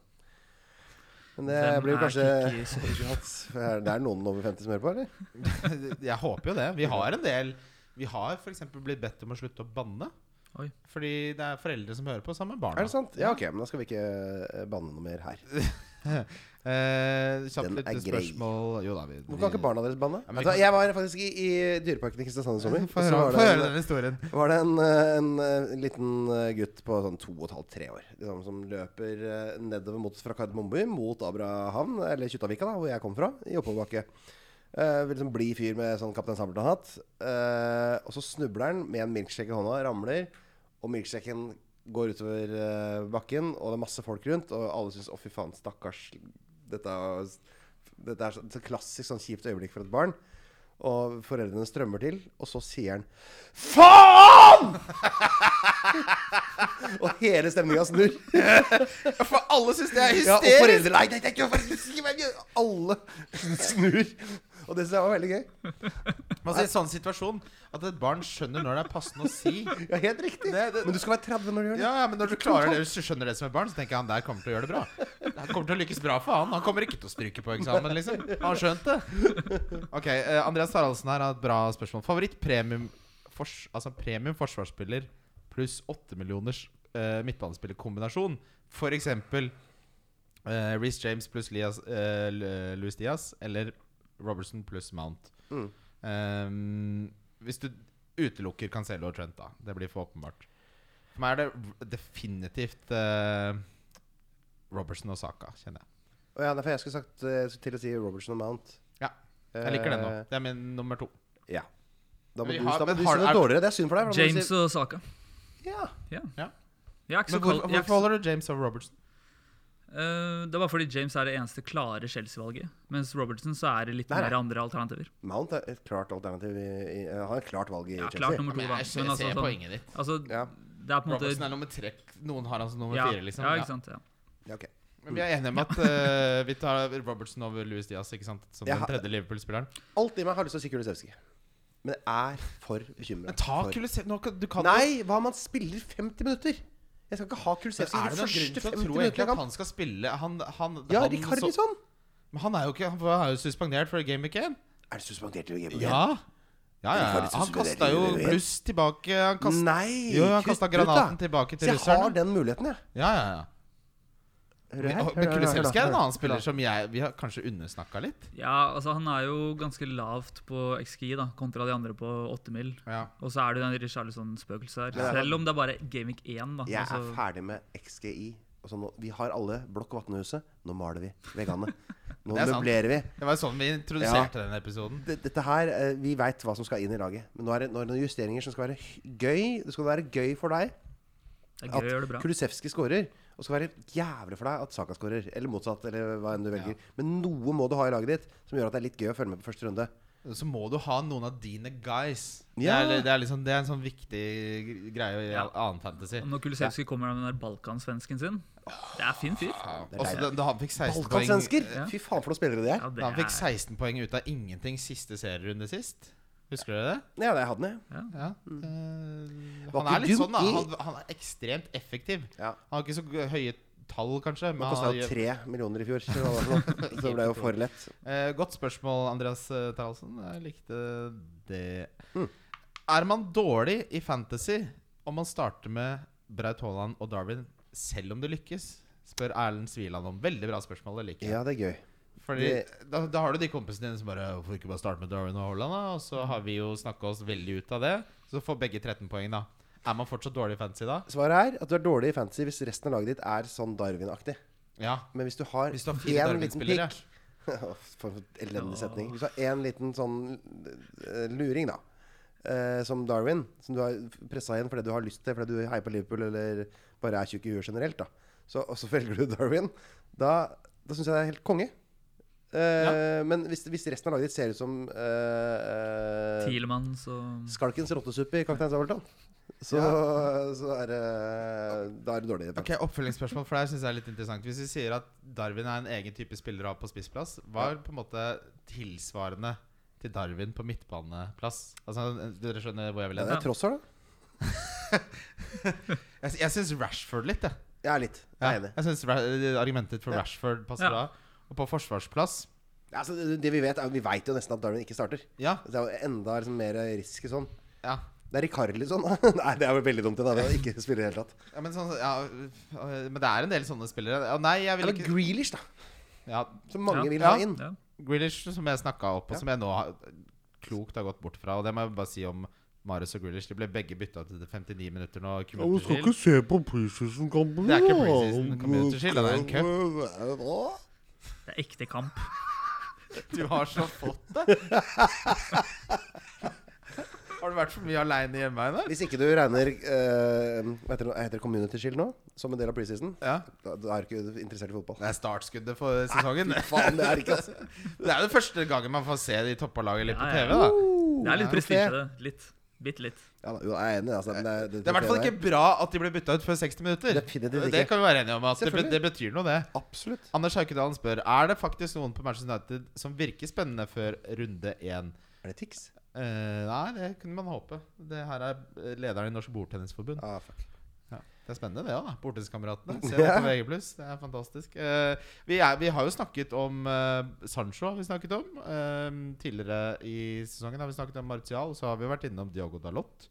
Speaker 5: Men det
Speaker 4: Hvem
Speaker 5: blir jo
Speaker 4: er
Speaker 5: kanskje
Speaker 4: Kikki
Speaker 5: [LAUGHS] Er Det er noen over 50 som hører på, eller?
Speaker 3: [LAUGHS] Jeg håper jo det. Vi har en del Vi har f.eks. blitt bedt om å slutte å banne.
Speaker 4: Oi.
Speaker 3: Fordi det er foreldre som hører på sammen med
Speaker 5: Er
Speaker 3: barna.
Speaker 5: det sant? Ja, ok, men da skal vi ikke eh, banne noe mer her.
Speaker 3: Eh, kjapt
Speaker 5: Den
Speaker 3: litt
Speaker 5: er grei.
Speaker 3: spørsmål Jo da, vi,
Speaker 5: Hvorfor kan ikke barna deres banne?
Speaker 3: Ja, men vi
Speaker 5: Vet du hva,
Speaker 3: kan-
Speaker 5: Jeg var faktisk i, i Dyreparken i Kristiansand i sommer.
Speaker 3: Få
Speaker 5: og så
Speaker 3: høre,
Speaker 5: var
Speaker 3: få høre
Speaker 5: det en-
Speaker 3: den historien.
Speaker 5: var det en, eh, en, eh, liten eh, gutt på sånn to og et halvt, tre år liksom, som løper eh, nedover mot, fra Kardemommeby mot Abrahavn, eller Kjuttaviga, da, hvor jeg kom fra, i oppoverbakke. Eh, vil liksom blid fyr med sånn Kaptein Sabeltann-hatt. Eh, og så snubler han med en milkshake i hånda, ramler, og milkshaken går utover eh, bakken, og det er masse folk rundt, og alle syns 'å, fy faen, stakkars', dette, dette er så, så klassisk sånn kjipt øyeblikk for et barn. Og foreldrene strømmer til, og så sier han Faen! [LAUGHS] og hele stemninga snur.
Speaker 3: For alle syns det er
Speaker 5: Ja, og foreldre Nei, nei, nei, ikke foreldre, ikke- ikke- Alle snur. Og det syns jeg var veldig gøy.
Speaker 3: altså, I en sånn situasjon at et barn skjønner når det er passende å si
Speaker 5: Ja, helt riktig.
Speaker 3: Det- det-
Speaker 5: Men du skal være 30 når du gjør det.
Speaker 3: ja, ja, men når du klarer det, hvis du skjønner det som et barn, så tenker jeg han der kommer til å gjøre det bra. [LAUGHS] Han kommer til å lykkes bra for han. Han kommer ikke til å stryke på eksamen, liksom. Har han skjønt det? Ok, eh, Andreas Taraldsen her har et bra spørsmål. Favoritt premium, fors, altså premium forsvarsspiller pluss 8 millioners eh, midtbanespillerkombinasjon. For eksempel eh, Reece James pluss Lias, eh, L- Luis Diaz eller Robertson pluss Mount.
Speaker 5: Mm.
Speaker 3: Ehm, hvis du utelukker Cancelo og Trent, da. Det blir for åpenbart. For meg er det definitivt eh, Robertson og Saka, kjenner jeg.
Speaker 5: Og ja, derfor jeg skulle sagt eh, til å si Robertson og Mount.
Speaker 3: Ja, Jeg liker den nå.
Speaker 5: Eh,
Speaker 3: Det er min nummer to.
Speaker 5: Ja. Da må
Speaker 3: Men vi
Speaker 5: du,
Speaker 3: har-
Speaker 5: da må
Speaker 3: men
Speaker 5: du
Speaker 3: har-
Speaker 5: si noe
Speaker 3: er-
Speaker 5: dårligere. Det er synd for deg. for da må du
Speaker 4: James
Speaker 5: si-
Speaker 4: og Saka.
Speaker 5: Ja.
Speaker 4: Jeg er ikke så
Speaker 3: Men hvorfor,
Speaker 4: kald. jeg er ikke
Speaker 3: hvorfor
Speaker 4: så-
Speaker 3: holder du James over Robertson?
Speaker 4: Eh, det er bare fordi James er det eneste klare Chelsea-valget. Mens Robertson så er det litt
Speaker 5: Nei, nei.
Speaker 4: mer andre alternativer.
Speaker 5: Mount er et klart alternativ. I, i, eh, han er et klart valg i
Speaker 4: Ja, klart
Speaker 5: Chelsea.
Speaker 4: nummer to, da. Men altså, sånn,
Speaker 3: poenget ditt.
Speaker 4: altså,
Speaker 5: Ja.
Speaker 4: det er på en måte
Speaker 3: Robertson er nummer tre. Noen har han som nummer
Speaker 4: ja,
Speaker 3: fire, liksom.
Speaker 4: ja,
Speaker 3: Ja.
Speaker 4: ikke sant. Ja.
Speaker 5: Ja, ok.
Speaker 3: Men vi er enige om at eh, vi tar Robertson over Louis Diaz ikke sant? som
Speaker 5: Jeg
Speaker 3: den
Speaker 5: har-
Speaker 3: tredje Liverpool-spilleren.
Speaker 5: Alt i meg har lyst til å si Kulisevskij. Men jeg er for bekymra.
Speaker 3: Men ta Kulisevskij nå kan- Du kan
Speaker 5: Nei, hva om han spiller 50 minutter? Jeg skal ikke ha
Speaker 3: Men
Speaker 5: Kulisevskij
Speaker 3: er det
Speaker 5: de
Speaker 3: noen grunn
Speaker 5: første
Speaker 3: til å
Speaker 5: 50
Speaker 3: tro egentlig
Speaker 5: minuttene
Speaker 3: at
Speaker 5: jeg kan.
Speaker 3: han skal spille Han, han,
Speaker 5: Ja, sånn.
Speaker 3: han, så,
Speaker 5: Rikardisson!
Speaker 3: Men han er jo ikke Han var- er jo suspendert for Game Week 1.
Speaker 5: Er det suspendert i gamet?
Speaker 3: Ja. Ja, ja,
Speaker 5: Rikardisson
Speaker 3: Han
Speaker 5: suspendert
Speaker 3: kasta jo
Speaker 5: i Game Week.
Speaker 3: pluss tilbake. Han kast,
Speaker 5: Nei!
Speaker 3: jo, han kasta
Speaker 5: kutt ut, da.
Speaker 3: granaten tilbake
Speaker 5: Så
Speaker 3: til
Speaker 5: jeg har
Speaker 3: russeren.
Speaker 5: den muligheten, jeg.
Speaker 3: Ja, ja, ja.
Speaker 5: Hør
Speaker 3: Men
Speaker 5: her, hør her, hør her,
Speaker 3: Kulisevskij er
Speaker 5: hør
Speaker 3: en
Speaker 5: her.
Speaker 3: annen spiller som jeg Vi har kanskje undersnakka litt.
Speaker 4: ja, altså Han er jo ganske lavt på XGI da, kontra de andre på 8 mil.
Speaker 3: Ja.
Speaker 4: Og så er det jo den Richarlison-spøkelset her.
Speaker 5: Ja.
Speaker 4: Selv om det er bare Gamic 1. da
Speaker 5: Jeg er
Speaker 4: altså,
Speaker 5: ferdig med XGI altså nå, Vi har alle blokk Vatnehuset. Nå maler vi
Speaker 3: [LAUGHS]
Speaker 5: veggene. Nå
Speaker 3: Det er sant.
Speaker 5: møblerer vi.
Speaker 3: Det var sånn vi introduserte denne episoden.
Speaker 5: D- Dette her, eh, Vi veit hva som skal inn i laget. Men nå er det, nå er det noen justeringer som skal være hy- gøy. Det skal være gøy for deg
Speaker 4: Det er gøy
Speaker 5: at
Speaker 4: å gjøre det bra.
Speaker 5: Kulusevski scorer, og skal være jævlig for deg at Saka scorer. Eller motsatt, eller hva enn du velger. Men noe må du ha i laget ditt som gjør at det er litt gøy å følge med på første runde.
Speaker 3: Så må du ha noen av dine guys.
Speaker 5: Ja.
Speaker 3: Det, er, det, er liksom, det er en sånn viktig gr- greie i
Speaker 4: Ja. Mm.
Speaker 3: all annen fantasy.
Speaker 4: Og Når Kulisevskij kommer med den der balkansvensken sin Det er fin fyr.
Speaker 3: Ja.
Speaker 5: Det er
Speaker 3: Også, da, da han fikk 16 poeng
Speaker 5: Balkansvensker!
Speaker 4: Ja.
Speaker 5: Fy faen, for noen spillere de er.
Speaker 4: Ja, det
Speaker 3: Da han fikk
Speaker 4: er
Speaker 3: 16 poeng ut av ingenting siste serierunde sist. Husker dere det?
Speaker 5: Ja, det hadde den, jeg.
Speaker 3: Ja. Eh,
Speaker 5: Var
Speaker 3: han er
Speaker 5: ikke
Speaker 3: litt
Speaker 5: dum
Speaker 3: sånn, da.
Speaker 5: i-
Speaker 3: Han, han er ekstremt effektiv.
Speaker 5: Ja.
Speaker 3: Han har ikke så g- høye tall, kanskje. Men
Speaker 5: Det
Speaker 3: han
Speaker 5: kosta jo
Speaker 3: gjør-
Speaker 5: tre millioner i fjor, så hva var det for noe? [LAUGHS] så det ble jo for lett.
Speaker 3: Eh, godt spørsmål, Andreas eh, Taraldsen. Jeg likte det.
Speaker 5: Mm.
Speaker 3: Er man dårlig i fantasy om man starter med Braut Haaland og Darwin selv om det lykkes? Spør Erlend Sviland om. Veldig bra spørsmål. Det liker jeg.
Speaker 5: Ja, det er gøy.
Speaker 3: Fordi da, da har du de kompisene dine som bare Hvorfor ikke bare starte med Darwin og Haaland, da? Og
Speaker 5: Mm.
Speaker 3: så har vi jo snakka oss veldig ut av det. Så får begge 13 poeng, da. Er man fortsatt dårlig i fantasy da?
Speaker 5: Svaret er at du er dårlig i fantasy hvis resten av laget ditt er sånn Darwin-aktig.
Speaker 3: Ja.
Speaker 5: Men hvis du har
Speaker 3: Hvis du har fire
Speaker 5: én liten
Speaker 3: Darwin-spillere.
Speaker 5: pikk For en elendig
Speaker 4: Ja.
Speaker 5: setning. Hvis du har én liten sånn eh, luring, da, eh, som Darwin, som du har pressa igjen fordi du har lyst til, fordi du heier på Liverpool eller bare er tjukk i huet generelt, da, så, og så [LAUGHS] velger du Darwin, da, da syns jeg det er helt konge. Eh, Men hvis, hvis resten av laget ditt ser ut som eh, eh,
Speaker 4: Tielemann, så
Speaker 5: Skalkens rottesuppe i Kaptein Sabeltann, så, så er det Da er du dårlig.
Speaker 3: Ok, Oppfølgingsspørsmål for deg synes jeg er litt interessant. Hvis vi sier at Darwin er en egen type spiller å ha på spissplass, hva er på en måte tilsvarende til Darwin på midtbaneplass? Altså, Dere skjønner hvor jeg vil
Speaker 5: Ja,
Speaker 3: hen?
Speaker 5: det er Trossard, da.
Speaker 3: Jeg, jeg syns Rashford litt, jeg.
Speaker 5: Ja, litt.
Speaker 3: Ja.
Speaker 5: Jeg er enig.
Speaker 3: Jeg synes Ra- Argumentet for Rashford passer
Speaker 4: Ja.
Speaker 3: bra. Og på forsvarsplass
Speaker 5: Ja, altså, det det vi vet, er, vi vet jo nesten at Darwin ikke starter.
Speaker 3: Ja.
Speaker 5: Det er jo enda liksom, mer risky sånn.
Speaker 3: ja.
Speaker 5: Det er Ricarli sånn. [LAUGHS] Nei, det er jo veldig dumt. Det, da. det er å ikke spille i det hele tatt.
Speaker 3: ja, men, sånn, ja øh, men det er en del sånne spillere. Ja, nei, jeg vil
Speaker 5: Eller
Speaker 3: ikke
Speaker 5: Grealish, da.
Speaker 3: ja,
Speaker 5: Som mange
Speaker 4: Ja.
Speaker 5: vil
Speaker 3: Ja.
Speaker 5: ha inn.
Speaker 4: ja.
Speaker 3: Grealish, som jeg snakka opp, og
Speaker 5: Ja.
Speaker 3: som jeg nå har, klokt har gått bort fra. Og det må jeg bare si om Marius og Grealish. De ble begge bytta til 59 minutter nå.
Speaker 6: Jeg
Speaker 3: Community
Speaker 6: skal
Speaker 3: Shield.
Speaker 6: ikke se på preseason-kampen.
Speaker 3: Det er ikke preseason Community Shield, det er en
Speaker 5: [LAUGHS]
Speaker 3: cup.
Speaker 5: cup.
Speaker 4: Det er ekte kamp.
Speaker 3: Du har så fått det. [LAUGHS] Har du vært for mye aleine hjemme, Einar?
Speaker 5: Hvis ikke du regner eh, Hva heter det, nå? heter det Community Shield nå? Som en del av preseason?
Speaker 3: Ja.
Speaker 5: Da, da er du ikke interessert i fotball.
Speaker 3: Det er startskuddet for sesongen.
Speaker 5: Faen, det er ikke altså.
Speaker 3: Det er jo første gangen man får se de toppa laget litt på
Speaker 4: Ja,
Speaker 3: TV.
Speaker 4: ja.
Speaker 3: da
Speaker 4: Det er litt
Speaker 5: Ja,
Speaker 4: prestisje,
Speaker 5: ok.
Speaker 4: det. Litt. Bitte litt.
Speaker 5: Ja, da, jo, jeg er enig, altså. Men det, er- det,
Speaker 3: Det er i hvert fall ikke bra at de ble bytta ut før 60 minutter.
Speaker 5: Definitivt ikke.
Speaker 3: Det kan vi være enige om. At det,
Speaker 5: Selvfølgelig.
Speaker 3: det betyr noe, det.
Speaker 5: Absolutt.
Speaker 3: Anders Haukedalen spør Er det faktisk noen på Manchester United som virker spennende før runde én.
Speaker 5: Er det Tix?
Speaker 3: Eh, nei, det kunne man håpe. Det her er eh, lederen i Norsk Bordtennisforbund.
Speaker 5: Ah, fuck.
Speaker 3: Ja. Det er spennende, det òg. da. Bortenskameratene. Se det
Speaker 5: Ja.
Speaker 3: på VG+. Det er fantastisk. Eh, vi, er, vi har jo snakket om eh, Sancho har vi snakket om. Eh, tidligere i sesongen har vi snakket om Martial. Så har vi jo vært innom Diogo Dalot.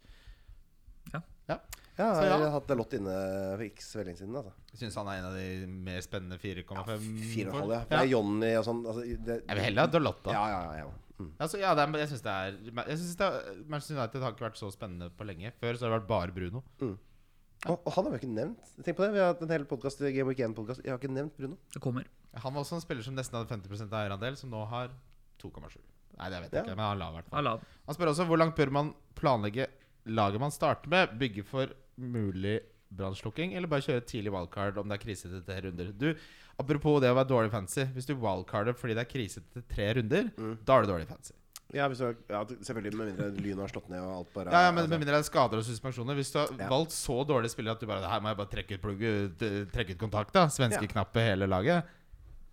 Speaker 5: Ja,
Speaker 3: Så ja.
Speaker 5: jeg har hatt Dalot inne for ikke så veldig lenge siden. altså
Speaker 3: Jeg syns han er en av de mer spennende 4,5
Speaker 5: Fire og en halv, ja.
Speaker 3: folk.
Speaker 5: For det er Johnny og sånn. Altså, det,
Speaker 3: Jeg vil heller ha Dalot, da.
Speaker 5: Ja, ja, ja. ja. Mm.
Speaker 3: Altså, ja, det er, jeg synes det er, jeg synes det er Manchester United har ikke vært så spennende på lenge. Før så har det vært bare Bruno.
Speaker 5: Og, og han har vi jo ikke nevnt. Tenk på det, Vi har hatt en hel podcast, Game Week 1-podkast. Jeg har ikke nevnt Bruno.
Speaker 4: Det kommer.
Speaker 3: Han var også en spiller som nesten hadde 50 eierandel, som nå har 2,7. Nei, det vet jeg
Speaker 5: Ja.
Speaker 3: ikke, men han la i hvert fall.
Speaker 4: Ja, lav.
Speaker 3: Han spør også hvor langt bør man planlegge laget man starter med, bygge for mulig brannslukking, eller bare kjøre tidlig wildcard om det er krise til tre runder. Du, Apropos det å være dårlig fancy. Hvis du wildcarder fordi det er krise til tre runder, da er du dårlig fancy.
Speaker 5: Ja, hvis du har, ja, selvfølgelig, med mindre lynet har slått ned og alt bare
Speaker 3: Ja, ja, men
Speaker 5: altså,
Speaker 3: Med mindre det er skader og suspensjoner. Hvis du har
Speaker 5: Ja.
Speaker 3: valgt så dårlige spillere at du bare Det her må jeg bare trekke ut plugget, eh, trekke ut kontakta, svenskeknappet hele laget,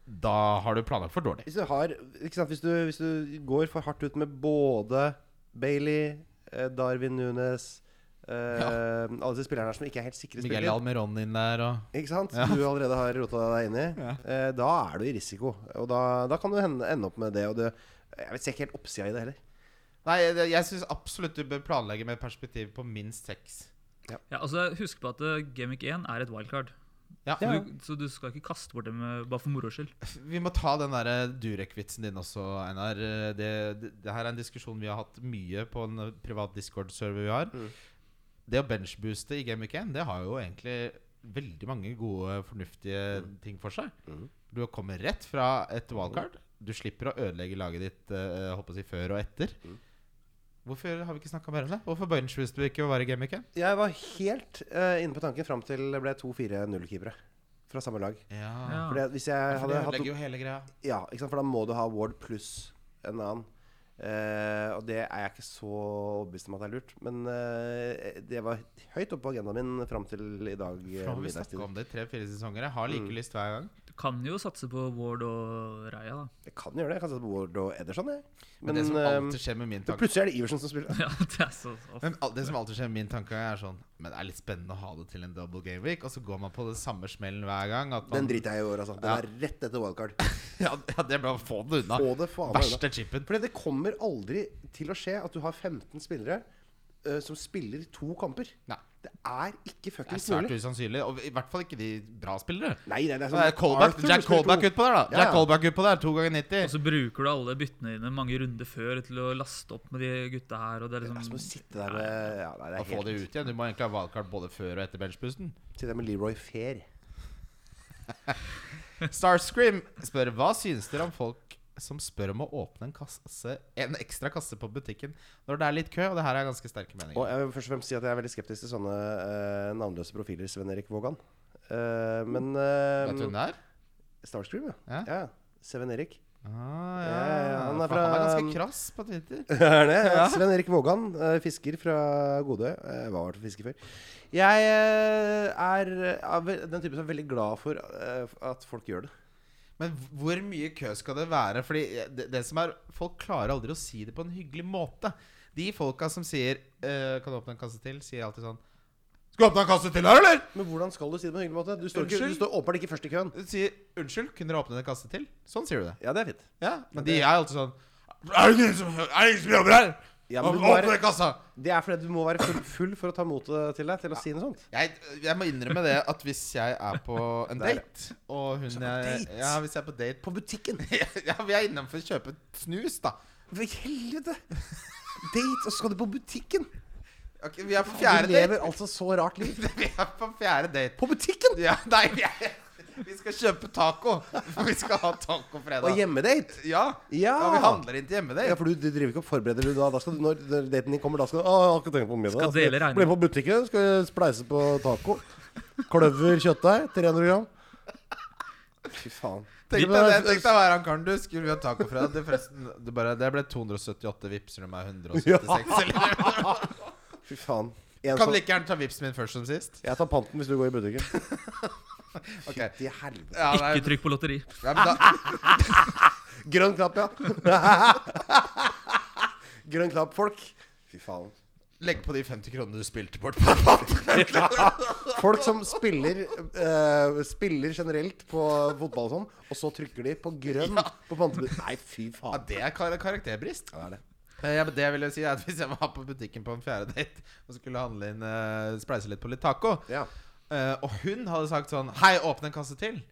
Speaker 3: da har du planlagt for dårlig.
Speaker 5: Hvis du har Ikke sant, hvis du, hvis du går for hardt ut med både Bailey, eh, Darwin Nunes eh, Alle disse spillerne her som ikke er helt sikre
Speaker 3: Miguel
Speaker 5: spillere.
Speaker 3: Almeron inn der og
Speaker 5: Ikke sant? Du allerede har rota deg inn i. Eh, da er du i risiko. Og da, da kan du hende, ende opp med det. Og det jeg vet, ser ikke helt oppsida i det heller.
Speaker 3: Nei, jeg, jeg syns absolutt du bør planlegge med perspektiv på minst seks.
Speaker 4: Ja, altså, husk på at eh, Gamic 1 er et wildcard.
Speaker 3: Ja.
Speaker 4: Så du, så du skal ikke kaste bort dem eh, bare for moro skyld.
Speaker 3: Vi må ta den der eh, Durek-vitsen din også, Einar. Det, det, det her er en diskusjon vi har hatt mye på en eh, Mm. privat Discord-server vi har. Det å benchbooste i Game Week 1, det har jo egentlig veldig mange gode, fornuftige ting for seg. Du kommer rett fra et wildcard. Du slipper å ødelegge laget ditt eh, håper jeg å si, før og etter. Hvorfor har vi ikke snakka mer om det? Hvorfor benchbooster vi ikke å være gameweeken?
Speaker 5: Jeg var helt eh, inne på tanken fram til det ble to 4-0-keepere fra samme lag.
Speaker 3: Ja.
Speaker 4: Ja.
Speaker 5: For det- hvis jeg
Speaker 3: For det
Speaker 5: hadde hatt
Speaker 3: ødelegger jo hele greia.
Speaker 5: Ja, ikke sant? for da må du ha Ward pluss en annen. Eh, og det er jeg ikke så overbevist om at det er lurt. Men eh, det var høyt oppe på agendaen min fram til i dag.
Speaker 3: Nå
Speaker 5: eh,
Speaker 3: har vi Mm.
Speaker 5: middagstid.
Speaker 3: snakka om det i tre-fire sesonger. Jeg har like lyst hver gang.
Speaker 4: Du kan jo satse på Ward og Raja, da. [LAUGHS]
Speaker 5: Jeg kan gjøre det. Jeg kan sette på Ward og Ederson. Jeg.
Speaker 3: Men, det som
Speaker 5: eh,
Speaker 3: alltid skjer med min tanke
Speaker 5: plutselig er det Iversen som spiller.
Speaker 4: Ja, det er så ofte.
Speaker 3: men al- det som alltid skjer med min tanke er sånn Men det er litt spennende å ha det til en double game week, og så går man på den samme smellen hver gang. At man,
Speaker 5: Den driter jeg i i år, altså. Den
Speaker 3: Ja.
Speaker 5: er rett etter wildcard.
Speaker 3: [LAUGHS] ja, ja, det er bare å få det unna.
Speaker 5: Få det faen meg unna.
Speaker 3: Verste chipen.
Speaker 5: Fordi det kommer aldri til å skje at du har 15 spillere eh, som spiller to kamper.
Speaker 3: Nei.
Speaker 5: Det er ikke
Speaker 3: Det er
Speaker 5: fuckings
Speaker 3: svært
Speaker 5: mulig.
Speaker 3: usannsynlig. Og i hvert fall ikke de bra spillere.
Speaker 5: Nei, nei, det er
Speaker 3: Så det
Speaker 5: sånn
Speaker 3: er callback,
Speaker 5: Arthur
Speaker 3: Jack
Speaker 5: spiller to.
Speaker 3: Colback utpå der, da.
Speaker 5: Ja,
Speaker 3: Jack
Speaker 5: ja.
Speaker 3: Colback utpå der, to ganger
Speaker 4: Og
Speaker 3: 90.
Speaker 4: så bruker du alle byttene dine mange runder før til å laste opp med de gutta her. Og det er
Speaker 5: Det er som å
Speaker 4: liksom,
Speaker 5: sitte der med ja, nei, det
Speaker 3: Og
Speaker 5: er
Speaker 3: få
Speaker 5: helt,
Speaker 3: det ut igjen. Du må egentlig ha wildcard både før og etter
Speaker 4: [LAUGHS]
Speaker 3: benchboosten.
Speaker 5: Sitte der med Leroy Fair.
Speaker 3: Starscream spør hva syns dere om folk som spør om å åpne en, kasse, en ekstra kasse på butikken når det er litt kø? Og det her er ganske sterke meninger.
Speaker 5: Og jeg vil først og fremst si at jeg er veldig skeptisk til sånne eh, navnløse profiler, Sven-Erik Vågan. Eh, men eh,
Speaker 3: Vet du hvem det er?
Speaker 5: Starscream, ja.
Speaker 3: Ja.
Speaker 5: ja. Sven-Erik.
Speaker 3: Ah, ja.
Speaker 5: Ja, ja, han er
Speaker 3: For han er
Speaker 5: fra- um,
Speaker 3: ganske krass på Twitter.
Speaker 5: Er [LAUGHS] det? Sven-Erik Vågan, eh, fisker fra Godøy. Jeg var vært fisker før. Jeg eh, er eh, av den typen som er veldig glad for eh, at folk gjør det.
Speaker 3: Men hvor mye kø skal det være? Fordi det, det som er Folk klarer aldri å si det på en hyggelig måte. De folka som sier eh, 'Kan du åpne en kasse til?' sier alltid sånn 'Skal du åpne en kasse til her, eller?'
Speaker 5: Men hvordan skal du si det på en hyggelig måte? Du står, ikke,
Speaker 3: Unnskyld?
Speaker 5: du står åpenbart ikke først i køen.
Speaker 3: Du sier 'Unnskyld, kunne dere åpne en kasse til?' Sånn sier du det.
Speaker 5: Ja, det er fint.
Speaker 3: Ja, Men de er alltid sånn 'Er det ingen som, er det ingen som jobber her?'
Speaker 5: Ja, men du må
Speaker 3: Åpne
Speaker 5: være-
Speaker 3: den kassa!
Speaker 5: Det er fordi du må være full, full for å ta motet til deg til å si noe sånt.
Speaker 3: Jeg, jeg må innrømme det at hvis jeg er på
Speaker 5: [LAUGHS]
Speaker 3: en
Speaker 5: Der, ja.
Speaker 3: date Og hun
Speaker 5: Så på
Speaker 3: jeg,
Speaker 5: date?
Speaker 3: ja, hvis jeg er på date [LAUGHS]
Speaker 5: På butikken.
Speaker 3: Ja, vi er innom for å kjøpe snus, da.
Speaker 5: [LAUGHS] For i helvete! Date, og så skal du på butikken!
Speaker 3: Ok, vi er på
Speaker 5: Du
Speaker 3: fjerde
Speaker 5: lever
Speaker 3: date.
Speaker 5: altså så rart liv.
Speaker 3: [LAUGHS] Vi er på fjerde date.
Speaker 5: På butikken!
Speaker 3: Ja, nei, vi, er, vi skal kjøpe taco. For vi skal ha tacofredag.
Speaker 5: Og hjemmedate!
Speaker 3: Ja.
Speaker 5: Ja.
Speaker 3: vi handler inn til
Speaker 5: Ja,
Speaker 3: hjemmedate.
Speaker 5: for du, du driver ikke og forbereder du da. da skal du, når når daten din kommer, da skal du Å, jeg har ikke tenkt på middag.
Speaker 4: Skal dele regningen.
Speaker 5: Bli på butikken, skal jeg spleise på taco. Kløver kjøttdeig, 300 gram. Fy faen.
Speaker 3: Tenk deg det, tenk deg å være han karen du. Skulle vi ha tacofredag? Det, forresten, det, bare, det ble 278 vips, eller om det er 176. Eller.
Speaker 5: Fy faen. En
Speaker 3: Kan
Speaker 5: som,
Speaker 3: like gjerne ta vipsen min først som sist.
Speaker 5: jeg tar panten hvis du går i butikken.
Speaker 3: Ok.
Speaker 5: Til helvete.
Speaker 3: Ja, nei,
Speaker 4: ikke trykk på lotteri.
Speaker 3: ja, men da,
Speaker 5: Grønn klapp, ja. [LAUGHS] Grønn klapp, folk. Fy faen.
Speaker 3: legg på de 50 kronene du spilte bort. på
Speaker 5: Folk som spiller eh, Spiller generelt på fotball og sånn, og så trykker de på grønn på pantebud. Nei, fy
Speaker 3: Ja,
Speaker 5: faen.
Speaker 3: det er kar karakterbrist.
Speaker 5: Ja, det er det.
Speaker 3: Eh, Ja, men det jeg ville si er at Hvis jeg var på butikken på en fjerde date og skulle handle inn eh, spleise litt på litt taco,
Speaker 5: Ja.
Speaker 3: eh, og hun hadde sagt sånn 'Hei, åpne en kasse til',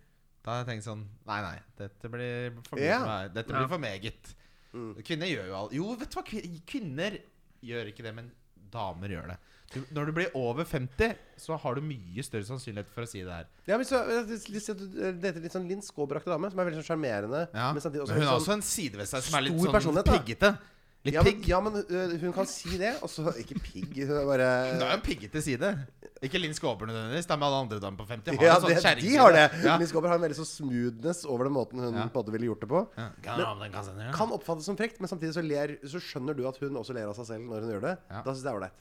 Speaker 3: da hadde jeg tenkt sånn Nei, nei, dette blir for, mye
Speaker 5: Ja. Mm.
Speaker 3: for meg. Dette
Speaker 4: Ja.
Speaker 3: blir for meget. Kvinner gjør jo alt Jo, vet du hva, kvin- kvinner gjør ikke det, men damer gjør det. Du, når du blir over 50, så har du mye større sannsynlighet for å si det her.
Speaker 5: Ja, men så eh, litt- litt- Du dater litt sånn Linn Skåbrakte dame, som er veldig sånn sjarmerende.
Speaker 3: Ja.
Speaker 5: men samtidig
Speaker 3: men hun har
Speaker 5: litt
Speaker 3: også en
Speaker 5: sånn-
Speaker 3: side ved seg som er litt
Speaker 5: stor
Speaker 3: sånn
Speaker 5: personlighet, da.
Speaker 3: piggete. Litt
Speaker 5: ja, men,
Speaker 3: pigg.
Speaker 5: ja, men eh, hun kan si det, og så Ikke pigg, hun er bare
Speaker 3: Hun har jo en piggete side. Ikke Linn Skåber nødvendigvis. Det er med alle andre damer på 50. Har
Speaker 5: ja,
Speaker 3: en sånn
Speaker 5: det, de
Speaker 3: kjerringside.
Speaker 5: har det.
Speaker 3: Ja.
Speaker 5: Linn Skåber har en veldig sånn smoothness over den måten hun
Speaker 3: Ja.
Speaker 5: på en måte ville gjort det på.
Speaker 3: Ja. Kan du ha med den kassen, ja?
Speaker 5: Kan oppfattes som frekt, men samtidig så, ler, så skjønner du at hun også ler av seg selv når hun gjør det.
Speaker 3: Ja.
Speaker 5: Da syns jeg det er ålreit.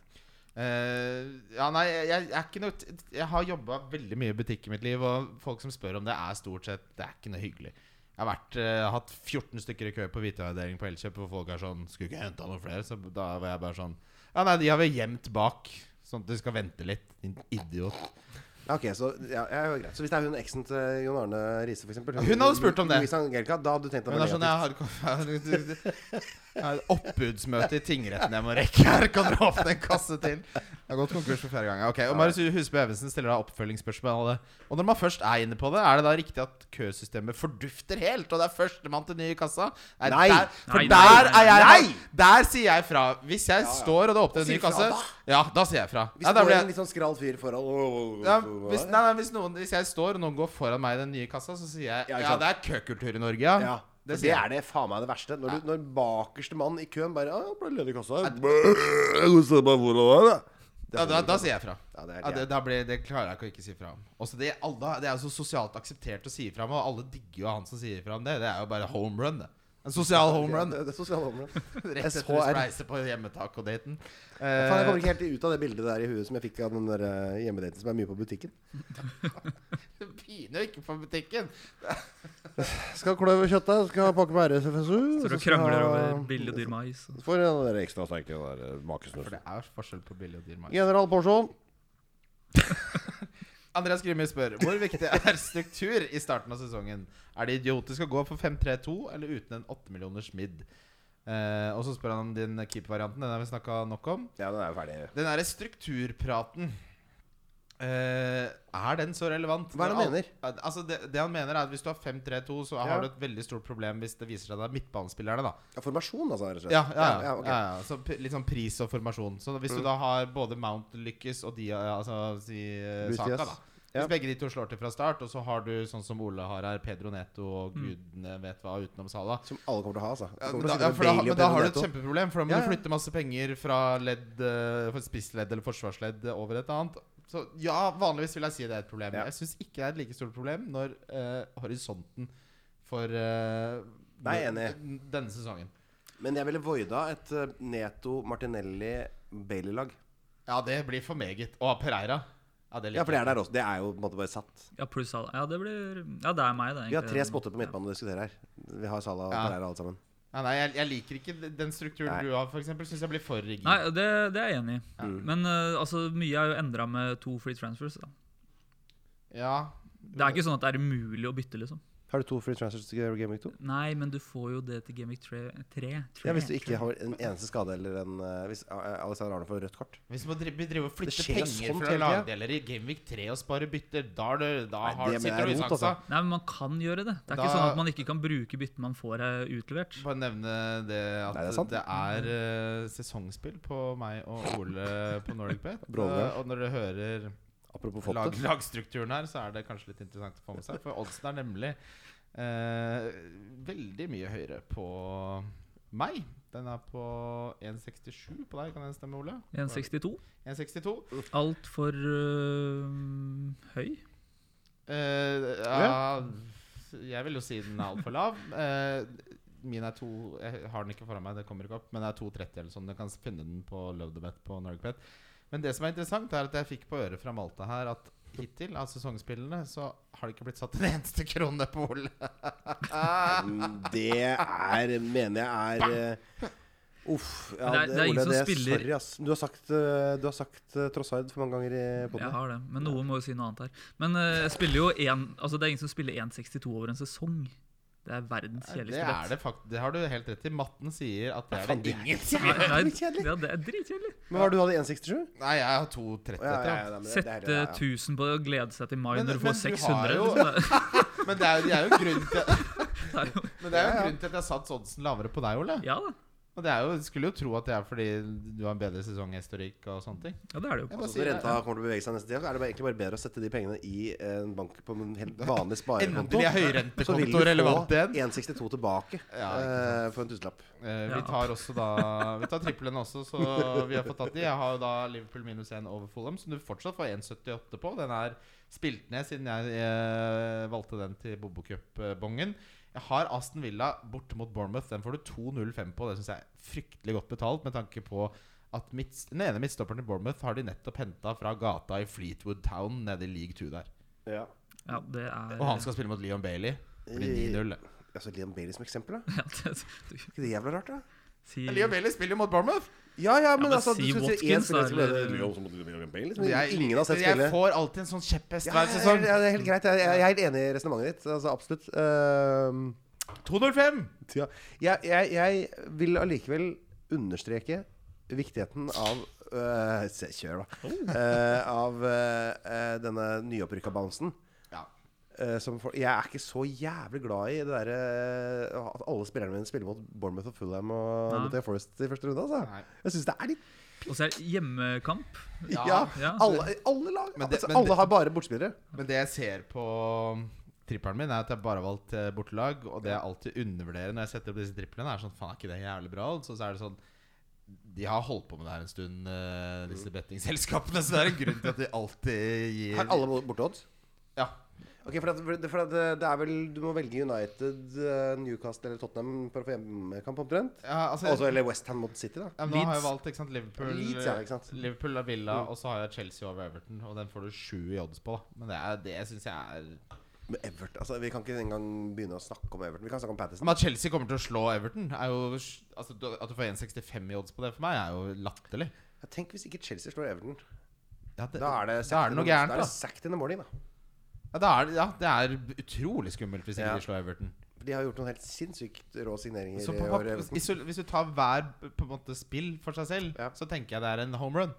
Speaker 3: Eh, ja, nei, jeg, jeg er ikke noe t- Jeg har jobba veldig mye i butikk i mitt liv, og folk som spør om det, er stort sett Det er ikke noe hyggelig. Jeg har vært, eh, hatt 14 stykker i kø på hviteavdeling på Elkjøp, hvor folk er sånn 'Skulle ikke henta noen flere?' Så da var jeg bare sånn Ja, nei, de har vi gjemt bak, sånn at du skal vente litt, din idiot.
Speaker 5: Ja, ok, så, ja, ja, jo, greit. så hvis det er hun eksen til Jon Arne Riise, f.eks.
Speaker 3: Hun hadde spurt om det.
Speaker 5: Louise Angelica, da hadde du tenkt deg
Speaker 3: Men det er
Speaker 5: negativt.
Speaker 3: sånn, [LAUGHS] jeg har, jeg har et oppbudsmøte i tingretten jeg må rekke her. Kan dere åpne en kasse til? har gått konkurs for fjerde gang. ja, Ok, og Marius Husby Evensen stiller da oppfølgingsspørsmålet. Og når man først er inne på det, er det da riktig at køsystemet fordufter helt? Og det er førstemann til ny i kassa?
Speaker 5: Nei.
Speaker 3: Der, for
Speaker 4: Nei, nei,
Speaker 3: der
Speaker 4: nei,
Speaker 3: er jeg
Speaker 5: nei.
Speaker 3: Der sier jeg fra. Hvis jeg står og det åpner
Speaker 5: Og
Speaker 3: en ny
Speaker 5: sier fra
Speaker 3: kasse,
Speaker 5: da.
Speaker 3: ja, da sier jeg fra. Ja,
Speaker 5: Hvis det
Speaker 3: da
Speaker 5: går
Speaker 3: blir
Speaker 5: en
Speaker 3: jeg
Speaker 5: litt sånn skral fyr foran
Speaker 3: ja, hvis, nei, nei, hvis, noen, hvis jeg står og noen går foran meg i den nye kassa, så sier jeg
Speaker 5: Ja,
Speaker 3: ja,
Speaker 5: ikke
Speaker 3: det er køkultur i Norge. Ja.
Speaker 5: Ja.
Speaker 3: Det
Speaker 5: Det,
Speaker 3: sier jeg.
Speaker 5: er det faen meg det verste. Når, du, når bakerste mann i køen bare «Ah, 'Ble ledig i kassa.' her».
Speaker 3: Ja, da, da sier jeg fra.
Speaker 5: Ja, det er
Speaker 3: Ja, det,
Speaker 5: det.
Speaker 3: da blir, det klarer jeg ikke å ikke si fra om. Også det, alle, det er jo så sosialt akseptert å si fra om, og alle digger jo han som sier fra om det. Det er jo bare home run, det. En sosial home run.
Speaker 5: Det, det er sosial home run.
Speaker 3: [LAUGHS] Rett etter å
Speaker 5: SHR.
Speaker 3: spleise på hjemmetaco-daten.
Speaker 5: Ja, faen, jeg kommer
Speaker 3: Eh,
Speaker 5: ikke helt ut av det bildet der i huet som jeg fikk av den der eh, hjemmedaten som er mye på butikken.
Speaker 3: det [LAUGHS] piner jo Eh, ikke på butikken.
Speaker 5: Skal ha kløv i kjøttet, skal ha pakke med RS-FSU
Speaker 4: Står og krangler over billig og dyr mais. og-
Speaker 5: For en der ekstra sterk den der eh,
Speaker 3: For
Speaker 5: makesnusen.
Speaker 3: det er forskjell på billig og dyr mark.
Speaker 5: General Porsjon.
Speaker 3: Andreas Grimi spør hvor viktig er struktur i starten av sesongen. Er det idiotisk å gå for 5-3-2 eller uten en 8-millioners midd? Eh, og så spør han om din keepervarianten. Den har vi snakka nok om.
Speaker 5: Ja, den er jo ferdig.
Speaker 3: Den derre strukturpraten eh, Er den så relevant?
Speaker 5: Hva er det han mener?
Speaker 3: Al- Altså det, det han mener er at Hvis du har 5-3-2, så
Speaker 5: Ja.
Speaker 3: har du et veldig stort problem hvis det viser seg at det er midtbanespillerne. da
Speaker 5: Ja, formasjon, altså, rett og slett.
Speaker 3: Ja, ja, ja,
Speaker 5: ja, ok. Mm.
Speaker 3: ja, ja. Så p- Litt sånn pris og formasjon. Så hvis du da har både Mount lykkes og de ja, Altså si eh,
Speaker 5: Butias.
Speaker 3: Saka, da. Hvis
Speaker 5: Ja.
Speaker 3: begge de to slår til fra start, og så har du sånn som Ole har her, Pedro Neto og
Speaker 5: Mm.
Speaker 3: gudene vet hva utenom Sala
Speaker 5: Som alle kommer til å ha, altså.
Speaker 3: ja,
Speaker 5: Kommer til
Speaker 3: da,
Speaker 5: å sitte
Speaker 3: ja,
Speaker 5: med
Speaker 3: for da,
Speaker 5: Bailey
Speaker 3: men
Speaker 5: og
Speaker 3: da har du et
Speaker 5: Pedro Neto.
Speaker 3: kjempeproblem, for da må
Speaker 5: Ja, ja.
Speaker 3: du flytte masse penger fra ledd, eh, for spissledd eller forsvarsledd over et annet. Så ja, vanligvis vil jeg si det er et problem.
Speaker 5: Ja.
Speaker 3: Jeg syns ikke det er et like stort problem når eh, horisonten for eh,
Speaker 5: Nei, jeg er enig.
Speaker 3: den- denne sesongen
Speaker 5: Men jeg ville voida et eh, Neto Martinelli-Bailey-lag.
Speaker 3: Ja, det blir for meget. Og Pereira. Ja, det liker
Speaker 5: Ja, for det
Speaker 3: jeg.
Speaker 5: er der også. Det er jo på en måte bare satt.
Speaker 4: Ja, pluss alle. Ja, det blir Ja, det er meg, det.
Speaker 5: Vi har
Speaker 4: egentlig.
Speaker 5: tre spotter på midtbanen å diskutere her. Vi har Salah og
Speaker 3: Ja.
Speaker 5: Pereira alle sammen.
Speaker 3: Ja, nei, jeg, jeg liker ikke den strukturen
Speaker 5: Nei.
Speaker 3: du har, f.eks. Syns jeg blir for rigid.
Speaker 4: Nei, det, det er jeg enig i. Men eh, altså, mye er jo endra med to free transfers. Da.
Speaker 3: Ja.
Speaker 4: Det er ikke sånn at det er umulig å bytte, liksom.
Speaker 5: Har du to free transfers til Game Week 2?
Speaker 4: Nei, men du får jo det til Gamic 3.
Speaker 5: Ja, hvis du ikke har en eneste skade eller en eh, Hvis eh, Alexander Arne får rødt kort.
Speaker 3: Hvis man driver, driver og flytter
Speaker 5: skjer jo
Speaker 3: penger
Speaker 5: sånt
Speaker 3: fra
Speaker 5: hele tida.
Speaker 3: lagdeler i Gamevik 3 og sparer bytter, da, er det- da
Speaker 5: Nei,
Speaker 3: har,
Speaker 5: det mener
Speaker 3: sitter du i
Speaker 5: jeg er rot,
Speaker 3: saksa.
Speaker 5: altså.
Speaker 4: Nei, men man kan gjøre det. Det er
Speaker 3: Da-
Speaker 4: ikke sånn at man ikke kan bruke bytten man får eh, utlevert.
Speaker 3: Bare nevne det at
Speaker 5: Nei, det
Speaker 3: det
Speaker 5: er
Speaker 3: er,
Speaker 5: sant.
Speaker 3: eh, sesongspill på meg og Ole på Nordic
Speaker 5: [LAUGHS]
Speaker 3: Bet.
Speaker 5: Bra,
Speaker 3: Eh,
Speaker 5: Ole.
Speaker 3: og når dere hører
Speaker 5: Apropos
Speaker 3: lag,
Speaker 5: Fotte.
Speaker 3: lagstrukturen her, så er det kanskje litt interessant å få med seg. For oddsen er nemlig eh, veldig mye høyere på meg. Den er på 1,67 på deg, kan den stemme, Ole?
Speaker 4: 1,62.
Speaker 3: 1,62.
Speaker 4: Altfor uh, høy.
Speaker 3: Eh, ja, jeg vil jo si den er altfor lav. Eh, min er to Jeg har den ikke foran meg, det kommer ikke opp. Men det er 2,30 eller sånn. Du kan finne den på Love the Bet på Norgepet. Men det som er interessant, er at jeg fikk på øret fra Malta her at hittil av sesongspillene så har det ikke blitt satt en eneste krone på Ole.
Speaker 5: Mm, Det er Mener jeg er eh, Uff. Ja,
Speaker 4: Men det er- det er ingen
Speaker 5: Ole,
Speaker 4: som
Speaker 5: det-
Speaker 4: spiller-
Speaker 5: Sorry, ass. Du har sagt, eh, du har sagt eh, Trossard for mange ganger i
Speaker 4: Jeg
Speaker 5: poden.
Speaker 4: har det, men noen må jo si noe annet her. Men eh, jeg spiller jo en, altså, det er ingen som spiller 1,62 over en sesong. Det er verdens
Speaker 3: Det er
Speaker 4: kjedeligste bett.
Speaker 3: det faktisk. Det har du helt rett i. Matten sier at det er
Speaker 5: Faen,
Speaker 3: det
Speaker 5: det er
Speaker 3: ingen
Speaker 4: Nei, nei,
Speaker 5: dritkjedelig.
Speaker 4: Ja, det er dritkjedelig.
Speaker 5: Men hva var det du hadde? 1,67?
Speaker 3: Nei, jeg har 2,30
Speaker 5: Ja, ja,
Speaker 3: etter.
Speaker 5: ja,
Speaker 3: Ja,
Speaker 5: nei, men det- det er-
Speaker 4: Sette
Speaker 5: ja, ja.
Speaker 4: 1000 øh, på det og glede seg til mai
Speaker 3: Men-
Speaker 4: når du
Speaker 3: men
Speaker 4: får
Speaker 3: du har
Speaker 4: 600.
Speaker 3: jo-
Speaker 4: liksom. Det
Speaker 3: Men det er, jo- det er jo grunnen til
Speaker 4: er- det er jo-
Speaker 3: Men det er jo grunnen til at jeg har satt oddsen lavere på deg, Ole.
Speaker 4: Ja da.
Speaker 3: Og det er jo, Skulle jo tro at det er fordi du har en bedre sesonghistorikk og sånne ting.
Speaker 4: Ja, det er det jo.
Speaker 3: Jeg bare
Speaker 5: Altså,
Speaker 3: sier
Speaker 5: når
Speaker 3: det.
Speaker 5: renta kommer til å bevege seg neste tid, så er det bare- egentlig bare bedre å sette de pengene i en bank på en
Speaker 4: [LAUGHS]
Speaker 5: helt vanlig sparekonto.
Speaker 3: Endelig er
Speaker 5: Så vil
Speaker 3: høyrentekonto
Speaker 5: du få
Speaker 3: relevant igjen.
Speaker 5: 1,62 tilbake
Speaker 3: Ja,
Speaker 5: eh, for en tusenlapp.
Speaker 3: Eh, vi
Speaker 4: Ja.
Speaker 3: tar også da Vi tar triplene også, så vi har fått tatt de. Jeg har jo da Liverpool minus 1 over Fulham, som du fortsatt får 1,78 på. Den er spilt ned siden jeg eh, valgte den til Bobo Cup-bongen. Jeg har Aston Villa borte mot Bournemouth. Den får du 2,05 på. Det syns jeg er fryktelig godt betalt, med tanke på at midt, den ene midtstopperen til Bournemouth har de nettopp henta fra gata i Fleetwood Town nede i League 2 der.
Speaker 5: Ja.
Speaker 4: Ja, det er
Speaker 3: Og han skal spille mot Leon Bailey. Det blir 9-0. det.
Speaker 5: Altså Liam Bailey som eksempel, da?
Speaker 4: [LAUGHS] ja, det, du,
Speaker 5: Er ikke det jævla rart, da?
Speaker 4: si,
Speaker 3: Men Leon Bailey spiller jo mot Bournemouth!
Speaker 5: Ja, ja, men,
Speaker 4: men
Speaker 5: altså
Speaker 4: si
Speaker 5: du skulle si én
Speaker 4: Watkins,
Speaker 5: spiller
Speaker 4: da,
Speaker 5: som heter
Speaker 4: eller-
Speaker 5: Liam som heter Liam Bailey, som
Speaker 3: eh, Jeg,
Speaker 5: ingen har sett
Speaker 3: jeg
Speaker 5: spille.
Speaker 3: får alltid en sånn kjepphest
Speaker 5: Ja,
Speaker 3: hver
Speaker 5: ja,
Speaker 3: sesong.
Speaker 5: ja, det er helt greit. Jeg, jeg er helt enig i resonnementet ditt. Altså, absolutt. Ehm,
Speaker 3: 205!
Speaker 5: tja. jeg, jeg, jeg vil allikevel understreke viktigheten av eh, se, Kjør, da. Eh, av eh, eh, denne nyopprykka bouncen.
Speaker 3: Ja.
Speaker 5: eh, som folk- jeg er ikke så jævlig glad i det derre eh, at alle spillerne mine spiller mot Bournemouth og Fulham og
Speaker 4: Nei.
Speaker 5: mot Forest i første runde. Altså.
Speaker 3: Nei.
Speaker 5: Jeg syns det er litt
Speaker 4: Og så er det hjemmekamp.
Speaker 5: Ja,
Speaker 4: ja.
Speaker 5: alle, alle lag
Speaker 3: Men det-
Speaker 5: altså,
Speaker 3: men det-
Speaker 5: Alle har bare bortspillere.
Speaker 3: Men det jeg ser på um, trippelen min, er at jeg bare har valgt eh, bortelag. Og det jeg alltid undervurderer når jeg setter opp disse triplene, er sånn Faen, er ikke det jævlig bra? odds?» Og så er det sånn De har holdt på med det her en stund, eh, disse
Speaker 5: Mm.
Speaker 3: bettingselskapene. Så det er en grunn til at de alltid gir
Speaker 5: Har alle borteodds?
Speaker 3: Ja.
Speaker 5: Ok, for, at, for at det, det er vel Du må velge United, eh, Newcastle eller Tottenham for å få hjemmekamp, omtrent.
Speaker 3: ja altså,
Speaker 5: Altså, eller West Ham mot City, da.
Speaker 3: ja, men nå har jeg
Speaker 4: Leeds.
Speaker 3: valgt ikke sant, Liverpool
Speaker 5: Leeds, ja, ikke sant. Mm.
Speaker 3: Liverpool og Villa, og så har jeg Chelsea over Everton. Og den får du sju i odds på. Men det, er- det syns jeg er
Speaker 5: Men Everton altså, Vi kan ikke engang begynne å snakke om Everton. Vi kan snakke om Pattison.
Speaker 3: Men at Chelsea kommer til å slå Everton, er jo altså, du- At du får 1,65 i odds på det for meg, er jo latterlig.
Speaker 5: Ja, Tenk hvis ikke Chelsea slår Everton.
Speaker 3: Ja, det,
Speaker 5: Da er det,
Speaker 3: da er det noe gærent,
Speaker 5: da. Er
Speaker 3: da.
Speaker 5: det sacked in the morning, da.
Speaker 3: Ja, det er, ja, det er utrolig skummelt hvis ikke
Speaker 5: Ja.
Speaker 3: de slår Everton.
Speaker 5: For de har gjort noen helt sinnssykt rå signeringer
Speaker 3: Så
Speaker 5: i
Speaker 3: på,
Speaker 5: år.
Speaker 3: pap-
Speaker 5: Everton.
Speaker 3: hvis, du, hvis du tar hver på en måte, spill for seg selv,
Speaker 5: Ja.
Speaker 3: så tenker jeg det er en home run.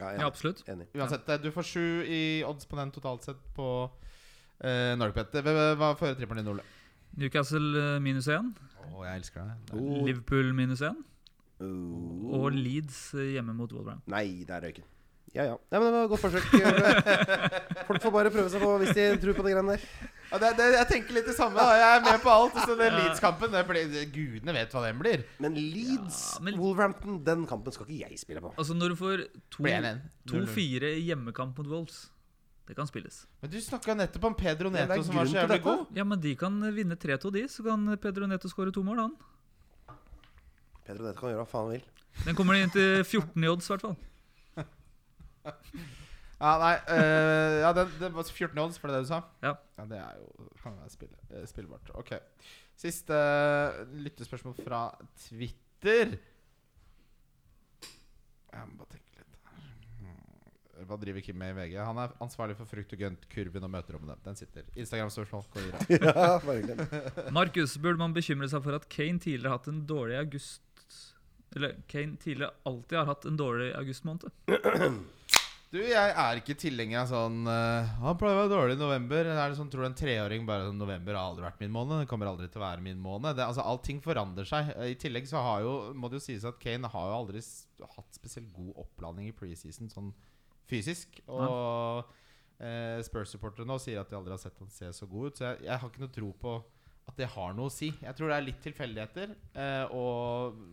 Speaker 5: Ja,
Speaker 4: Ja,
Speaker 5: ja,
Speaker 4: absolutt.
Speaker 5: enig.
Speaker 3: Uansett, eh, Du får sju i odds på den totalt sett på uh, Norgepet. Hva fører trippelen din, Ole?
Speaker 4: Newcastle eh, minus én.
Speaker 3: Å, jeg elsker deg. Det er-
Speaker 4: Liverpool minus én.
Speaker 5: Oh.
Speaker 4: Og Leeds eh, hjemme mot Wolverham.
Speaker 5: Nei, der røyk den. Ja, ja. Nei, men det var et godt forsøk. Folk får bare prøve seg på hvis de tror på de greiene der.
Speaker 3: Ja, det, det, jeg tenker litt det samme. da. Jeg er med på alt. Så den
Speaker 4: [LAUGHS] Ja.
Speaker 3: Leeds-kampen det blir, Gudene vet hva den blir.
Speaker 5: Men Leeds,
Speaker 4: Ja, men-
Speaker 5: Wolverhampton, den kampen skal ikke jeg spille på.
Speaker 4: Altså Når du får to-
Speaker 3: Blir jeg
Speaker 4: 2-4 i hjemmekamp mot Wolves Det kan spilles.
Speaker 3: Men du snakka nettopp om Pedro
Speaker 5: Ja, det er
Speaker 3: Neto, som var så
Speaker 5: grunn til
Speaker 3: jævlig
Speaker 5: dette.
Speaker 3: god.
Speaker 4: Ja, men de kan eh, vinne 3-2, de. Så kan eh, Pedro Neto skåre to mål, han.
Speaker 5: Pedro Nette kan gjøre hva faen han vil.
Speaker 4: Den kommer inn
Speaker 3: [LAUGHS]
Speaker 4: til 14 i odds, i hvert fall.
Speaker 3: Ja, nei eh, Ja, den, det var 14 odds, var det det du sa?
Speaker 4: Ja.
Speaker 3: Det er jo kan være spill, eh, spillbart. Ok. Siste eh, lyttespørsmål fra Twitter. Jeg må bare tenke litt her. Hmm. Hva driver Kim med i VG? Han er ansvarlig for frukt og grønt-kurven og møterommene. Den sitter. Instagram-spørsmål. går i rad.
Speaker 5: Ja, bare hyggelig.
Speaker 4: Markus, burde man bekymre seg for at Kane tidligere har hatt en dårlig august Eller Kane tidligere alltid har hatt en dårlig augustmåned?
Speaker 3: Du, jeg er ikke tilhenger av sånn eh, Han pleier å være dårlig i november. Er det sånn, tror du en treåring bare sånn, November har aldri vært min måned. Det kommer aldri til å være min måned. Det, altså, Allting forandrer seg. Eh, I tillegg så har jo, må det jo sies at Kane har jo aldri s hatt spesielt god oppladning i preseason sånn fysisk. Og eh, Spurs-supportere nå sier at de aldri har sett han se så god ut. Så jeg, jeg har ikke noe tro på at det har noe å si. Jeg tror det er litt tilfeldigheter. eh, og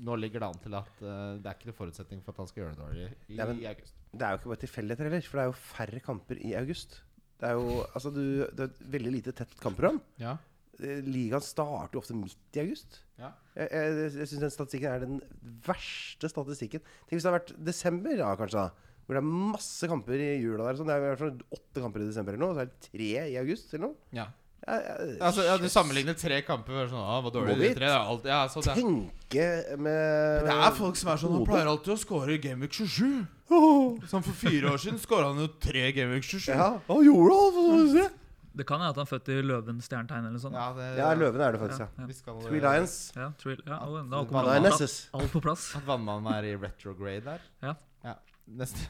Speaker 3: nå ligger det an til at eh, det er ikke noen forutsetning for at han skal gjøre det dårlig i,
Speaker 5: Nei, men-
Speaker 3: i august.
Speaker 5: Det er jo ikke bare tilfeldigheter heller, for det er jo færre kamper i august. Det er jo altså, du, det er et veldig lite tett kampprogram.
Speaker 3: Ja.
Speaker 5: Eh, Ligaen starter jo ofte midt i august.
Speaker 3: Ja.
Speaker 5: Jeg, jeg, jeg syns den statistikken er den verste statistikken. Tenk hvis det hadde vært desember, ja, kanskje, da. Hvor det er masse kamper i jula der. Sånn, det er i hvert fall åtte kamper i desember eller noe, og så er det tre i august eller noe.
Speaker 3: Ja.
Speaker 5: Jeg, jeg,
Speaker 3: Altså, ja, du sammenligner tre kamper og sånn, ah, var dårlig
Speaker 5: Må vi
Speaker 3: de tre, det er alt, ja, så det, er-
Speaker 5: Tenke med
Speaker 3: altså. det er folk som er sånn Han
Speaker 5: Hodet.
Speaker 3: pleier alltid å score i Game Week 27. Sånn For fire år siden skåra han jo tre i Game Week 27.
Speaker 5: [LAUGHS] Ja, han gjorde det, altså, får vi se.
Speaker 4: Det kan hende at han er født i løvens stjernetegn eller noe sånt.
Speaker 3: Ja, det,
Speaker 5: Ja, løvene er det
Speaker 4: Ja,
Speaker 5: faktisk, ja.
Speaker 4: ja.
Speaker 3: vi skal, eh,
Speaker 5: Three Lions.
Speaker 4: Ja, tror- ja, og da kommer alt,
Speaker 5: Bananeses.
Speaker 4: alt på plass.
Speaker 3: At vannmannen er i retrograde der.
Speaker 4: Ja.
Speaker 3: Neste.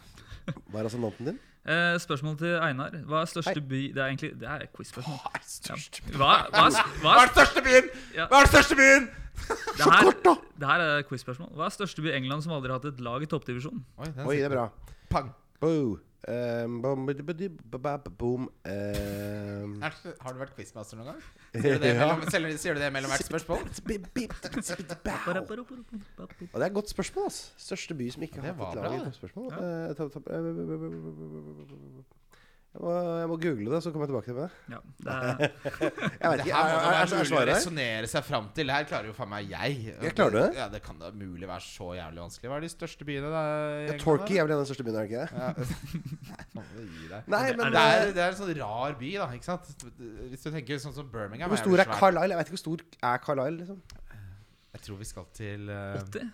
Speaker 5: Hva er assonanten din?
Speaker 4: Eh, spørsmål til Einar. Hva er største by Det er egentlig Det er et quiz-spørsmål.
Speaker 5: Nei,
Speaker 4: Ja.
Speaker 5: størst.
Speaker 4: Hva, hva, er- hva,
Speaker 3: Hva er
Speaker 4: er-
Speaker 3: den største byen?!
Speaker 4: Ja.
Speaker 3: Hva er den største byen?!
Speaker 4: det, her, det her er et quiz-spørsmål. Hva er største by i England som aldri har hatt et lag i toppdivisjon?
Speaker 3: Oi, den
Speaker 5: Oi, det er bra.
Speaker 3: Pang.
Speaker 5: Boo. Um, bom, bidi, bidi, ba, ba, ba, boom. Um,
Speaker 3: Er, har du vært quizmaster noen gang? Sier
Speaker 5: [LAUGHS]
Speaker 3: du det mellom, selv- sier du det mellom hvert spørsmål?
Speaker 5: bip, bip,
Speaker 3: [LAUGHS]
Speaker 5: bip, bow.
Speaker 4: Hva
Speaker 5: Og det er et godt spørsmål, altså. Største by som ikke har
Speaker 3: Det
Speaker 5: hatt et
Speaker 3: var
Speaker 5: lag
Speaker 3: bra,
Speaker 5: i
Speaker 3: det.
Speaker 5: toppspørsmål. Eh, topp- topp- eh, Jeg må, jeg må google det, så kommer jeg tilbake til det.
Speaker 4: Ja, det er,
Speaker 5: Jeg vet
Speaker 3: Det
Speaker 5: ikke,
Speaker 3: her må
Speaker 5: er, er,
Speaker 3: da
Speaker 5: er,
Speaker 3: være
Speaker 5: er
Speaker 3: mulig å
Speaker 5: svaret her?
Speaker 3: resonnere seg fram til. Det her klarer jo faen meg jeg.
Speaker 5: Jeg klarer det.
Speaker 3: Ja, Det kan da mulig være så jævlig vanskelig. Hva er de største byene da? i
Speaker 5: Ja,
Speaker 3: England,
Speaker 5: Torquay
Speaker 3: da?
Speaker 5: Eh, er vel den største byen, er det ikke det?
Speaker 3: Ja. [LAUGHS] Nei, faen, det gir deg.
Speaker 5: Nei,
Speaker 3: Men
Speaker 5: men
Speaker 3: det
Speaker 5: eh,
Speaker 3: er, det er en sånn rar by, da. ikke sant? Hvis du tenker sånn som Birmingham
Speaker 5: Hvor
Speaker 3: er
Speaker 5: stor
Speaker 3: jo
Speaker 5: er
Speaker 3: svært.
Speaker 5: Carlisle? Jeg vet ikke hvor stor er Carlisle, liksom.
Speaker 3: Jeg tror vi skal til eh,
Speaker 4: 80?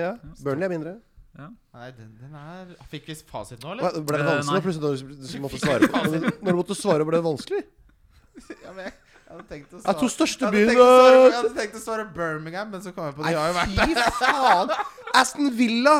Speaker 5: Ja, Burnley er mindre.
Speaker 3: Nei, den, den er Fikk vi fasiten nå,
Speaker 5: Hva,
Speaker 3: eller?
Speaker 5: ble det
Speaker 4: Eh,
Speaker 5: vanskelig
Speaker 4: nei.
Speaker 5: da plutselig når du- du måtte svare
Speaker 3: [LAUGHS]
Speaker 5: på når du- Når du måtte svare, ble det vanskelig?
Speaker 3: Ja, men jeg, jeg hadde tenkt å
Speaker 5: Ja, to
Speaker 3: svare
Speaker 5: største eh,
Speaker 3: jeg hadde,
Speaker 5: byene
Speaker 3: tenkt å svare, jeg hadde tenkt å svare Birmingham, men så kom jeg på De har jo vært
Speaker 5: Nei, fy faen! Aston Villa!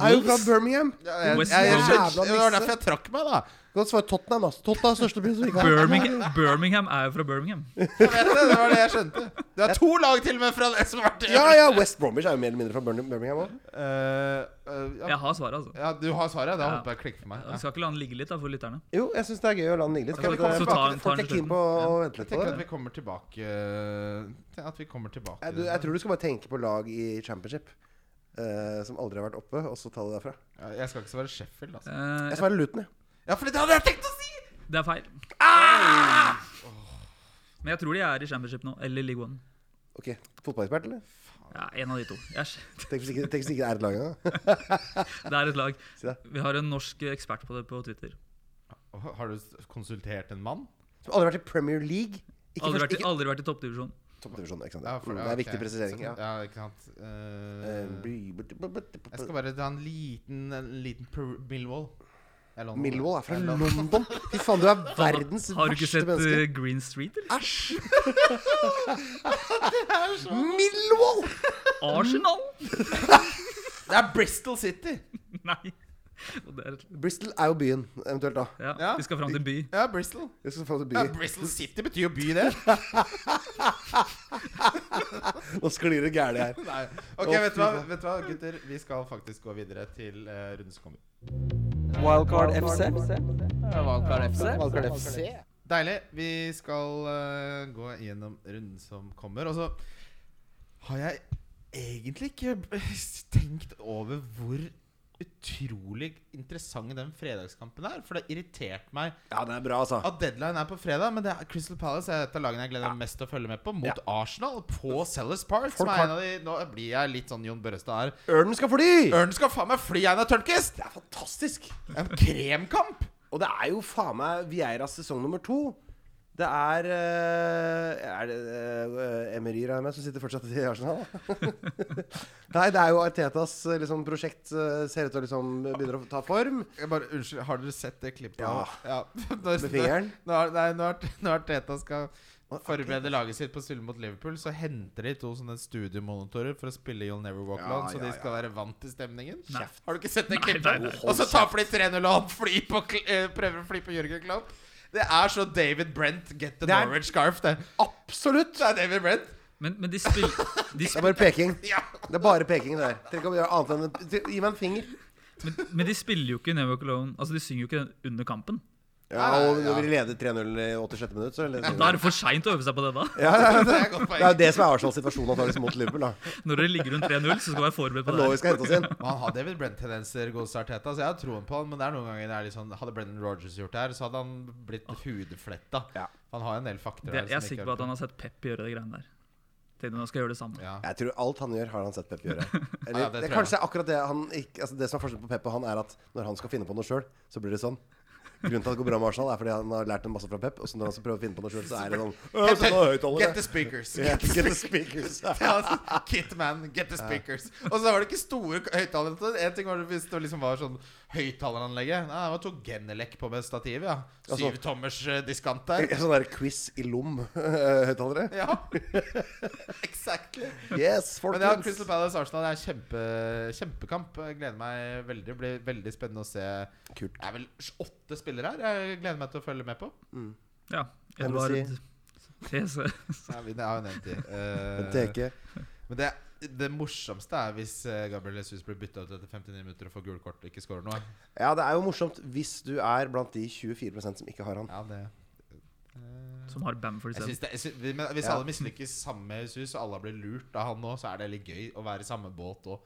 Speaker 5: er jo fra Birmingham.
Speaker 3: Jeg, jeg,
Speaker 4: West
Speaker 3: jeg,
Speaker 4: Brom.
Speaker 3: jeg, det var
Speaker 5: Jævla
Speaker 3: derfor jeg trakk meg, da.
Speaker 5: Godt svar Tottenham, altså. Tottenham er største byen som ikke har
Speaker 4: Birmingham, Birmingham er jo fra Birmingham.
Speaker 3: Jeg vet det, det var det jeg skjønte. Det er to lag til og med fra det som har vært i
Speaker 5: Ja, ja, West Bromwich er jo mer eller mindre fra Birmingham- Birmingham òg.
Speaker 3: Eh, eh, ja.
Speaker 4: Jeg har svaret, altså.
Speaker 3: ja, du har svaret? Da
Speaker 4: Ja.
Speaker 3: håper jeg klikker for meg.
Speaker 4: Jeg
Speaker 3: Ja.
Speaker 4: skal ikke la den ligge litt da, for lytterne.
Speaker 5: Jo, jeg syns det er gøy å la den ligge litt.
Speaker 4: Så
Speaker 5: Skal
Speaker 4: vi
Speaker 5: vi ta-
Speaker 4: kommer- så tar den- tar
Speaker 5: Folk
Speaker 4: den
Speaker 5: er keen
Speaker 4: slutten.
Speaker 5: på å
Speaker 3: Jeg
Speaker 5: vente litt på
Speaker 3: tenker at
Speaker 5: det.
Speaker 3: vi kommer tilbake eh, At vi kommer tilbake
Speaker 5: Jeg, du, jeg tror du skal bare tenke på lag i championship eh, som aldri har vært oppe, og så ta det derfra.
Speaker 3: Ja, Jeg skal ikke svare Sheffield, altså.
Speaker 4: Eh,
Speaker 5: Jeg svarer Luton, jeg.
Speaker 3: Ja, for det hadde jeg tenkt å si!
Speaker 4: det er feil. Men jeg tror de er i Championship nå, eller League One.
Speaker 5: Ok, Fotballekspert, eller?
Speaker 4: Ja, en av de to. Jeg er
Speaker 5: Tenk hvis ikke, tenk hvis ikke det er et lag engang.
Speaker 4: [LAUGHS] Det er et lag.
Speaker 5: Si det.
Speaker 4: Vi har en norsk ekspert på det på Twitter.
Speaker 3: Åh, Har du s- konsultert en mann?
Speaker 5: Som aldri har vært i Premier League. Ikke
Speaker 4: Aldri vært,
Speaker 5: først,
Speaker 4: i- aldri vært i toppdivisjon.
Speaker 5: ikke toppdivisjon. Ikke sant?
Speaker 3: Ja, for-
Speaker 5: Mm,
Speaker 3: ja,
Speaker 5: det er
Speaker 3: ok.
Speaker 5: viktig presisering. Ja.
Speaker 3: Så- ja, ikke sant. Eh,
Speaker 5: Eh, bli- bli- bli- bli- bli-
Speaker 3: jeg skal bare ta en liten, en liten per Millwall. Det er London.
Speaker 5: Millwall er fra
Speaker 3: Det
Speaker 5: London! Fy faen, du er verdens
Speaker 4: Har du ikke
Speaker 5: verste
Speaker 4: sett
Speaker 5: menneske.
Speaker 4: eh, Green Street? eller?
Speaker 5: Æsj! Millwall!
Speaker 4: Arsenal? [LAUGHS]
Speaker 3: Det er Bristol City!
Speaker 4: Nei. Og det er et,
Speaker 5: Bristol er jo byen, eventuelt, da.
Speaker 4: ja.
Speaker 3: Ja.
Speaker 4: Vi skal fram til by.
Speaker 3: Ja, Bristol.
Speaker 5: Jeg skal få til [LAUGHS]
Speaker 3: Ja,
Speaker 5: by.
Speaker 3: Bristol City betyr jo by, det.
Speaker 5: Nå sklir det gærent her.
Speaker 3: Nei. Ok, vet du, hva, vet du hva, gutter? Vi skal faktisk gå videre til uh, runden som kommer.
Speaker 1: Wildcard FC.
Speaker 2: Valkar FC.
Speaker 1: Wildcard FC.
Speaker 3: Deilig. Vi skal eh, gå gjennom runden som kommer. Og så har jeg egentlig ikke [LAUGHS] tenkt over hvor utrolig interessant den fredagskampen er. For det har irritert meg
Speaker 5: Ja, det er bra, altså.
Speaker 3: at deadline er på fredag. Men det er Crystal Palace er et av lagene jeg gleder meg mest til å følge med på, mot
Speaker 5: Ja.
Speaker 3: Arsenal på Sellers Park. Som
Speaker 5: Folk
Speaker 3: er
Speaker 5: har-
Speaker 3: en av de, nå blir jeg litt sånn Jon Børrestad her.
Speaker 5: Ørnen skal fly!
Speaker 3: Ørnen skal faen meg fly, Einar Tørnquist!
Speaker 5: Det er fantastisk.
Speaker 3: En kremkamp!
Speaker 5: Og det er jo faen meg Vieiras sesong nummer to. Det er eh, Er det uh, Emery regner jeg med, som sitter fortsatt i
Speaker 4: [LAUGHS]
Speaker 5: Arsenal? Nei, det er jo Artetas eh, liksom, prosjekt eh, ser ut til å liksom begynner å ta form.
Speaker 3: Jeg bare, unnskyld, har dere sett det klippet?
Speaker 5: Ja.
Speaker 3: ja. [LAUGHS] Når,
Speaker 5: Med fingeren?
Speaker 3: [LAUGHS] Når, nei, når, når Teta skal forberede laget sitt på å spille mot Liverpool, så henter de to sånne studiomonitorer for å spille You'll Never Walk
Speaker 5: Ja,
Speaker 3: Alone, så
Speaker 5: ja,
Speaker 3: de skal være vant til stemningen.
Speaker 4: Nei.
Speaker 3: Har du ikke sett det
Speaker 4: Nei, nei,
Speaker 3: klippet?
Speaker 4: nei.
Speaker 3: Og så taper de 3-0, og han flyr på, Kl- eh, prøver å fly på Jørgen Klopp. Det er så David Brent, get the
Speaker 5: Det er-
Speaker 3: Norwich scarf, det.
Speaker 5: Absolutt!
Speaker 3: Det er David Brent.
Speaker 4: Men, men de spiller de
Speaker 5: Det
Speaker 4: spil-
Speaker 5: er bare peking.
Speaker 3: Ja.
Speaker 5: Det er bare peking der. Tenk om vi gjør annet enn Gi meg en finger.
Speaker 4: men, men de spiller jo ikke Never Walk Alone Altså, de synger jo ikke den under kampen.
Speaker 5: Ja, og når vi leder 3-0 i 86. minutt, så
Speaker 4: Ja, Da er det for seint å øve seg på det, da.
Speaker 5: ja, ja,
Speaker 3: Det er et godt
Speaker 5: Det er jo
Speaker 3: poeng.
Speaker 5: det som er Arsenals situasjon antakeligvis mot Liverpool. da
Speaker 4: Når dere ligger rundt 3-0, så skal du være forberedt på
Speaker 5: Det
Speaker 4: det.
Speaker 5: er nå
Speaker 4: her.
Speaker 5: vi skal hente oss inn.
Speaker 3: Men Han har David Brent-tendenser, Godestad Arteta, så jeg har troen på han. Men det er noen ganger det er litt sånn Hadde Brendan Rogers gjort det her, så hadde han blitt hudfletta.
Speaker 5: Ja.
Speaker 3: Han har en del fakter
Speaker 4: Det, jeg er sikker på at han har sett Pep gjøre de greiene der. Tenkte han skal gjøre det samme.
Speaker 3: ja.
Speaker 5: Jeg tror alt han gjør, har han sett Pep gjøre.
Speaker 3: Ja,
Speaker 5: Eller,
Speaker 3: det tror
Speaker 5: det,
Speaker 3: jeg.
Speaker 5: er kanskje akkurat det han ikke, altså Det som er forskjellen på Pep og han, er at når han skal finne på noe sjøl, så blir det sånn. Grunnen til at det går bra med Arsenal, er fordi han har lært en masse fra Pep. Og så når han skal prøve å finne på noe sjøl, så er det sånn «Øh, så nå er
Speaker 3: Get, the,
Speaker 5: høyttalere».
Speaker 3: get the speakers.
Speaker 5: Yeah,
Speaker 3: [LAUGHS]
Speaker 5: Get the speakers.
Speaker 3: Kitman, get the speakers. Og så var det ikke store k- høyttalere. En ting var det hvis det liksom var sånn høyttaleranlegget. Nei, det var to Genelec på med stativ, ja.
Speaker 5: Altså-
Speaker 3: Syv tommers eh, diskant der.
Speaker 5: Sånn der quiz i lom, høyttalere.
Speaker 3: Ja. [LAUGHS] exactly.
Speaker 5: Yes,
Speaker 3: Men ja,
Speaker 5: folkens.
Speaker 3: Crystal Palace Arsenal det er kjempe, kjempekamp. Jeg gleder meg veldig. Det blir veldig spennende å se.
Speaker 5: Kult.
Speaker 3: Det er vel åtte spillere her. Jeg gleder meg til å følge med på.
Speaker 4: Ja,
Speaker 5: Jeg må si-
Speaker 4: Edvard TC.
Speaker 3: Nei, vi- Jeg har jo nevnt de. [LAUGHS] Eh,
Speaker 5: Teke.
Speaker 3: men det, det morsomste er hvis eh, Gabriel Jesus blir bytta ut etter 59 minutter og får gult kort og ikke scorer noe.
Speaker 5: Ja, det er jo morsomt hvis du er blant de 24 som ikke har han.
Speaker 3: Ja, det
Speaker 4: Som har Bamford
Speaker 3: jeg
Speaker 4: isteden.
Speaker 3: synes det, jeg synes, vi- men Hvis
Speaker 5: Ja.
Speaker 3: alle mislykkes sammen med Jesus, og alle blir lurt av han nå, så er det litt gøy å være i samme båt òg.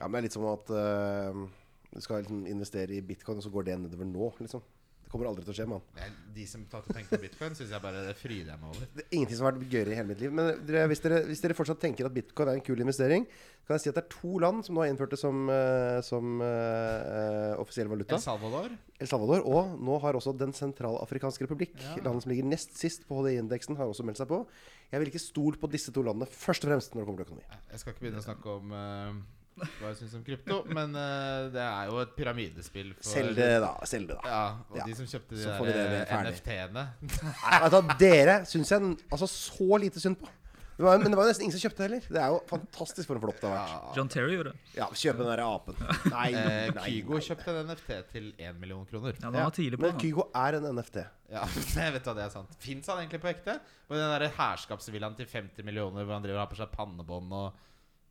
Speaker 5: Ja, men det er litt som at eh, du skal liksom investere i bitcoin, og så går det nedover nå, liksom. Det kommer aldri til å skje, mann.
Speaker 3: De som tar til å tenke på bitcoin, syns jeg bare det fryder jeg meg over.
Speaker 5: Det er ingenting som har vært gøyere i hele mitt liv. Men dere, hvis, dere, hvis dere fortsatt tenker at bitcoin er en kul investering, kan jeg si at det er to land som nå har innført det som, eh, som eh, eh, offisiell valuta.
Speaker 3: El Salvador?
Speaker 5: El Salvador. Og nå har også Den sentralafrikanske republikk, landet som ligger nest sist på HDI-indeksen, har også meldt seg på. Jeg ville ikke stolt på disse to landene først og fremst når det kommer til økonomi.
Speaker 3: Jeg skal ikke begynne å snakke om eh, hva jeg syns om krypto, men eh, det er jo et pyramidespill for
Speaker 5: Selg det, da. Selg det, da.
Speaker 3: Ja, og
Speaker 5: Ja,
Speaker 3: de som kjøpte de
Speaker 5: så får vi
Speaker 3: der eh,
Speaker 5: [LAUGHS] det ferdig.
Speaker 3: NFT-ene.
Speaker 5: Nei, vet du hva, dere syns jeg altså, så lite synd på. Det var, men det var jo nesten ingen som kjøpte det heller. Det er jo fantastisk for en flopp det har vært.
Speaker 4: John Terry gjorde det.
Speaker 5: Ja, kjøp den derre apen. Nei,
Speaker 3: Eh,
Speaker 5: nei,
Speaker 3: Kygo
Speaker 5: nei.
Speaker 3: kjøpte en NFT til 1 million kroner.
Speaker 4: Ja, den var tidlig på.
Speaker 5: Men
Speaker 4: den,
Speaker 5: Kygo er en NFT.
Speaker 3: Ja, [LAUGHS] jeg vet hva det er sant Fins han egentlig på ekte? Med den der herskapsvillaen til 50 millioner hvor han driver og har på seg pannebånd og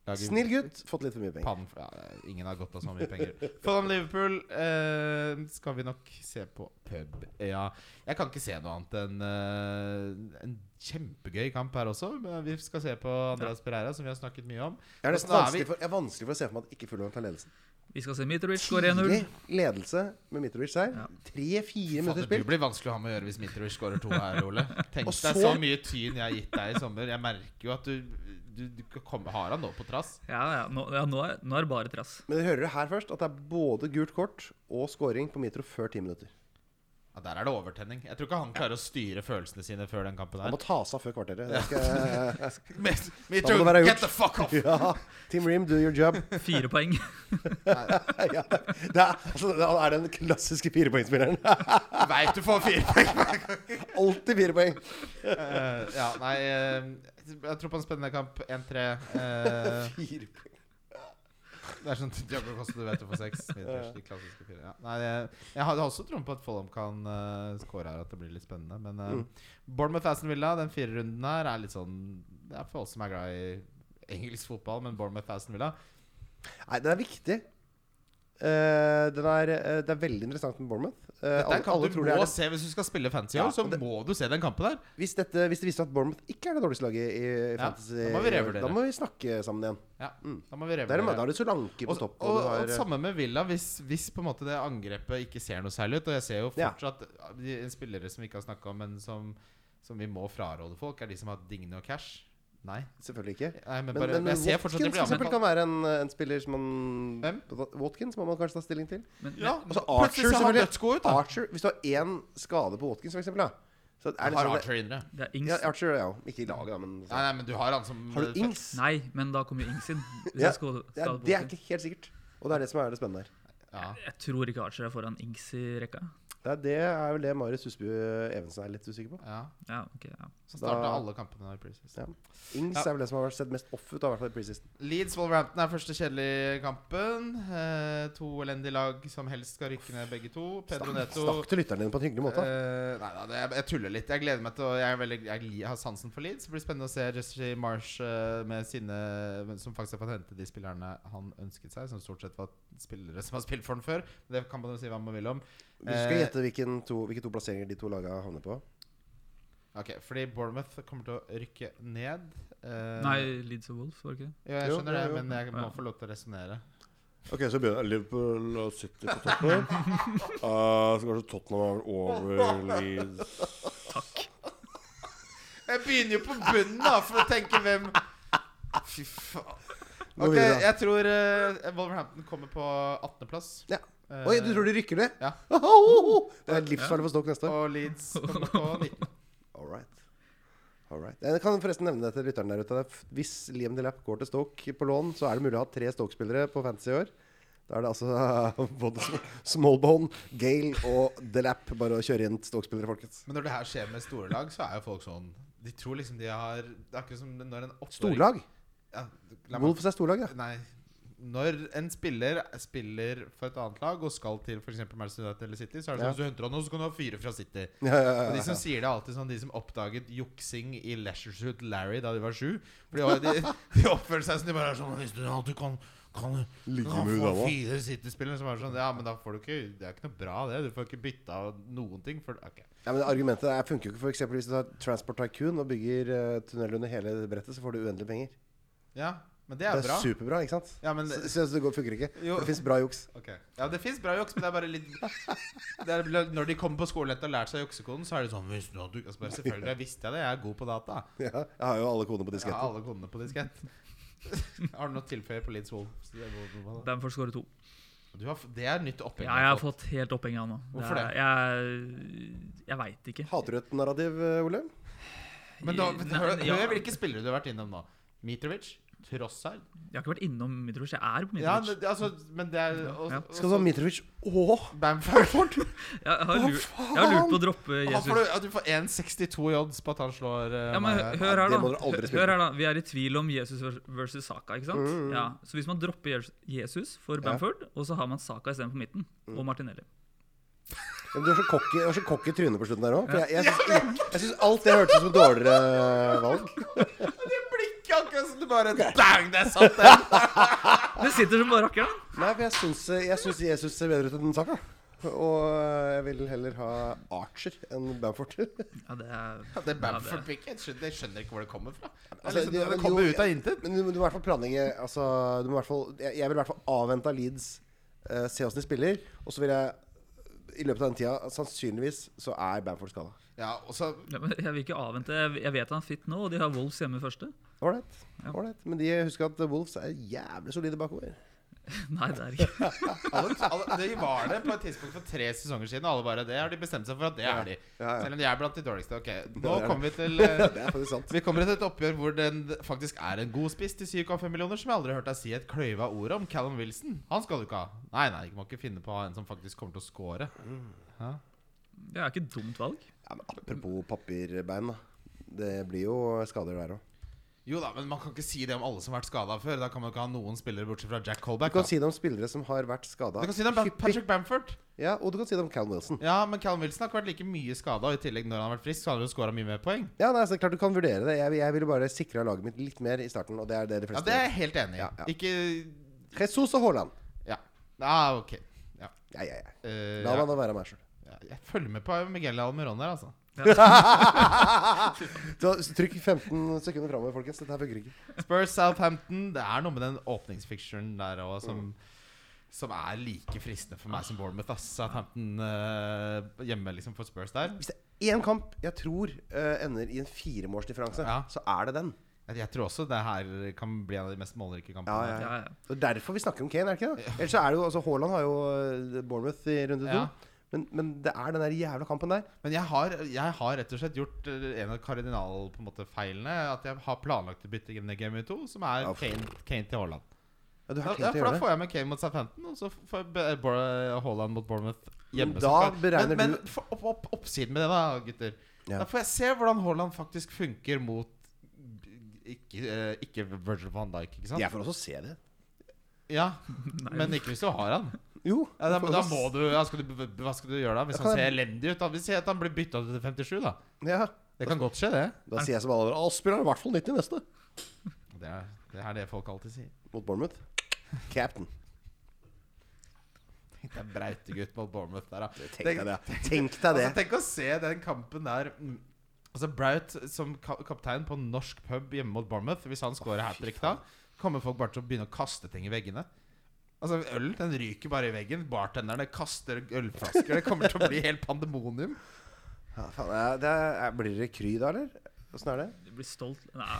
Speaker 3: lager
Speaker 5: Snill gutt. Fått litt for mye penger.
Speaker 3: Pann ja, ingen har gått av så mye penger. Fulham Liverpool eh, skal vi nok se på pub. Ja, jeg kan ikke se noe annet enn eh, en kjempegøy kamp her også. Men vi skal se på Andreas Pereira, som vi har snakket mye om.
Speaker 5: Jeg er nesten
Speaker 3: Hvordan er
Speaker 5: vanskelig
Speaker 3: vi?
Speaker 5: for, jeg er vanskelig for å se for meg at ikke Fulham tar ledelsen.
Speaker 4: da. Vi skal se Mitrovic går 1-0.
Speaker 5: Tidlig ledelse med Mitrovic her.
Speaker 4: Ja.
Speaker 5: Tre-fire
Speaker 3: Fader,
Speaker 5: minutter
Speaker 3: du
Speaker 5: spilt.
Speaker 3: blir vanskelig å ha med å gjøre hvis Mitrovic scorer to her,
Speaker 5: [LAUGHS]
Speaker 3: Ole. Tenk
Speaker 5: Og
Speaker 3: deg så
Speaker 5: så-
Speaker 3: mye tyn jeg har gitt deg i sommer. Jeg merker jo at du, du, du kommer, Har han nå på trass?
Speaker 4: Ja, ja, nå, ja nå, er, nå er det bare trass.
Speaker 5: Men dere hører det her først, at det er både gult kort og scoring på Mitro før ti minutter.
Speaker 3: Ja, der er det overtenning. Jeg tror ikke han klarer å styre følelsene sine før den kampen
Speaker 5: Han
Speaker 3: her.
Speaker 5: må ta seg av før kvarteret. Det skal,
Speaker 3: Mit-
Speaker 5: Da må det være
Speaker 3: Mitrovic,
Speaker 5: gjort.
Speaker 3: get the fuck off!
Speaker 5: [LAUGHS] ja. Team Ream, do your job.
Speaker 4: Fire poeng. [LAUGHS]
Speaker 5: Ja, det er, altså, han er den klassiske firepoengspilleren.
Speaker 3: Veit du får fire poeng!
Speaker 5: Alltid fire poeng.
Speaker 3: Eh, ja, nei eh, Jeg tror på en spennende kamp. 1-3. eh,
Speaker 5: Fire poeng.
Speaker 3: det er sånn Diago Costa, du vet du får seks. Middels, de klassiske fire. Ja. Nei, jeg, jeg hadde også troen på at Follum kan uh, score her, at det blir litt spennende. Men eh,
Speaker 5: Mm.
Speaker 3: Bournemouth Aston Villa, den fire runden her, er litt sånn Det er for oss som er glad i engelsk fotball, men Bournemouth Aston Villa
Speaker 5: Nei, den er viktig. Eh, den er, eh, det er veldig interessant med Bournemouth. Eh,
Speaker 3: Det er
Speaker 5: alle-
Speaker 3: en kamp
Speaker 5: alle
Speaker 3: du
Speaker 5: tror
Speaker 3: må
Speaker 5: det er det.
Speaker 3: se hvis du skal spille fancy
Speaker 5: Ja,
Speaker 3: år, så
Speaker 5: og det-
Speaker 3: må du se den kampen der.
Speaker 5: Hvis, dette, hvis det viser seg at Bournemouth ikke er det dårligste laget i i
Speaker 3: Ja,
Speaker 5: Fantasy,
Speaker 3: da må vi revurdere.
Speaker 5: da må vi snakke sammen igjen.
Speaker 3: Ja, Da må vi
Speaker 5: Der,
Speaker 3: revurdere.
Speaker 5: da har du Solanke på
Speaker 3: Og,
Speaker 5: topp.
Speaker 3: og,
Speaker 5: du har, eh,
Speaker 3: og samme med Villa, hvis, hvis på en måte det angrepet ikke ser noe særlig ut. Og jeg ser jo
Speaker 5: Ja.
Speaker 3: fortsatt ah, de spillere som vi ikke har snakka om, men som, som vi må fraråde folk, er de som har Digne og Cash. Nei.
Speaker 5: eh, Selvfølgelig ikke.
Speaker 3: Nei men,
Speaker 5: Men,
Speaker 3: bare,
Speaker 5: men,
Speaker 3: men jeg ser
Speaker 5: Watkins
Speaker 3: fortsatt de
Speaker 5: for
Speaker 3: blir
Speaker 5: eksempel
Speaker 3: anbefalt.
Speaker 5: kan være en, en spiller som man
Speaker 3: Hvem?
Speaker 5: Watkins må man kanskje ta stilling til.
Speaker 4: Men,
Speaker 3: Ja,
Speaker 5: Og så
Speaker 3: plutselig
Speaker 5: Archer,
Speaker 3: så har han
Speaker 5: selvfølgelig.
Speaker 3: dødsgod ut, da.
Speaker 5: Archer, hvis du har én skade på Watkins, for eksempel, da. Så er det
Speaker 3: har
Speaker 5: sånn-
Speaker 3: Archer indre.
Speaker 4: det er
Speaker 5: ja,
Speaker 4: Ings.
Speaker 5: Archer, ja. Ikke i laget, da, men
Speaker 3: Nei, nei, men du har han som
Speaker 5: Har du Ings?
Speaker 4: Nei, men da kommer jo Ings inn. Hvis
Speaker 5: Ja,
Speaker 4: jeg, skal,
Speaker 5: Ja,
Speaker 4: skal på
Speaker 5: det er
Speaker 4: Watkins.
Speaker 5: ikke helt sikkert. Og det er det som er det spennende her.
Speaker 3: Ja.
Speaker 4: jeg tror ikke Archer er foran Ings i rekka.
Speaker 5: Det er, det er vel det Marius Husby eh, Evensen er litt usikker på.
Speaker 3: ja.
Speaker 4: Ja, ok, ja.
Speaker 3: Så starta
Speaker 5: Da-
Speaker 3: alle kampene nå i preseason.
Speaker 5: Ja. Ings
Speaker 3: Ja.
Speaker 5: er vel det som har vært sett mest off ut, da, i hvert fall i preseason.
Speaker 3: Leeds Wolverhampton er første kjedelige kampen. Eh, to elendige lag som helst skal rykke ned, begge to. Pedro Neto
Speaker 5: Snakk til lytterne dine på en hyggelig måte.
Speaker 3: Eh, nei, nei, det, jeg, jeg tuller litt. Jeg gleder meg til å Jeg, er veldig, jeg li- har sansen for Leeds. Det blir spennende å se Jesse Marsh eh, med sine men Som faktisk har fått hente de spillerne han ønsket seg, som stort sett var spillere som har spilt for ham før. Men Det kan man jo si hva man vil om.
Speaker 5: Hvis du skal
Speaker 3: eh,
Speaker 5: gjette hvilken to, hvilke to plasseringer de to lagene havner på
Speaker 3: Ok, Fordi Bournemouth kommer til å rykke ned. Eh,
Speaker 4: Nei, Leeds og Wolf, var det ikke det?
Speaker 3: Jo, jeg
Speaker 5: Jo,
Speaker 3: skjønner
Speaker 5: jo,
Speaker 3: det,
Speaker 5: jo.
Speaker 3: men jeg må
Speaker 4: Ja.
Speaker 3: få lov til å resonnere.
Speaker 6: Ok, så begynner Liverpool og City på
Speaker 3: [LAUGHS]
Speaker 6: toppen. Uh, så kanskje Tottenham er vel over Leeds.
Speaker 3: Jeg begynner jo på bunnen, da, for å tenke hvem Fy faen.
Speaker 5: Gå
Speaker 3: Ok,
Speaker 5: videre.
Speaker 3: jeg tror eh, Wolverhampton kommer på 18.-plass.
Speaker 5: Ja. Oi, du tror de rykker ned? [LAUGHS]
Speaker 3: Ja.
Speaker 5: Det er livsfarlig for Stoke neste år.
Speaker 3: Og Leeds kommer på 19.
Speaker 5: All right. All right. Jeg kan forresten nevne det til lytteren der ute. Hvis Liam Delap går til Stoke på lån, så er det mulig å ha tre Stoke-spillere på fantasy i år. Da er det altså [LAUGHS] eh, både Sm- Smallbone, Gale og Delap. Bare å kjøre inn Stoke-spillere, folkens.
Speaker 3: Men når det her skjer med store lag, så er jo folk sånn De tror liksom de har Det er akkurat som når en åtteåring-
Speaker 5: Storlag.
Speaker 3: Ja, la meg-
Speaker 5: Wolves er storlag, ja.
Speaker 3: Nei. Når en spiller spiller for et annet lag og skal til f.eks. Manchester United eller City, så er det sånn
Speaker 5: Ja.
Speaker 3: hvis du henter han nå, så kan du ha fire fra City.
Speaker 5: Ja, ja,
Speaker 3: Og
Speaker 5: ja,
Speaker 3: De
Speaker 5: ja.
Speaker 3: som sier det, er alltid sånn de som oppdaget juksing i Leisuresuit Larry da de var sju. For de, de, de oppførte seg som de bare er sånn Hvis du alltid kan, kan
Speaker 6: Ligge
Speaker 3: kan
Speaker 6: med
Speaker 3: få
Speaker 6: dama.
Speaker 3: fire City-spillere som er sånn Ja, men da får du ikke Det er ikke noe bra, det. Du får ikke bytta noen ting. For, ok.
Speaker 5: Ja, men Argumentet der funker jo ikke. For eksempel hvis du tar Transport Tycoon og bygger eh, tunnel under hele brettet, så får du uendelig penger.
Speaker 3: Ja, men det er, bra.
Speaker 5: superbra, ikke sant?
Speaker 3: Ja, men
Speaker 5: Så, så det går, funker ikke.
Speaker 3: Jo.
Speaker 5: For det fins bra juks. [LAUGHS]
Speaker 3: Ok. Ja, det fins bra juks, men det er bare litt det er, bl- Når de kommer på skolen etter å ha lært seg juksekoden, så er det sånn Visste du at du altså bare, Selvfølgelig jeg visste jeg det, jeg er god på data.
Speaker 5: Ja, jeg har jo alle kodene på
Speaker 3: Jeg [LAUGHS] har
Speaker 5: disketten.
Speaker 3: alle kodene på diskett. Har du noe å tilføye på Leeds Wolves?
Speaker 4: Bamford skårer to.
Speaker 3: Du har, f- det er nytt oppgjør.
Speaker 4: Ja, jeg har fått helt opphenget av nå.
Speaker 3: Hvorfor det?
Speaker 4: er- Jeg, jeg veit ikke.
Speaker 5: Hater du et narrativ, eh, Ole?
Speaker 3: Men da, men,
Speaker 4: Nei,
Speaker 3: hør,
Speaker 4: ja.
Speaker 3: hør hvilke spillere du har vært innom nå. Mitrovic, Trossard?
Speaker 4: Jeg har ikke vært innom Mitrovic. Jeg er på
Speaker 3: Ja,
Speaker 4: Mitrovic.
Speaker 3: det, altså, men det er og,
Speaker 4: Ja.
Speaker 3: og-
Speaker 5: Skal du ha Mitrovic og
Speaker 4: [LAUGHS]
Speaker 3: Bamford?
Speaker 4: Jeg har lurt, jeg har lurt på å droppe
Speaker 3: Han
Speaker 4: Jesus.
Speaker 3: får, du- ja, du får 1,62 i odds på at han slår eh,
Speaker 4: Ja, men
Speaker 3: Mané.
Speaker 4: hø- hør her,
Speaker 5: det
Speaker 4: da.
Speaker 5: må dere aldri
Speaker 4: Hø-
Speaker 5: spille.
Speaker 4: Hør her da Vi er i tvil om Jesus vers- versus Saka. ikke sant? Ja, Så hvis man dropper Jes- Jesus for Bamford, og så har man Saka istedenfor midten, og Martinelli
Speaker 5: Men Du er så cocky- du er så cocky i trynet på slutten der òg. Jeg, jeg, syns- jeg, jeg syns alt det hørtes ut som et dårligere valg.
Speaker 3: Det blikket akkurat som du bare Bang, der satt den!
Speaker 4: Det sitter som bare rakkeren!
Speaker 5: Nei, for jeg syns, jeg syns Jesus ser bedre ut enn Saka. Og jeg vil heller ha Archer enn Bamford.
Speaker 4: Ja, det er,
Speaker 3: Det er
Speaker 4: ja, det-
Speaker 3: Bamford-blikket. Jeg skjønner- Jeg skjønner ikke hvor det kommer fra. Det, er
Speaker 5: Altså,
Speaker 3: liksom,
Speaker 5: det-
Speaker 3: det
Speaker 5: men
Speaker 3: kommer
Speaker 5: jo,
Speaker 3: ut av intet.
Speaker 5: Men du, du må i hvert fall planlegge altså, du må i hvert fall, jeg, jeg vil i hvert fall avvente av Leeds, eh, se åssen de spiller. Og så vil jeg i løpet av den tida Sannsynligvis så er Bamford skada.
Speaker 3: Ja, og så
Speaker 4: Ja, men jeg vil ikke avvente. Jeg jeg vet han er fit nå, og de har Wolves hjemme første. [LAUGHS]
Speaker 5: Ålreit. ålreit. Men de husker at Wolves er jævlig solide bakover.
Speaker 4: Nei, det er ikke
Speaker 3: [LAUGHS] alle, alle, Det var det på et tidspunkt for tre sesonger siden, og alle bare Det har de bestemt seg for at det er de.
Speaker 5: Ja, ja.
Speaker 3: Selv om de er blant de dårligste. Ok, nå
Speaker 5: er det.
Speaker 3: kommer vi
Speaker 5: [LAUGHS]
Speaker 3: til eh,
Speaker 5: Det er faktisk sant.
Speaker 3: Vi kommer til et oppgjør hvor den faktisk er en god spiss til 7,5 millioner, som jeg aldri har hørt deg si et kløyva ord om. Callum Wilson. Han skal du ikke ha. Nei, nei, du må ikke finne på å ha en som faktisk kommer til å score.
Speaker 4: Det er ikke et dumt valg.
Speaker 5: Ja, men apropos papirbein, da. Det blir jo skader der òg.
Speaker 3: Jo da, men man kan ikke si det om alle som har vært skada før. Da kan man ikke ha noen spillere bortsett fra Jack Colback.
Speaker 5: Du kan
Speaker 3: da.
Speaker 5: si det om spillere som har vært skada.
Speaker 3: Du kan si det om Bam- Patrick Bamford.
Speaker 5: Ja, og du kan si det om Cal Wilson.
Speaker 3: Ja, men Callum Wilson har ikke vært like mye skada, og i tillegg, når han har vært frisk, så har han jo scora mye mer poeng.
Speaker 5: Ja, nei, så det er klart du kan vurdere det. Jeg, jeg ville bare sikra laget mitt litt mer i starten, og det er det de
Speaker 3: Ja,
Speaker 5: fleste
Speaker 3: det er jeg helt enig i.
Speaker 5: Ja, ja.
Speaker 3: Ikke
Speaker 5: gjør. Jesus og Haaland.
Speaker 3: Ja. Ah, ok. Ja.
Speaker 5: Ja, ja, ja.
Speaker 3: Eh,
Speaker 5: La
Speaker 3: ja.
Speaker 5: meg da være
Speaker 3: [LAUGHS]
Speaker 5: meg sjøl.
Speaker 3: Ja, Jeg følger med på Miguel Almiron der, altså.
Speaker 5: Så Trykk 15 sekunder framover, folkens. Dette her funker ikke.
Speaker 3: Spurs Southampton. Det er noe med den åpningsficturen der òg som, som er like fristende for meg som Bournemouth. Ass. Southampton eh, hjemme liksom for Spurs der.
Speaker 5: Hvis det er én kamp jeg tror eh, ender i en firemålsdifferanse,
Speaker 3: Ja.
Speaker 5: så er det den.
Speaker 3: Jeg, jeg tror også det her kan bli en av de mest målrike kampene.
Speaker 5: Ja, ja.
Speaker 4: Ja, ja.
Speaker 5: Og derfor vi snakker om Kane, er det ikke det? Ellers så er det jo altså Haaland har jo eh, Bournemouth i runde to.
Speaker 3: Ja.
Speaker 5: Men, men det er den der jævla kampen der.
Speaker 3: Men jeg har, jeg har rett og slett gjort eh, en av kardinal på en måte feilene. At jeg har planlagt å bytte inn i Game 2, som er
Speaker 5: Ja, for-
Speaker 3: Kane, Kane til Haaland.
Speaker 5: Ja, du
Speaker 3: Ja,
Speaker 5: har
Speaker 3: ja, for
Speaker 5: Kane til å
Speaker 3: da
Speaker 5: gjøre det.
Speaker 3: får jeg med Kane mot Southampton, og så får jeg Be- Bor- Haaland mot Bournemouth hjemme.
Speaker 5: Men
Speaker 3: som
Speaker 5: da
Speaker 3: skal-
Speaker 5: beregner
Speaker 3: men,
Speaker 5: du-
Speaker 3: men for- opp, opp, oppsiden med det, da, gutter.
Speaker 5: Ja.
Speaker 3: Da får jeg se hvordan Haaland faktisk funker mot ikke, eh, ikke Virgil van Dijk, ikke sant?
Speaker 5: Jeg får også se det.
Speaker 3: Ja, Men ikke hvis du har han.
Speaker 5: Jo.
Speaker 3: Ja, da,
Speaker 5: jeg får
Speaker 3: da
Speaker 5: også
Speaker 3: må du, ja, skal du b- b- Hva skal du gjøre da? Hvis
Speaker 5: Da
Speaker 3: han
Speaker 5: kan
Speaker 3: ser
Speaker 5: jeg-
Speaker 3: elendig ut? Da. Hvis jeg, at han blir bytta ut til 57, da.
Speaker 5: se- Ja.
Speaker 3: Det kan godt skje, det.
Speaker 5: Da sier jeg som alle andre Aspbjørn er i hvert fall 90 neste.
Speaker 3: Det er, det er det folk alltid
Speaker 5: [LAUGHS]
Speaker 3: sier.
Speaker 5: Mot Bournemouth. Captain.
Speaker 3: Det er Brautegutt mot Bournemouth der, da.
Speaker 5: Tenk deg det. Tenk deg det.
Speaker 3: Altså, tenk å se den kampen der mm. Altså Braut som ka kaptein på en norsk pub hjemme mot Bournemouth. Hvis han scorer hat trick da, kommer folk bare til å begynne å kaste ting i veggene. Altså Øl den ryker bare i veggen. Bartenderne kaster ølflasker. Det kommer til å bli helt pandemonium.
Speaker 5: Ja, faen, eh, det er, blir det kry da, eller? Åssen er det?
Speaker 4: Du blir stolt Nei.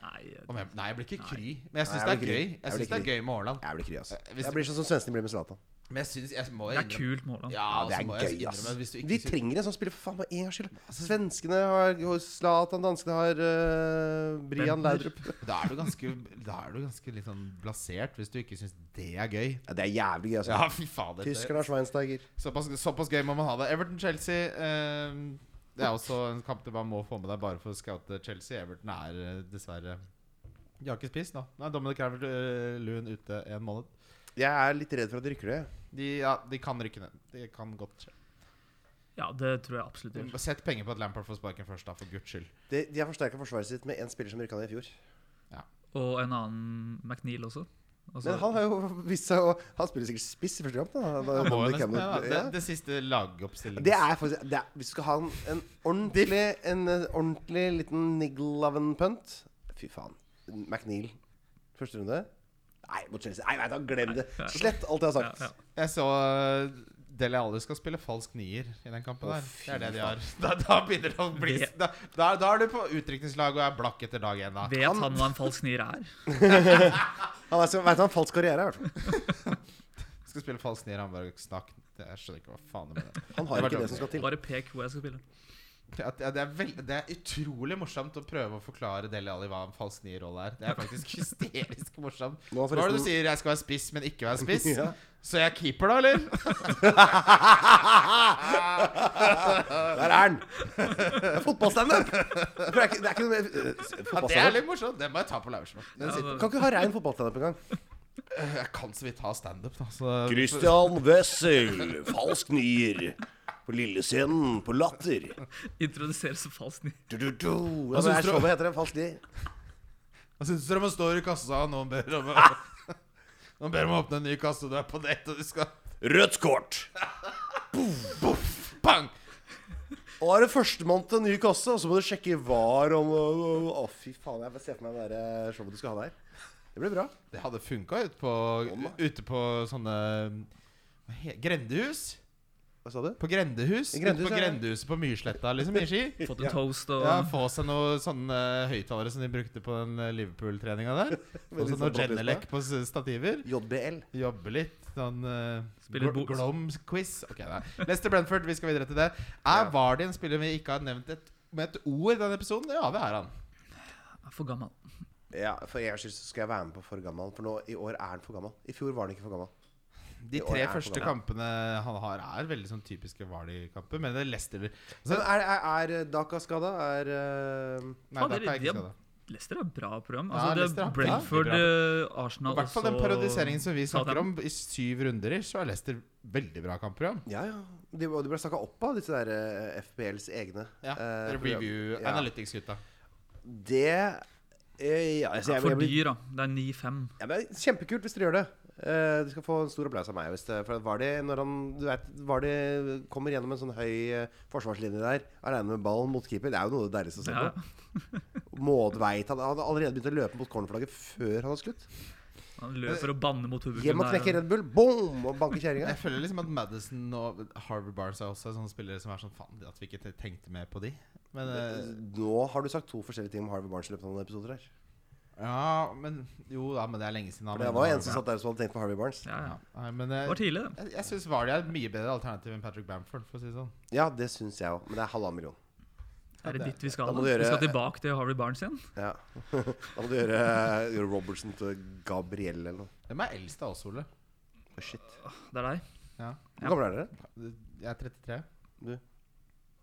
Speaker 4: nei
Speaker 3: Om jeg, nei, jeg blir ikke kry. Men jeg syns det
Speaker 5: Nei, jeg
Speaker 3: er
Speaker 5: blir
Speaker 3: gøy.
Speaker 5: kry. Jeg
Speaker 3: Jeg
Speaker 5: blir
Speaker 3: synes det er gøy med Haaland.
Speaker 5: Jeg blir kry, altså.
Speaker 3: Eh, Hvis-
Speaker 5: Jeg blir sånn som svenskene blir med Zlatan.
Speaker 3: Men jeg syns jeg må
Speaker 4: Det er kult med Haaland.
Speaker 3: Ja,
Speaker 5: Ja, det
Speaker 3: så
Speaker 5: er
Speaker 3: altså, må jeg
Speaker 5: gøy, ass.
Speaker 3: innrømme at hvis du
Speaker 5: Vi
Speaker 3: ikke Altså- syns-
Speaker 5: trenger en sånn spiller for faen meg en gangs skyld. Svenskene har jo Zlatan, danskene har eh, Brian
Speaker 4: Bender.
Speaker 5: Laudrup.
Speaker 3: Da er du ganske Da er du ganske litt sånn blasert hvis du ikke syns det er gøy.
Speaker 5: Ja, det er jævlig gøy, altså.
Speaker 3: Ja, fy fader. det-
Speaker 5: Tyskerne har Schweinsteiger.
Speaker 3: Såpass, såpass gøy må man ha det. Everton-Chelsea eh, Det er også en kamp du bare må få med deg bare for å scoute Chelsea. Everton er eh, dessverre De har ikke spist nå. Nei, Dominic Craver eh, Loon ute en måned.
Speaker 5: Jeg er litt redd for at de rykker det.
Speaker 3: De, ja, de kan rykke ned. Det kan godt skje.
Speaker 4: Ja, det tror jeg absolutt gjør.
Speaker 3: Sett penger på at Lampard får sparken først, da, for guds skyld.
Speaker 5: De, de har forsterka forsvaret sitt med én spiller som rykka ned i fjor.
Speaker 4: Og en annen McNeil også. Altså,
Speaker 5: Men han har jo [LAUGHS] vist seg å Han spiller sikkert spiss i første kamp. Da. Da,
Speaker 3: Det, må jo
Speaker 5: Dominic
Speaker 3: nesten, det,
Speaker 5: Cameron-
Speaker 3: da. det,
Speaker 5: Ja.
Speaker 3: det siste lagoppstillingen
Speaker 5: Det er faktisk det er, Hvis du skal ha en, en, ordentlig, en eh, ordentlig liten niggle av en punt Fy faen. McNeil første runde. Nei, mot Chelsea. Nei, nei, da glem det. Slett alt jeg har
Speaker 4: ja,
Speaker 5: sagt.
Speaker 4: ja.
Speaker 3: Jeg så eh, Dele Alli skal spille falsk nier i den kampen der. Det er det de har. [LAUGHS] Da, da begynner det å bli
Speaker 4: Vet-
Speaker 3: da, da, da er du på utrykningslag og er blakk etter dag én, da.
Speaker 4: Vet han hva en falsk nier
Speaker 3: [LAUGHS]
Speaker 4: er?
Speaker 5: Han er, vet du hva en falsk karriere er, i hvert fall.
Speaker 3: Skal spille falsk nier, han bare snakk Jeg skjønner ikke hva faen det er med det.
Speaker 5: Han
Speaker 3: Det
Speaker 5: har
Speaker 3: var
Speaker 5: ikke det
Speaker 3: dumt.
Speaker 5: som skal til.
Speaker 4: Bare pek hvor jeg skal spille.
Speaker 3: at- [LAUGHS] ja, det, er veld, det er utrolig morsomt å prøve å forklare Deli Alli hva en falsk nier-rolle er. Det er [LAUGHS] faktisk hysterisk morsomt.
Speaker 5: Nå
Speaker 3: Hva
Speaker 5: har
Speaker 3: er det du
Speaker 5: forresten-
Speaker 3: sier? Jeg skal være spiss, men ikke være spiss?
Speaker 5: [LAUGHS] Ja.
Speaker 3: Så jeg er keeper, da, eller?
Speaker 5: Der er den! Det er [LAUGHS] fotballstandup! For Det er ikke, det er ikke noe mer eh, s-
Speaker 3: Ja, [LAUGHS] det er
Speaker 5: fotballstandup.
Speaker 3: litt morsomt. Den må jeg ta på Laursen. Den
Speaker 4: Ja,
Speaker 3: sitter.
Speaker 4: det-
Speaker 5: Kan ikke ha rein fotballstandup engang.
Speaker 3: Jeg kan så vidt ha standup, da. Så
Speaker 6: Christian Wessel, falsk nier. På lillescenen, på Latter.
Speaker 4: Introduseres som falsk ny.
Speaker 5: Du, du, du. Ja,
Speaker 3: Hva
Speaker 5: men
Speaker 3: syns
Speaker 5: er
Speaker 3: du-
Speaker 5: showet heter det? Falsk nier.
Speaker 3: Hva syns dere om å stå i kassa og noen ber om å
Speaker 5: [LAUGHS]
Speaker 3: Noen ber om å åpne en ny kasse, og du er på date, og du skal
Speaker 6: Rødt kort.
Speaker 3: Bang!
Speaker 5: Og da er det førstemann til en ny kasse, og så må du sjekke var om Å, fy faen. Jeg får se for meg det der, eh, showet du skal ha der. Det blir bra.
Speaker 3: Det hadde funka ute på, ute på sånne hva he- Grendehus.
Speaker 5: Hva sa du?
Speaker 3: På Grendehus.
Speaker 5: I
Speaker 3: Ute
Speaker 5: Grendehus,
Speaker 3: på
Speaker 5: ja, ja.
Speaker 3: Grendehuset på Myrsletta, liksom, i Ski.
Speaker 5: [LAUGHS]
Speaker 4: Fått en toast og
Speaker 3: Ja, få seg noen sånne høyttalere som de brukte på den eh, Liverpool-treninga
Speaker 5: [LAUGHS]
Speaker 3: der. Få
Speaker 5: Veldig
Speaker 3: seg noe
Speaker 5: sånn
Speaker 3: Genelec på s- stativer.
Speaker 5: JBL.
Speaker 3: Jobbe litt. Sånn eh,
Speaker 4: Spille
Speaker 3: gl-
Speaker 4: bok.
Speaker 3: Glom-quiz. Ok, nei. Leicester Brentford, vi skal videre til det. Er Vardy en spiller vi ikke har nevnt et, med et ord i denne episoden? Ja, det er han.
Speaker 4: er for gammel.
Speaker 5: Ja, for en gangs skyld så skal jeg være med på for gammel. For nå, i år er han for gammel. I fjor var han ikke for gammel.
Speaker 3: De
Speaker 5: I år
Speaker 3: tre
Speaker 5: er han
Speaker 3: første
Speaker 5: for gammel.
Speaker 3: kampene han har, er veldig sånn typiske Vardy-kamper. Men det er Leicester
Speaker 5: Men
Speaker 3: altså,
Speaker 5: er, er, er Daka skada? Er eh,
Speaker 3: Nei, da
Speaker 4: Fader,
Speaker 3: kan jeg
Speaker 4: de
Speaker 3: ikke se
Speaker 4: har-
Speaker 3: det.
Speaker 4: Leicester er et bra program.
Speaker 3: Ja,
Speaker 4: Altså, det
Speaker 3: Leicester er
Speaker 4: er
Speaker 3: bra.
Speaker 4: Brentford,
Speaker 3: Veldig
Speaker 4: eh, Arsenal
Speaker 3: I hvert fall
Speaker 4: også-
Speaker 3: den periodiseringen som vi snakker
Speaker 4: Southampton.
Speaker 3: om, i syv runder ish, så er Leicester veldig bra kampprogram.
Speaker 5: Ja, ja. De, og de ble snakka opp av disse der eh, FBLs egne.
Speaker 3: Ja,
Speaker 5: eh, program.
Speaker 3: review
Speaker 5: Ja.
Speaker 3: Analytics-gutta.
Speaker 5: Det eh, Ja, altså, jeg,
Speaker 4: For
Speaker 5: jeg, blir-
Speaker 4: dyr, da. Det er 9-5.
Speaker 5: ja, men Kjempekult hvis dere gjør det. Eh, du skal få en stor applaus av meg. Hvis det, for var det, når han, du vet, var det kommer gjennom en sånn høy eh, forsvarslinje der, aleine med ballen mot keeper, det er jo noe av det deiligste å se
Speaker 4: Ja.
Speaker 5: på. Mådveit Han hadde allerede begynt å løpe mot cornerflagget før han hadde skutt.
Speaker 4: Han løper og banner mot
Speaker 5: Hjem og knekke
Speaker 4: publikum.
Speaker 5: Red Bull, boom! Og banke kjerringa.
Speaker 3: Jeg føler liksom at Madison og Harvey Barnes er også sånne spillere som er sånn faen at vi ikke tenkte mer på de. Men, eh,
Speaker 5: Nå har du sagt to forskjellige ting om Harvey Barnes i løpet av noen episoder her.
Speaker 3: ja, men Jo da, men det er lenge siden han
Speaker 5: For det var en som satt der som hadde tenkt på Harvey Barnes.
Speaker 4: Ja, ja.
Speaker 3: ja. Nei, men
Speaker 4: Det
Speaker 3: eh,
Speaker 4: var tidlig, det.
Speaker 3: jeg, jeg syns Vardy er et mye bedre alternativ enn Patrick Bamford, for å si det sånn.
Speaker 5: Ja, det syns jeg òg, men det er halvannen million.
Speaker 4: Er det dit vi skal?
Speaker 5: Da
Speaker 4: Da?
Speaker 5: må du gjøre-
Speaker 4: Vi skal tilbake til Harvey Barnes igjen.
Speaker 5: Ja. [LAUGHS] Da må du gjøre, gjøre Robertson til Gabriel eller noe.
Speaker 3: Hvem er eldst av oss, Ole?
Speaker 5: Å, Shit.
Speaker 4: Det er deg.
Speaker 3: Ja.
Speaker 5: Hvor gamle er dere?
Speaker 3: Jeg er 33.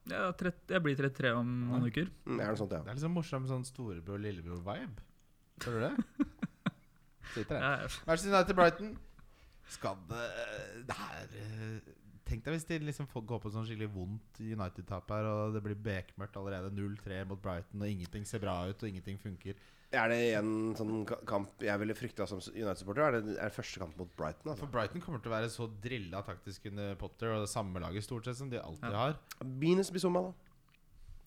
Speaker 4: Jeg, er trett- jeg blir 33 om noen uker.
Speaker 5: Mm, er det noe sånt,
Speaker 3: Det
Speaker 5: ja.
Speaker 3: er liksom morsom sånn storebror-lillebror-vibe. Hører du det? Sitter der.
Speaker 4: Jeg er
Speaker 3: Manchester United Brighton. Skal det Det her eh, Tenk deg hvis de liksom får gå på sånn skikkelig vondt United-tap her, og det blir bekmørkt allerede. 0-3 mot Brighton, og ingenting ser bra ut, og ingenting funker.
Speaker 5: Er det en sånn ka- kamp jeg ville frykta som United-supporter? Er, det- er det første kamp mot Brighton?
Speaker 3: For
Speaker 5: Altså?
Speaker 3: Brighton kommer til å være så drilla taktisk under Potter og det samme laget stort sett som de alltid har.
Speaker 5: Minus Bizuma, da.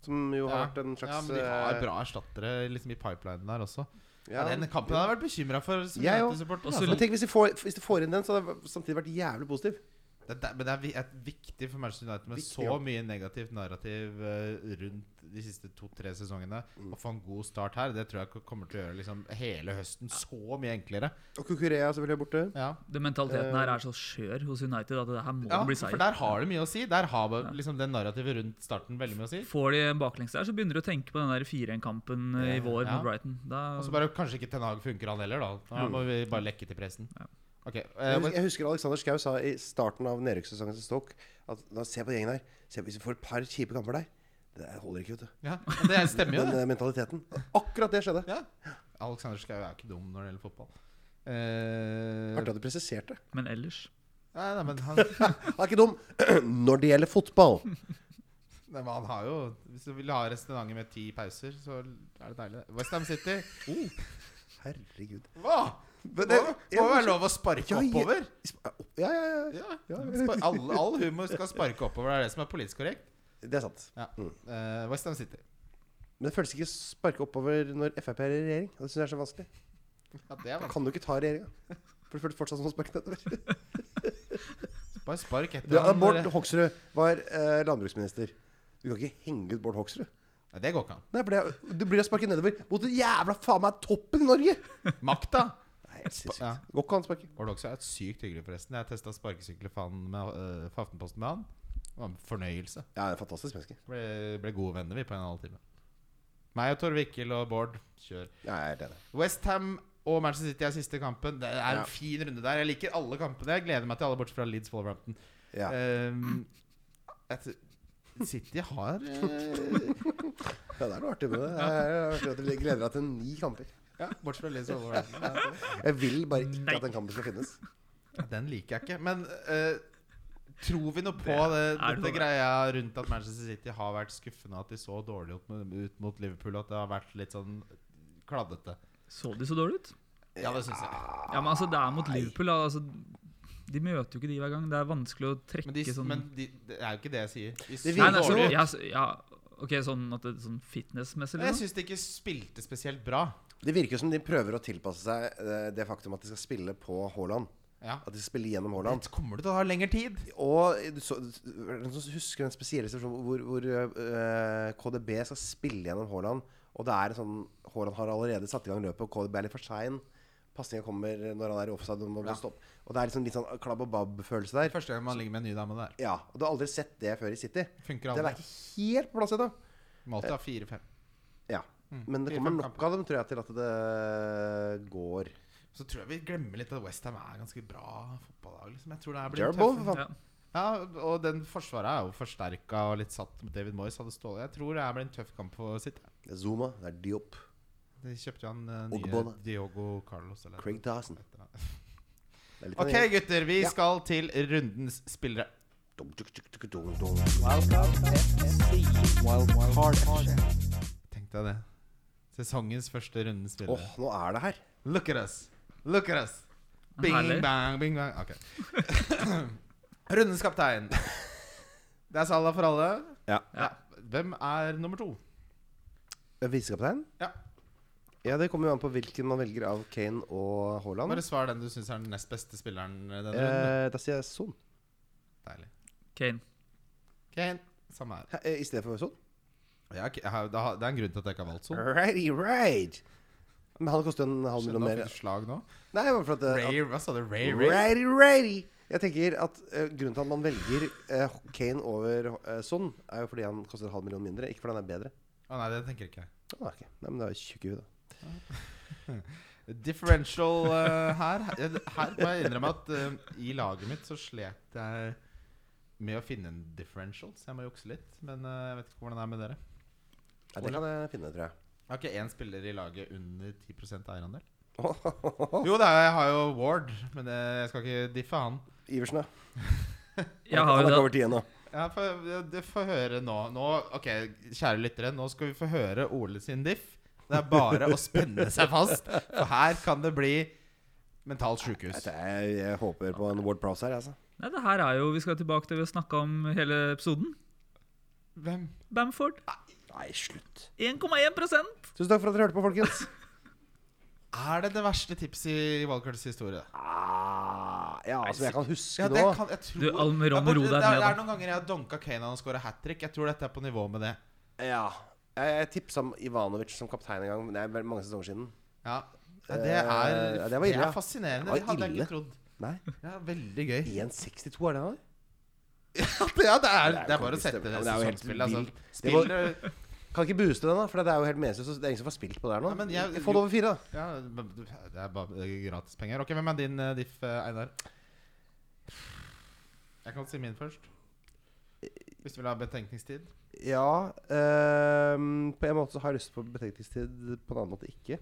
Speaker 5: Som jo har vært en slags
Speaker 3: ja, men de har
Speaker 5: eh,
Speaker 3: bra erstattere liksom i pipelinen der også. Ja,
Speaker 5: ja.
Speaker 3: den kampen hadde jeg vært bekymra for som
Speaker 5: Jeg òg.
Speaker 3: United-supporter.
Speaker 4: Og så
Speaker 3: Altså.
Speaker 5: Men tenk hvis de, får, hvis de får inn den, så hadde jeg samtidig vært jævlig positiv.
Speaker 3: Det, det, men det er vi- et viktig for Manchester United med
Speaker 5: Viktig,
Speaker 3: så
Speaker 5: ja.
Speaker 3: mye negativt narrativ eh, rundt de siste to-tre sesongene.
Speaker 5: Mm.
Speaker 3: Å få en god start her, det tror jeg k- kommer til å gjøre liksom, hele høsten så mye enklere.
Speaker 5: Og Kukurea selvfølgelig er borte.
Speaker 3: Ja.
Speaker 4: Den mentaliteten her er så skjør hos United at det her må
Speaker 3: Eh, ja,
Speaker 4: bli
Speaker 3: for
Speaker 4: seier.
Speaker 3: der har det mye å si. Der har vi liksom det narrativet rundt starten veldig mye å si.
Speaker 4: Får de en baklengs der, så begynner du å tenke på den der 4-1-kampen i vår
Speaker 3: Ja.
Speaker 4: mot Brighton. Da,
Speaker 3: Og så bare kanskje ikke Ten Hag funker, han heller, da. Da må vi bare lekke til pressen. Ok, eh,
Speaker 5: Jeg
Speaker 3: men-
Speaker 5: husker, jeg husker Alexander Schou sa i starten av nedrykkssesongen til Stoke at da, se på den gjengen der. Se, hvis vi får et par kjipe kamper der Det der holder ikke, vet du.
Speaker 3: ja, og det stemmer jo,
Speaker 5: Den
Speaker 3: det.
Speaker 5: eh, mentaliteten. Akkurat det skjedde.
Speaker 3: Ja. Alexander Schou er ikke dum når det gjelder fotball. Eh,
Speaker 5: Artig at du presiserte.
Speaker 4: men ellers
Speaker 3: nei, nei, men
Speaker 5: [LAUGHS]
Speaker 3: han [LAUGHS]
Speaker 5: Han er ikke dum [CLEARS THROAT] når det gjelder fotball.
Speaker 3: Nei, men han har jo Hvis du vil ha restauranter med ti pauser, så er det deilig. Westham City
Speaker 5: Oh. Herregud.
Speaker 3: Hva?! Det, det må være lov å sparke
Speaker 5: Ja, ja.
Speaker 3: oppover.
Speaker 5: ah, oh, Ja, ja, ja.
Speaker 3: Ja. Spar, all, all humor skal sparke oppover. Det er det som er politisk korrekt.
Speaker 5: Det er sant.
Speaker 3: Ja. Eh, Westham City.
Speaker 5: Men det føles ikke sparke oppover når Frp er i regjering. og Det syns jeg er så vanskelig.
Speaker 3: Ja, det er
Speaker 5: Da
Speaker 3: vanskelig.
Speaker 5: kan du ikke ta regjeringa. For det føles fortsatt som å sparke nedover.
Speaker 3: Bare spark etter
Speaker 5: Ja,
Speaker 3: han,
Speaker 5: Bård
Speaker 3: dere.
Speaker 5: Hoksrud var eh, landbruksminister. Du kan ikke henge ut Bård Hoksrud.
Speaker 3: Nei, det går ikke an.
Speaker 5: Nei, for det, Du blir å sparke nedover mot den jævla faen meg toppen i Norge!
Speaker 3: Makta!
Speaker 5: Nei, helt sinnssykt.
Speaker 3: Ja.
Speaker 5: Går ikke an å sparke.
Speaker 3: Bård Hoksrud er et sykt hyggelig, forresten. Jeg testa sparkesykler for han med, eh, for Aftenposten med han. Det Det var en fornøyelse.
Speaker 5: Ja, det er et fantastisk menneske.
Speaker 3: Ble, ble gode venner, vi, på en halvtime. Meg og Torvikkel og Bård. Kjør.
Speaker 5: Ja, jeg er helt enig.
Speaker 3: Westham og Manchester City er siste kampen. Det er en
Speaker 5: Ja.
Speaker 3: fin runde der. Jeg liker alle kampene. Jeg gleder meg til alle bortsett fra Leeds Wolverhampton.
Speaker 5: Ja.
Speaker 3: Ehm, jeg t- City har eh,
Speaker 5: Ja, det er noe artig med det. Jeg, er artig at du gleder deg til ni kamper.
Speaker 3: Ja, bortsett fra Leeds Wolverhampton.
Speaker 5: Jeg vil bare ikke at den kampen skal finnes.
Speaker 3: Den liker jeg ikke. Men eh, tror vi noe på det,
Speaker 4: Det er
Speaker 3: dette
Speaker 4: noe.
Speaker 3: greia rundt at Manchester City har vært skuffende, at de så dårlig ut, med- ut mot Liverpool, at det har vært litt sånn kladdete?
Speaker 4: Så de så dårlig ut?
Speaker 3: Ja, det syns jeg.
Speaker 4: Ja, men altså, det er mot Liverpool. da, Altså, de møter jo ikke de hver gang. Det er vanskelig å trekke
Speaker 3: Men, de,
Speaker 4: sånn
Speaker 3: men de, det er jo ikke det jeg sier. De så
Speaker 4: Nei, nei, så,
Speaker 3: dårlig ut.
Speaker 4: ja, så- ja, ok, sånn, at det, sånn fitnessmessig,
Speaker 3: Jeg
Speaker 4: liksom.
Speaker 3: syns de ikke spilte spesielt bra.
Speaker 5: Det virker som de prøver å tilpasse seg eh, det faktum at de skal spille på Haaland.
Speaker 3: Ja.
Speaker 5: At de skal spille gjennom Haaland.
Speaker 3: Kommer du til å ha lengre tid?
Speaker 5: Og du så, hvem som husker den spesielle situasjonen hvor, hvor eh, KDB skal spille gjennom Haaland. Og det er en sånn Haaland har allerede satt i gang løpet, og KDB er litt for sein. Pasninga kommer når han er i offside. Og, må stoppe. og det er liksom litt sånn klabb og babb-følelse der.
Speaker 3: Første gang man ligger med en ny dame der.
Speaker 5: Ja, og Du har aldri sett det før i City.
Speaker 3: Funker
Speaker 5: Den er
Speaker 3: aldri.
Speaker 5: ikke helt på plass ennå.
Speaker 3: Malta har fire-fem.
Speaker 5: Ja. Men det
Speaker 3: Fire,
Speaker 5: kommer
Speaker 3: Mm. fem
Speaker 5: nok
Speaker 3: kamper.
Speaker 5: av dem, tror jeg, til at det går.
Speaker 3: Så tror jeg vi glemmer litt at Westham er ganske bra fotballag. Liksom. Jeg tror det her blir
Speaker 5: Jerbo, for
Speaker 3: tøff.
Speaker 5: faen.
Speaker 4: Ja.
Speaker 3: Ja, og den forsvaret er jo forsterka og litt satt med David Moyes. Hadde stålet. Jeg tror det her blir en tøff kamp for City.
Speaker 5: Det er Zuma, det er Diop,
Speaker 3: De kjøpte jo han eh, nye
Speaker 5: Ogbonna.
Speaker 3: Diogo Carlos. Eller
Speaker 5: Craig Dawson.
Speaker 3: et eller annet.
Speaker 5: Det er litt
Speaker 3: Ok, gutter. Vi
Speaker 5: Ja.
Speaker 3: skal til rundens spillere.
Speaker 1: Wildcard FC.
Speaker 3: Tenk deg det. Sesongens første rundens
Speaker 5: Åh,
Speaker 3: spillere.
Speaker 5: nå er det her.
Speaker 3: Look at us. Look at us. Bing
Speaker 4: Herlig.
Speaker 3: bang, bing bang. Ok. [LAUGHS] Rundens kaptein. Det er Salah for alle.
Speaker 5: Ja.
Speaker 3: ja. Hvem er nummer to?
Speaker 5: Eh, Visekaptein?
Speaker 3: Ja.
Speaker 5: Ja, det kommer jo an på hvilken man velger av Kane og Haaland.
Speaker 3: Bare svar den du syns er den nest beste spilleren denne runden.
Speaker 5: Eh, da sier jeg Son.
Speaker 3: Deilig.
Speaker 4: Kane.
Speaker 3: Kane. Samme her.
Speaker 5: Hæ, eh, I stedet for Son?
Speaker 3: Ja, ok, jeg har- det har- det er en grunn til at jeg ikke har valgt sånn.
Speaker 5: Righty, right. Men han koster en halv
Speaker 3: Skjønner
Speaker 5: million
Speaker 3: du
Speaker 5: mer.
Speaker 3: hvilket slag nå?
Speaker 5: Nei, bare for at, eh,
Speaker 3: Ray, hva sa du? Ray,
Speaker 5: at
Speaker 3: Ray?
Speaker 5: Righty, righty. Jeg tenker at eh, Grunnen til at man velger eh, Kane over eh, Son, er jo fordi han koster en halv million mindre, ikke fordi han er bedre.
Speaker 3: Å nei, det tenker jeg ikke.
Speaker 5: Ah, ok. Nei, men det er jo tjukk i huet, da.
Speaker 3: Differential eh, her Her må jeg innrømme at eh, i laget mitt så slet jeg med å finne en differential, så jeg må jukse litt. Men eh, jeg vet ikke hvordan det er med dere.
Speaker 5: Ja, det kan jeg finne, tror jeg.
Speaker 3: Jeg har ikke én spiller i laget under 10 [LAUGHS] eierandel.
Speaker 5: Åh,
Speaker 3: Jo, det er, jeg har jo Ward, men eh, jeg skal ikke diffe han.
Speaker 5: Iversen, ja.
Speaker 4: Jeg har
Speaker 5: Han er ikke
Speaker 4: jo
Speaker 5: over 10 ennå.
Speaker 3: Ja, for, det får høre nå. nå Ok, kjære lyttere, nå skal vi få høre Ole sin diff. Det er bare å spenne seg fast, for her kan det bli mentalt sjukehus.
Speaker 5: Dette er- Jeg, håper på en Ward Prowse her, altså.
Speaker 4: Nei, det her er jo Vi skal tilbake til det vi snakka om hele episoden.
Speaker 3: Hvem?
Speaker 4: Bamford.
Speaker 5: Nei, slutt.
Speaker 4: 1,1
Speaker 5: Tusen takk for at dere hørte på, folkens.
Speaker 3: Er det det verste tipset i Wildcards historie?
Speaker 5: Ah, ja, som jeg kan huske
Speaker 3: Ja, det
Speaker 5: nå.
Speaker 3: kan jeg tror,
Speaker 4: Du, Almiron,
Speaker 3: Ja, bortsett-
Speaker 4: ro deg
Speaker 3: det, er- det
Speaker 4: ned, da.
Speaker 3: er noen ganger jeg har donka Kane og scora hat trick. Jeg tror dette er på nivå med det.
Speaker 5: Ja. Jeg, jeg tipsa om Ivanovic som kaptein en gang, men det er vel mange sesonger siden.
Speaker 3: Ja, ja det er,
Speaker 5: Eh, ja, det var ille, ja.
Speaker 3: er fascinerende.
Speaker 5: Det var
Speaker 3: Det hadde jeg
Speaker 5: ille.
Speaker 3: ikke trodd.
Speaker 5: [LAUGHS] Nei.
Speaker 3: Ja, Veldig gøy.
Speaker 5: 1,62 er det han?
Speaker 3: Ja, det er, det
Speaker 5: Det er
Speaker 3: er bare å
Speaker 5: faktisk-
Speaker 3: sette det
Speaker 5: ja, men det er jo helt
Speaker 3: sesongspillet.
Speaker 5: vilt.
Speaker 3: Altså,
Speaker 5: Det var-
Speaker 3: spiller,
Speaker 5: Kan ikke booste den, da, for det er jo helt meningsløst. Det er ingen som får spilt på det her nå.
Speaker 3: Ja, men jeg-
Speaker 5: Få det over fire, da.
Speaker 3: Ja, men du- det er bare gratispenger. Ok, Hvem er din eh, diff, eh, Einar? Jeg kan si min først. Hvis du vil ha betenkningstid.
Speaker 5: Ja. ehm, på en måte så har jeg lyst på betenkningstid, på en annen måte ikke.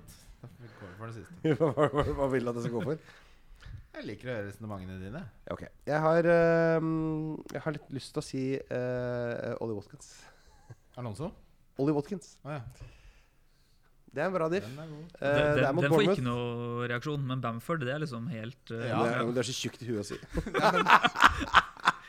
Speaker 3: Da, da går vi for det siste.
Speaker 5: Hva, hva, hva vil du at jeg skal gå for?
Speaker 3: Jeg liker å høre resonnementene dine.
Speaker 5: Ja, [LAUGHS] Ok. Jeg har, ehm, jeg har litt lyst til å si uh, Ollie Watkins.
Speaker 3: Alonso?
Speaker 5: Ollie Watkins.
Speaker 3: Å ja.
Speaker 5: Det er en bra diff.
Speaker 3: Den er god.
Speaker 5: Eh,
Speaker 4: Den,
Speaker 5: det er
Speaker 4: den,
Speaker 5: mot
Speaker 4: den får
Speaker 5: Bournemouth.
Speaker 4: ikke noe reaksjon, men Bamford, det er liksom helt eh,
Speaker 3: Ja.
Speaker 5: Det, er, det er så tjukt i huet å
Speaker 4: [LAUGHS]
Speaker 5: si. [LAUGHS] eh,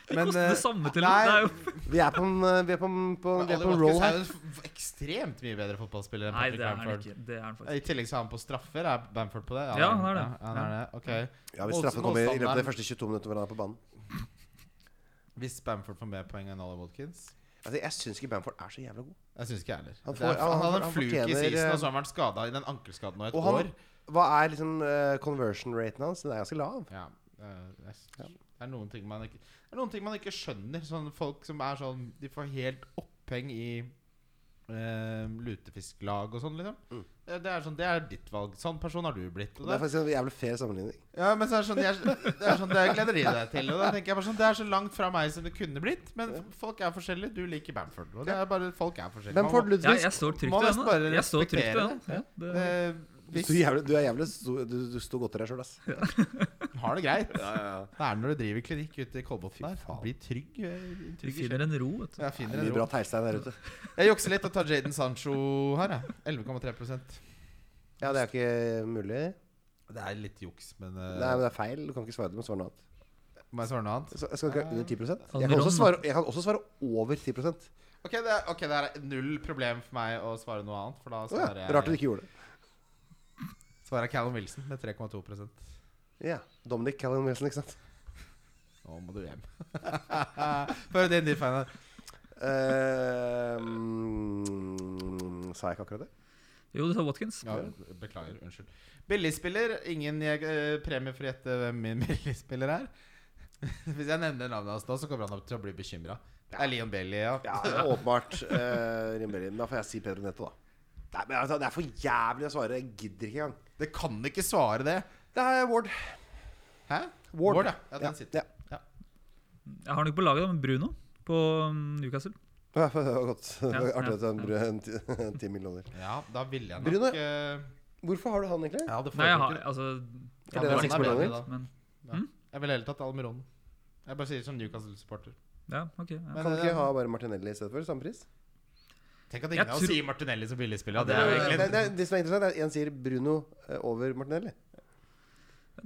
Speaker 4: Det koster det sånn? samme til
Speaker 3: eh, nei.
Speaker 4: ham. Det er jo
Speaker 5: Vi er på en, eh, vi er på en, på, vi
Speaker 3: Ollie
Speaker 5: er på en roll
Speaker 3: Watkins er
Speaker 5: her.
Speaker 3: jo en f- ekstremt mye bedre fotballspiller enn
Speaker 4: Nei,
Speaker 3: Patrick
Speaker 4: det er han
Speaker 3: Bamford.
Speaker 4: ikke. Det er han
Speaker 3: I
Speaker 4: faktisk.
Speaker 3: tillegg så er han på straffer. Er Bamford på det?
Speaker 4: Ja, han er det.
Speaker 3: Ja, han er det. Ok.
Speaker 5: Ja, Hvis
Speaker 3: Motstand-
Speaker 5: straffen kommer i løpet av de
Speaker 3: motstanderen.
Speaker 5: første 22 minuttene hvor han er på banen.
Speaker 3: Hvis Bamford får mer poeng enn Ollie Watkins
Speaker 5: Altså, jeg syns ikke Bamford er så jævla god.
Speaker 3: Jeg syns ikke jeg heller.
Speaker 5: Han
Speaker 3: Det
Speaker 5: får-
Speaker 3: er-
Speaker 5: ja, han
Speaker 3: han hadde
Speaker 5: får-
Speaker 3: en
Speaker 5: han
Speaker 3: fluke i
Speaker 5: fortjener,
Speaker 3: season,
Speaker 5: eh,
Speaker 3: og så har han vært skada i den ankelskaden nå i et
Speaker 5: Og han,
Speaker 3: år.
Speaker 5: hva er liksom eh, conversion raten hans? Den er ganske lav.
Speaker 3: Ja, Det er, det er- det er noen ting man ikke Det er noen ting man ikke skjønner. Sånn folk som er sånn De får helt oppheng i eh, lutefisklag og sånn, liksom. Det, det er sånn, det er ditt valg. Sånn person har du blitt. Og
Speaker 5: Mm. Det er
Speaker 3: det,
Speaker 5: faktisk en jævlig fair sammenligning.
Speaker 3: ja, men så er det sånn, jeg, det er sånn Det gleder de deg til. Og da tenker jeg bare sånn Det er så langt fra meg som det kunne blitt. Men f- folk er forskjellige. Du liker Bamford. Og det er bare Folk er forskjellige. Man må-
Speaker 4: Ja,
Speaker 5: Bamford Ludvig
Speaker 4: jeg står trygt
Speaker 3: må
Speaker 4: ved
Speaker 3: nesten bare
Speaker 4: henne. Jeg står trygt ved
Speaker 3: respektere
Speaker 4: henne. Ja,
Speaker 3: Eh,
Speaker 4: det,
Speaker 5: du,
Speaker 3: hvis
Speaker 5: står jævlig, du er jævlig sto, du, du står godt i deg sjøl, ass.
Speaker 3: du har det greit.
Speaker 6: Ja, ja, ja.
Speaker 3: Det er når du driver klinikk ute i Kolbotn der. Bli trygg. eh,
Speaker 4: du
Speaker 3: trygg i
Speaker 4: finner en ro, vet du.
Speaker 3: Jeg finner
Speaker 5: Mye
Speaker 3: en
Speaker 5: bra
Speaker 3: råd.
Speaker 5: teglstein der ute.
Speaker 3: Jeg jukser litt og tar Jaden Sancho her, jeg. 11,3
Speaker 5: Ja, det er ikke mulig.
Speaker 3: Det er litt juks, men eh,
Speaker 5: Nei, men det er feil. Du kan ikke svare det, du må svare noe annet.
Speaker 3: må jeg svare noe annet?
Speaker 5: Så jeg skal ikke være under 10 jeg kan,
Speaker 4: Almiron,
Speaker 5: også
Speaker 4: da.
Speaker 5: svare, jeg kan også svare over 10 Å
Speaker 3: Ok, det er, ok, det er null problem for meg å svare noe annet. For da
Speaker 5: ja.
Speaker 3: svarer
Speaker 5: Rart du
Speaker 3: jeg
Speaker 5: ikke gjorde det.
Speaker 3: svarer Callum Wilson med 3,2
Speaker 5: Ja. Dominic Callan Wilson, ikke sant.
Speaker 3: Nå må du [LAUGHS] hjem. Før din ny fan.
Speaker 5: Eh, mm, sa jeg ikke akkurat det?
Speaker 4: Jo, du tar Watkins.
Speaker 3: Ja, beklager. Unnskyld. Billigspiller. Ingen jeg, eh, premie for å gjette hvem min [LAUGHS] billigspiller er. Hvis jeg nevner navnet hans nå, så kommer han opp til å bli bekymra. Det er Leon Bailey, ja.
Speaker 5: Ja, det er åpenbart. Eh, Rimbelli. Men da får jeg si Pedro Netto, da. Nei, men altså, Det er for jævlig å svare. Jeg gidder ikke engang.
Speaker 3: Det kan ikke svare det.
Speaker 5: Det er Ward.
Speaker 3: Hæ?
Speaker 5: Ward.
Speaker 3: ja. ja den sitter.
Speaker 5: Ja. [LAUGHS]
Speaker 4: Jeg har den ikke på laget, da, men Bruno på mm, Newcastle.
Speaker 5: Ja, det var godt. Det var
Speaker 4: Ja,
Speaker 5: Artig
Speaker 4: ja,
Speaker 5: at han brød ti [LAUGHS] millioner.
Speaker 3: Ja, da ville jeg nok
Speaker 5: Bruno?
Speaker 3: eh,
Speaker 5: Hvorfor har du han egentlig?
Speaker 3: Jeg hadde
Speaker 4: Nei, jeg har
Speaker 3: foretrukket
Speaker 4: altså
Speaker 5: Er
Speaker 3: det
Speaker 4: Almiron
Speaker 3: seks
Speaker 4: er bedre,
Speaker 3: millioner?
Speaker 4: Men,
Speaker 3: Jeg ville heller tatt Almiron. Jeg bare sier det som Newcastle-supporter.
Speaker 4: ja, ok. Ja.
Speaker 5: Kan du ikke
Speaker 3: eh,
Speaker 5: ha bare Martinelli i stedet for? Samme pris?
Speaker 3: Tenk at
Speaker 4: Jeg
Speaker 3: ingen av oss
Speaker 4: tror-
Speaker 3: sier Martinelli som billigspiller. Ja,
Speaker 4: Ja,
Speaker 3: det er jo
Speaker 4: det-
Speaker 5: Nei,
Speaker 3: egentlig
Speaker 5: nei, det som er interessant, er at én sier Bruno eh, over Martinelli.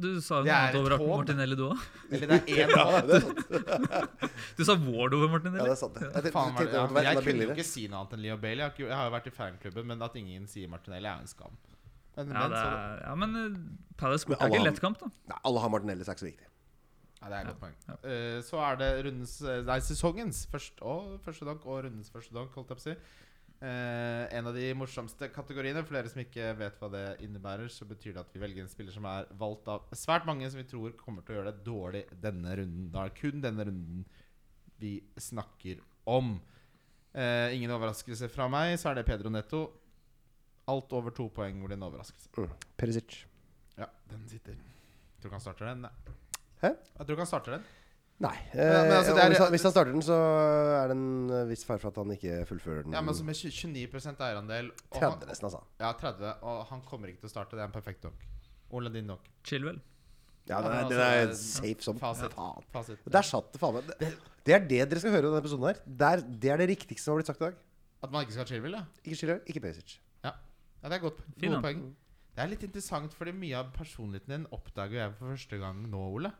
Speaker 4: Du sa jo
Speaker 3: Det
Speaker 4: noe
Speaker 3: er
Speaker 4: annet over
Speaker 3: et hån.
Speaker 4: Martinelli, du òg.
Speaker 3: Eller [LAUGHS] det er én
Speaker 5: Ja, det er sant.
Speaker 4: Du sa Ward over
Speaker 5: Ja,
Speaker 4: Martinelli.
Speaker 5: det er sant. Jeg tenkte-
Speaker 3: Faen, var det,
Speaker 5: tenkte
Speaker 3: ja,
Speaker 5: at det var
Speaker 3: jeg kunne
Speaker 5: enda
Speaker 3: jo
Speaker 5: billigere.
Speaker 3: ikke si noe annet enn Leo Bailey. Jeg har, ikke, jeg har jo vært i fanklubben, men at ingen sier Martinelli, er jo en skam. Men, sånn-
Speaker 4: Ja,
Speaker 3: men,
Speaker 4: det
Speaker 3: så,
Speaker 4: er, ja, men eh, Palace borte er
Speaker 5: alle
Speaker 4: ikke en
Speaker 5: har-
Speaker 4: lett kamp, da.
Speaker 5: Nei, alle har Martinelli, så er det ikke så viktig.
Speaker 3: ja, det er et godt poeng. Eh, så er det rundens, eh, nei, sesongens første, og første donk og rundens første donk, holdt jeg på å si. Eh, en av de morsomste kategoriene. For dere som ikke vet hva det innebærer, så betyr det at vi velger en spiller som er valgt av svært mange som vi tror kommer til å gjøre det dårlig denne runden. Da er det kun denne runden vi snakker om. Eh, ingen overraskelse fra meg, så er det Pedro Netto. Alt over to poeng blir en overraskelse.
Speaker 5: Mm. Perisic.
Speaker 3: Ja, den sitter. Tror du ikke han starter den? Nei.
Speaker 5: Hæ?
Speaker 3: Jeg tror ikke han starter den.
Speaker 5: Nei.
Speaker 3: Ja, men altså, det er-
Speaker 5: eh, og hvis, han, hvis han starter den, så er det en eh, viss fare for at han ikke fullfører den.
Speaker 3: Ja, men altså med 29 eierandel og han-
Speaker 5: 30 nesten, altså.
Speaker 3: Ja, 30. Og han kommer ikke til å starte. Det er en perfekt donk. Ole, din donk.
Speaker 4: Chilwell.
Speaker 5: Ja, den
Speaker 3: men
Speaker 5: er,
Speaker 3: altså,
Speaker 5: den er
Speaker 3: det er-
Speaker 5: safe som
Speaker 3: Fasit.
Speaker 5: faen.
Speaker 3: Fasit.
Speaker 5: Der satt det, faen meg. Det, det er det dere skal høre i denne episoden her. Det er det, er det riktigste som har blitt sagt i dag.
Speaker 3: At man ikke skal ha Chilwell, ja.
Speaker 5: Ikke Chilwell, ikke Perisic.
Speaker 3: ja. Ja, det er godt,
Speaker 4: Fin,
Speaker 3: gode
Speaker 4: da.
Speaker 3: poeng. Det er litt interessant, fordi mye av personligheten din oppdager jeg for første gang nå, Ole.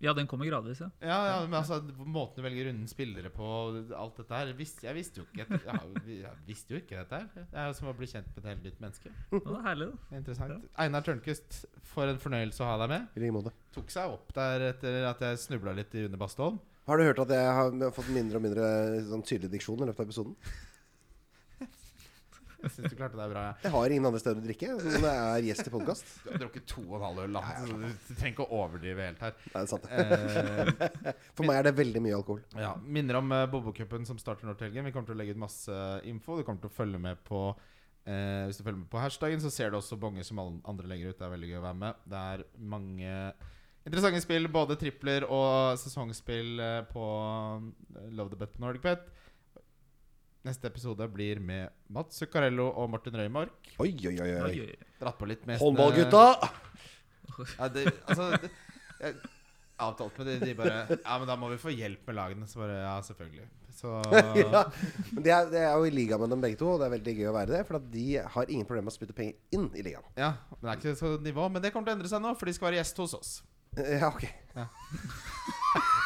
Speaker 4: Ja, den kommer gradvis, ja.
Speaker 3: Ja, ja, men altså Måten du velger runden spillere på, og alt dette her visste, Jeg visste jo ikke et- jeg, har- jeg visste jo ikke dette her. Det er jo som å bli kjent med et helt nytt menneske.
Speaker 4: Og det er herlig, da.
Speaker 3: Det er Interessant. Einar Tørnquist, for en fornøyelse å ha deg med.
Speaker 5: I like måte.
Speaker 3: Tok seg opp der etter at jeg snubla litt i Rune Bastholm.
Speaker 5: Har du hørt at jeg har fått mindre og mindre sånn tydelig diksjon i løpet av episoden?
Speaker 3: Jeg syns du klarte deg bra. jeg.
Speaker 5: Jeg har ingen andre steder å drikke når jeg er gjest i podkast.
Speaker 3: Du har drukket to og en halv øl, da. så Du trenger ikke å overdrive helt her.
Speaker 5: Det er sant.
Speaker 3: Eh,
Speaker 5: For meg er det veldig mye alkohol.
Speaker 3: ja. Minner om eh, Bobokupen som starter nå til helgen. Vi kommer til å legge ut masse eh, info. Du kommer til å følge med på eh, Hvis du følger med på hashtagen, så ser du også bonger som alle andre legger ut. Det er veldig gøy å være med. Det er mange interessante spill, både tripler og sesongspill eh, på eh, Love the Bet på Nordic Bet. Neste episode blir med Mats Zuccarello og Martin Røymark.
Speaker 5: Oi, oi, oi.
Speaker 4: Det
Speaker 5: oi. [LAUGHS]
Speaker 4: er gøy.
Speaker 3: Dratt på litt med
Speaker 5: Håndballgutta!
Speaker 3: Ja, det, altså det, jeg Avtalt med de, de bare Ja, men da må vi få hjelp med lagene. Så bare Ja, selvfølgelig. Så
Speaker 5: ja. Men det er, det er jo i liga med dem begge to, og det er veldig gøy å være det. For at de har ingen problemer med å spytte penger inn i ligaen. [LAUGHS]
Speaker 3: Ja, men det er ikke så nivå. Men det kommer til å endre seg nå, for de skal være gjest hos oss.
Speaker 5: Eh, Ja, ok.
Speaker 3: Ja.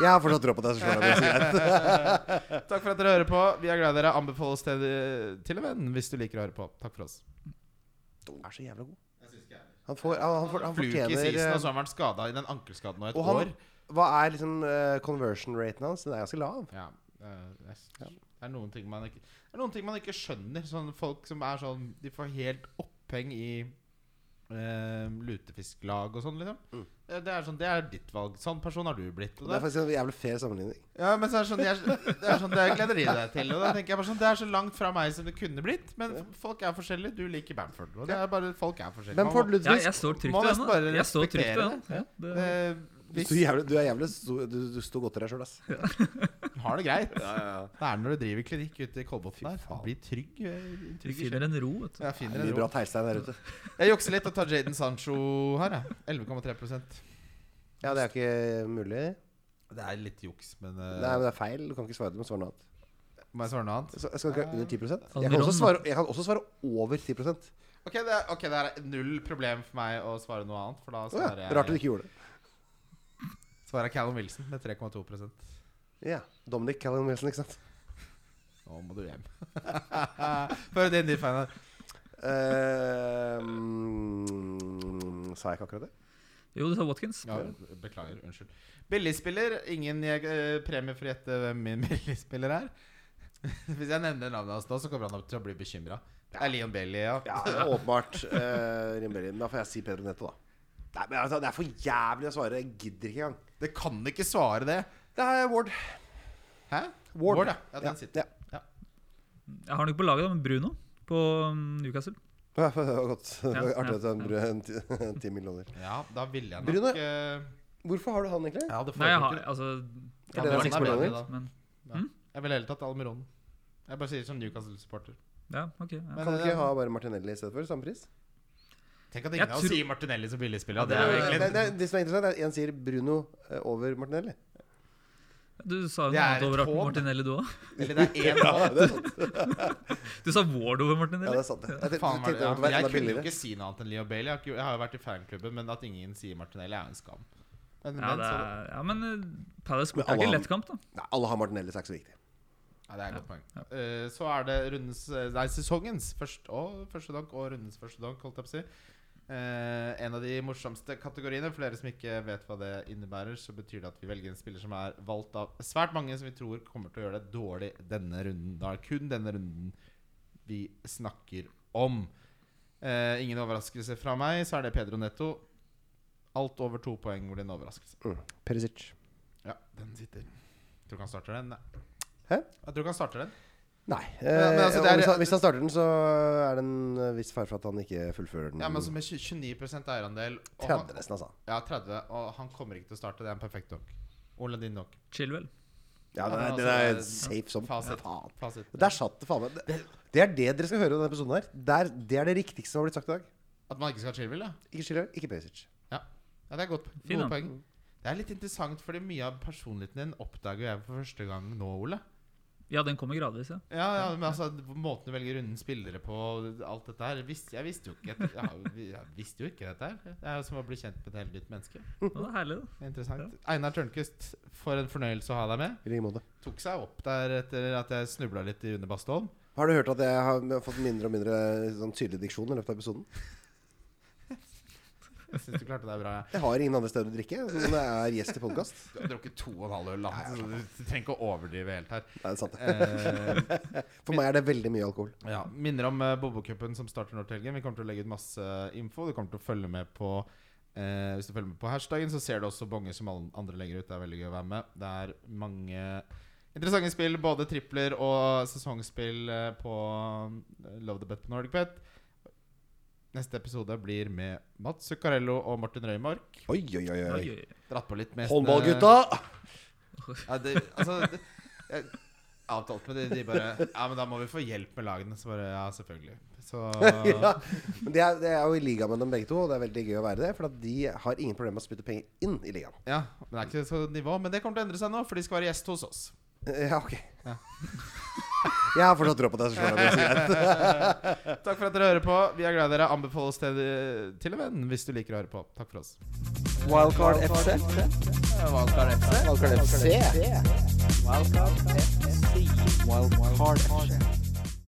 Speaker 5: Jeg har fortsatt tro på deg, så slår jeg meg.
Speaker 3: Takk for at dere hører på. Vi er glad i dere. Anbefaler oss til, til en venn hvis du liker å høre på. Takk for oss.
Speaker 5: Han er så jævla god.
Speaker 3: Jeg synes ikke jeg
Speaker 5: Han, får, han, han, får, han
Speaker 3: Fluke i
Speaker 5: fortjener
Speaker 3: sisen, og
Speaker 5: eh,
Speaker 3: så har han vært skada i den ankelskaden nå et
Speaker 5: Og han
Speaker 3: år.
Speaker 5: Hva er liksom eh, conversion raten hans? Den er ganske lav.
Speaker 3: Ja, eh, jeg s- det er noen ting man ikke Det er noen ting man ikke skjønner. Sånn folk som er sånn De får helt oppheng i eh, eh, lutefisklag og sånn, liksom. Eh, Det er sånn, det er ditt valg. Sånn person har du blitt. Og
Speaker 5: Mm. Det er faktisk en jævlig fair sammenligning.
Speaker 3: ja, men så er det sånn, jeg, det er sånn Det gleder de deg til. Og da tenker jeg bare sånn Det er så langt fra meg som det kunne blitt. Men folk er forskjellige. Du liker Bamford. Og det er bare folk er forskjellige.
Speaker 5: Bamford
Speaker 3: Man må-
Speaker 4: Ja,
Speaker 5: Ludvig.
Speaker 4: jeg står trygt
Speaker 3: Må
Speaker 4: i
Speaker 3: nesten bare
Speaker 4: den. Jeg står trygt i
Speaker 3: respektere
Speaker 4: den. Ja, det,
Speaker 3: Eh,
Speaker 5: Du,
Speaker 3: hvis
Speaker 5: er jævlig, du er jævlig stor, du, du står godt i deg sjøl, ass.
Speaker 3: du har det greit.
Speaker 5: Ja, ja, ja.
Speaker 3: Det er når du driver klinikk ute i Kolbotn der.
Speaker 5: faen.
Speaker 3: Blir trygg. eh, trygg
Speaker 4: du
Speaker 3: i
Speaker 4: finner
Speaker 3: sjelen.
Speaker 4: en ro, vet du.
Speaker 3: Jeg finner
Speaker 5: Det er
Speaker 3: en
Speaker 5: mye bra
Speaker 3: ro.
Speaker 5: teglstein der ute.
Speaker 3: Jeg jukser litt og tar Jaden Sancho her, jeg. 11,3
Speaker 5: Ja, det er ikke mulig.
Speaker 3: Det er litt juks, men eh,
Speaker 5: Nei, men det er feil. Du kan ikke svare det, du må svare noe annet.
Speaker 3: må jeg svare noe annet?
Speaker 5: Så jeg skal ikke være under 10 jeg kan,
Speaker 4: Almiron,
Speaker 5: også
Speaker 4: da.
Speaker 5: svare, jeg kan også svare over 10 Å
Speaker 3: Ok, det er, ok, det er null problem for meg å svare noe annet. For da
Speaker 5: ja.
Speaker 3: svarer jeg
Speaker 5: Rart du ikke gjorde det.
Speaker 3: svarer jeg Callum Wilson med 3,2
Speaker 5: Ja. Dominic Callan Wilson, ikke sant.
Speaker 3: Nå må du [LAUGHS] hjem. Før din din fan her.
Speaker 5: Eh, mm, sa jeg ikke akkurat det?
Speaker 4: Jo, du sa Watkins.
Speaker 3: Ja, beklager. Unnskyld. Billigspiller. Ingen jeg, eh, premie for å gjette hvem min [LAUGHS] billigspiller er. Hvis jeg nevner navnet hans nå, så kommer han opp til å bli bekymra. Det er Leon Bailey, ja.
Speaker 5: Ja, det er åpenbart. Uh, Rimbelli. Men da får jeg si Pedro Netto, da. Nei, men altså, Det er for jævlig å svare. Jeg gidder ikke engang.
Speaker 3: Det kan ikke svare det.
Speaker 5: Det er Ward.
Speaker 3: Hæ?
Speaker 5: Ward.
Speaker 3: Ward, ja. ja den sitter.
Speaker 5: Ja.
Speaker 4: Jeg har den ikke på laget, da, men Bruno på um, Newcastle.
Speaker 5: Ja, Det var godt. Det var
Speaker 4: Ja, ja,
Speaker 5: Artig at han brød ti millioner.
Speaker 3: Ja, da ville jeg nok
Speaker 5: Bruno.
Speaker 3: eh, Jeg
Speaker 5: Hvorfor har du han egentlig?
Speaker 3: hadde
Speaker 4: Nei, jeg har
Speaker 3: foretrukket-
Speaker 4: altså
Speaker 5: det
Speaker 4: hadde
Speaker 5: er
Speaker 4: vært
Speaker 5: seks
Speaker 4: bedre,
Speaker 3: millioner?
Speaker 4: Men,
Speaker 3: Jeg ville heller tatt Almiron. Jeg bare sier som Newcastle-supporter.
Speaker 4: ja, ok. Ja.
Speaker 3: Men,
Speaker 5: Kan du ikke
Speaker 3: eh,
Speaker 5: ha bare Martinelli i stedet for? Samme pris?
Speaker 3: Tenk at ingen
Speaker 4: Jeg
Speaker 3: av oss
Speaker 4: tror-
Speaker 3: sier Martinelli som billigspiller. Ja, det
Speaker 4: Ja,
Speaker 3: er jo
Speaker 4: det-
Speaker 3: egentlig
Speaker 5: det, det, det som er interessant, er at én sier Bruno eh, over Martinelli.
Speaker 4: Du sa jo
Speaker 3: Det
Speaker 4: noe
Speaker 3: er
Speaker 4: annet over
Speaker 3: et hån.
Speaker 4: Martinelli, du òg.
Speaker 3: Eller det
Speaker 5: [LAUGHS]
Speaker 3: er én
Speaker 5: det er sant.
Speaker 4: Du sa Ward over
Speaker 5: Ja,
Speaker 4: Martinelli.
Speaker 5: det er sant. det.
Speaker 3: Faen,
Speaker 5: Jeg tenkte
Speaker 3: var
Speaker 5: tenkte
Speaker 3: det, ja.
Speaker 5: at det var
Speaker 3: Jeg
Speaker 5: enda
Speaker 3: kunne jo
Speaker 5: billigere.
Speaker 3: ikke si noe annet enn Leo Bailey. Jeg, har ikke- jeg har jo vært i fanklubben, men at ingen sier Martinelli, er jo en skam. Men,
Speaker 4: Ja,
Speaker 3: men,
Speaker 4: det
Speaker 3: så,
Speaker 4: er, ja, men eh, Palace borte
Speaker 5: alle
Speaker 4: er ikke en
Speaker 5: har-
Speaker 4: lettkamp, da.
Speaker 5: Nei, alle har Martinelli, så det er ikke så viktig.
Speaker 3: ja, det er et godt poeng. Eh, så er det rundens eh, Nei, sesongens første, og første donk og rundens første donk, holdt jeg på å si. Eh, en av de morsomste kategoriene. For dere som ikke vet hva det innebærer, så betyr det at vi velger en spiller som er valgt av svært mange som vi tror kommer til å gjøre det dårlig denne runden. Da er det kun denne runden vi snakker om. Eh, ingen overraskelse fra meg, så er det Pedro Netto. Alt over to poeng blir en overraskelse.
Speaker 5: Perisic.
Speaker 3: Ja, den sitter. Tror ikke han starter den. Nei.
Speaker 5: Hæ?
Speaker 3: Jeg tror ikke han starter den.
Speaker 5: Nei.
Speaker 3: men
Speaker 5: eh,
Speaker 3: altså,
Speaker 5: og
Speaker 3: det er-
Speaker 5: hvis, han, hvis han starter den, så er det en eh, viss fare for at han ikke fullfører den.
Speaker 3: Ja, men altså Med 20 29 eierandel og han,
Speaker 5: 30 nesten, altså.
Speaker 3: Ja, 30 Og han kommer ikke til å starte. Det er en perfekt dog. Ole din dog.
Speaker 4: Chilwell.
Speaker 3: Ja,
Speaker 5: Ja, den er,
Speaker 3: men
Speaker 5: den
Speaker 3: altså,
Speaker 5: er
Speaker 3: det-
Speaker 5: safe som
Speaker 3: Fasit.
Speaker 5: faen.
Speaker 3: Fasit.
Speaker 5: Der satt det, faen meg. Det, det er det dere skal høre i denne episoden her. Det er det, er det riktigste som har blitt sagt i dag.
Speaker 3: At man ikke skal ha Chilwell, ja.
Speaker 5: Ikke Schiller, ikke Perisic.
Speaker 3: ja. Ja, det er godt.
Speaker 4: Fin,
Speaker 3: Gode
Speaker 4: da.
Speaker 3: poeng. Det er litt interessant, fordi mye av personligheten din oppdager jeg for første gang nå, Ole.
Speaker 4: Ja, den kommer gradvis, ja.
Speaker 3: Ja, ja, men altså Måten du velger runden spillere på, og alt dette her visste, Jeg visste jo ikke etter- jeg, har jo- jeg visste jo ikke dette her. Det er jo som å bli kjent med et helt nytt menneske.
Speaker 4: Og det er herlig, da.
Speaker 3: Det er Interessant. Einar Tørnquist, for en fornøyelse å ha deg med.
Speaker 5: I like måte.
Speaker 3: Tok seg opp der etter at jeg snubla litt i Une Bastholm.
Speaker 5: Har du hørt at jeg har fått mindre og mindre sånn tydelig diksjon i løpet av episoden?
Speaker 3: Jeg syns du klarte deg bra.
Speaker 5: Jeg har ingen andre steder å drikke så når jeg er gjest i podkast.
Speaker 3: Du har drukket to og en halv øl, da, så altså, du trenger ikke å overdrive helt her.
Speaker 5: Det er sant.
Speaker 3: Eh,
Speaker 5: For meg er det veldig mye alkohol.
Speaker 3: Ja, Minner om eh, Bobokupen som starter nå til helgen. Vi kommer til å legge ut masse eh, info. Du kommer til å følge med på eh, Hvis du følger med på hashtagen, så ser du også bonger som alle andre legger ut. Det er veldig gøy å være med. Det er mange interessante spill, både tripler og sesongspill eh, på eh, Love the Bet på Nordic Bet. Neste episode blir med Mats Zuccarello og Martin Røymark.
Speaker 5: Oi, oi, oi.
Speaker 4: Oi,
Speaker 5: oi.
Speaker 4: oi, oi.
Speaker 3: Dratt på litt med
Speaker 5: Håndballgutta!
Speaker 3: Ja, det, altså det, jeg Avtalt med de, de bare Ja, men da må vi få hjelp med lagene. Så bare Ja, selvfølgelig. Så
Speaker 5: [LAUGHS] ja. Men det er, det er jo i liga med dem begge to, og det er veldig gøy å være det. For at de har ingen problemer med å spytte penger inn i ligaen. [LAUGHS]
Speaker 3: Ja, men det er ikke så nivå Men det kommer til å endre seg nå, for de skal være gjest hos oss.
Speaker 5: Eh, Ja, ok.
Speaker 3: Ja.
Speaker 5: Jeg har fortsatt tro på deg. så slår jeg meg, så greit.
Speaker 3: Takk for at dere hører på. Vi er glad i dere. Anbefaler oss til, til en venn hvis du liker å høre på. Takk for oss.
Speaker 1: Wildcard FC.
Speaker 2: Wildcard FC.
Speaker 5: Wildcard FC.
Speaker 1: Wildcard FC. Wildcard FC.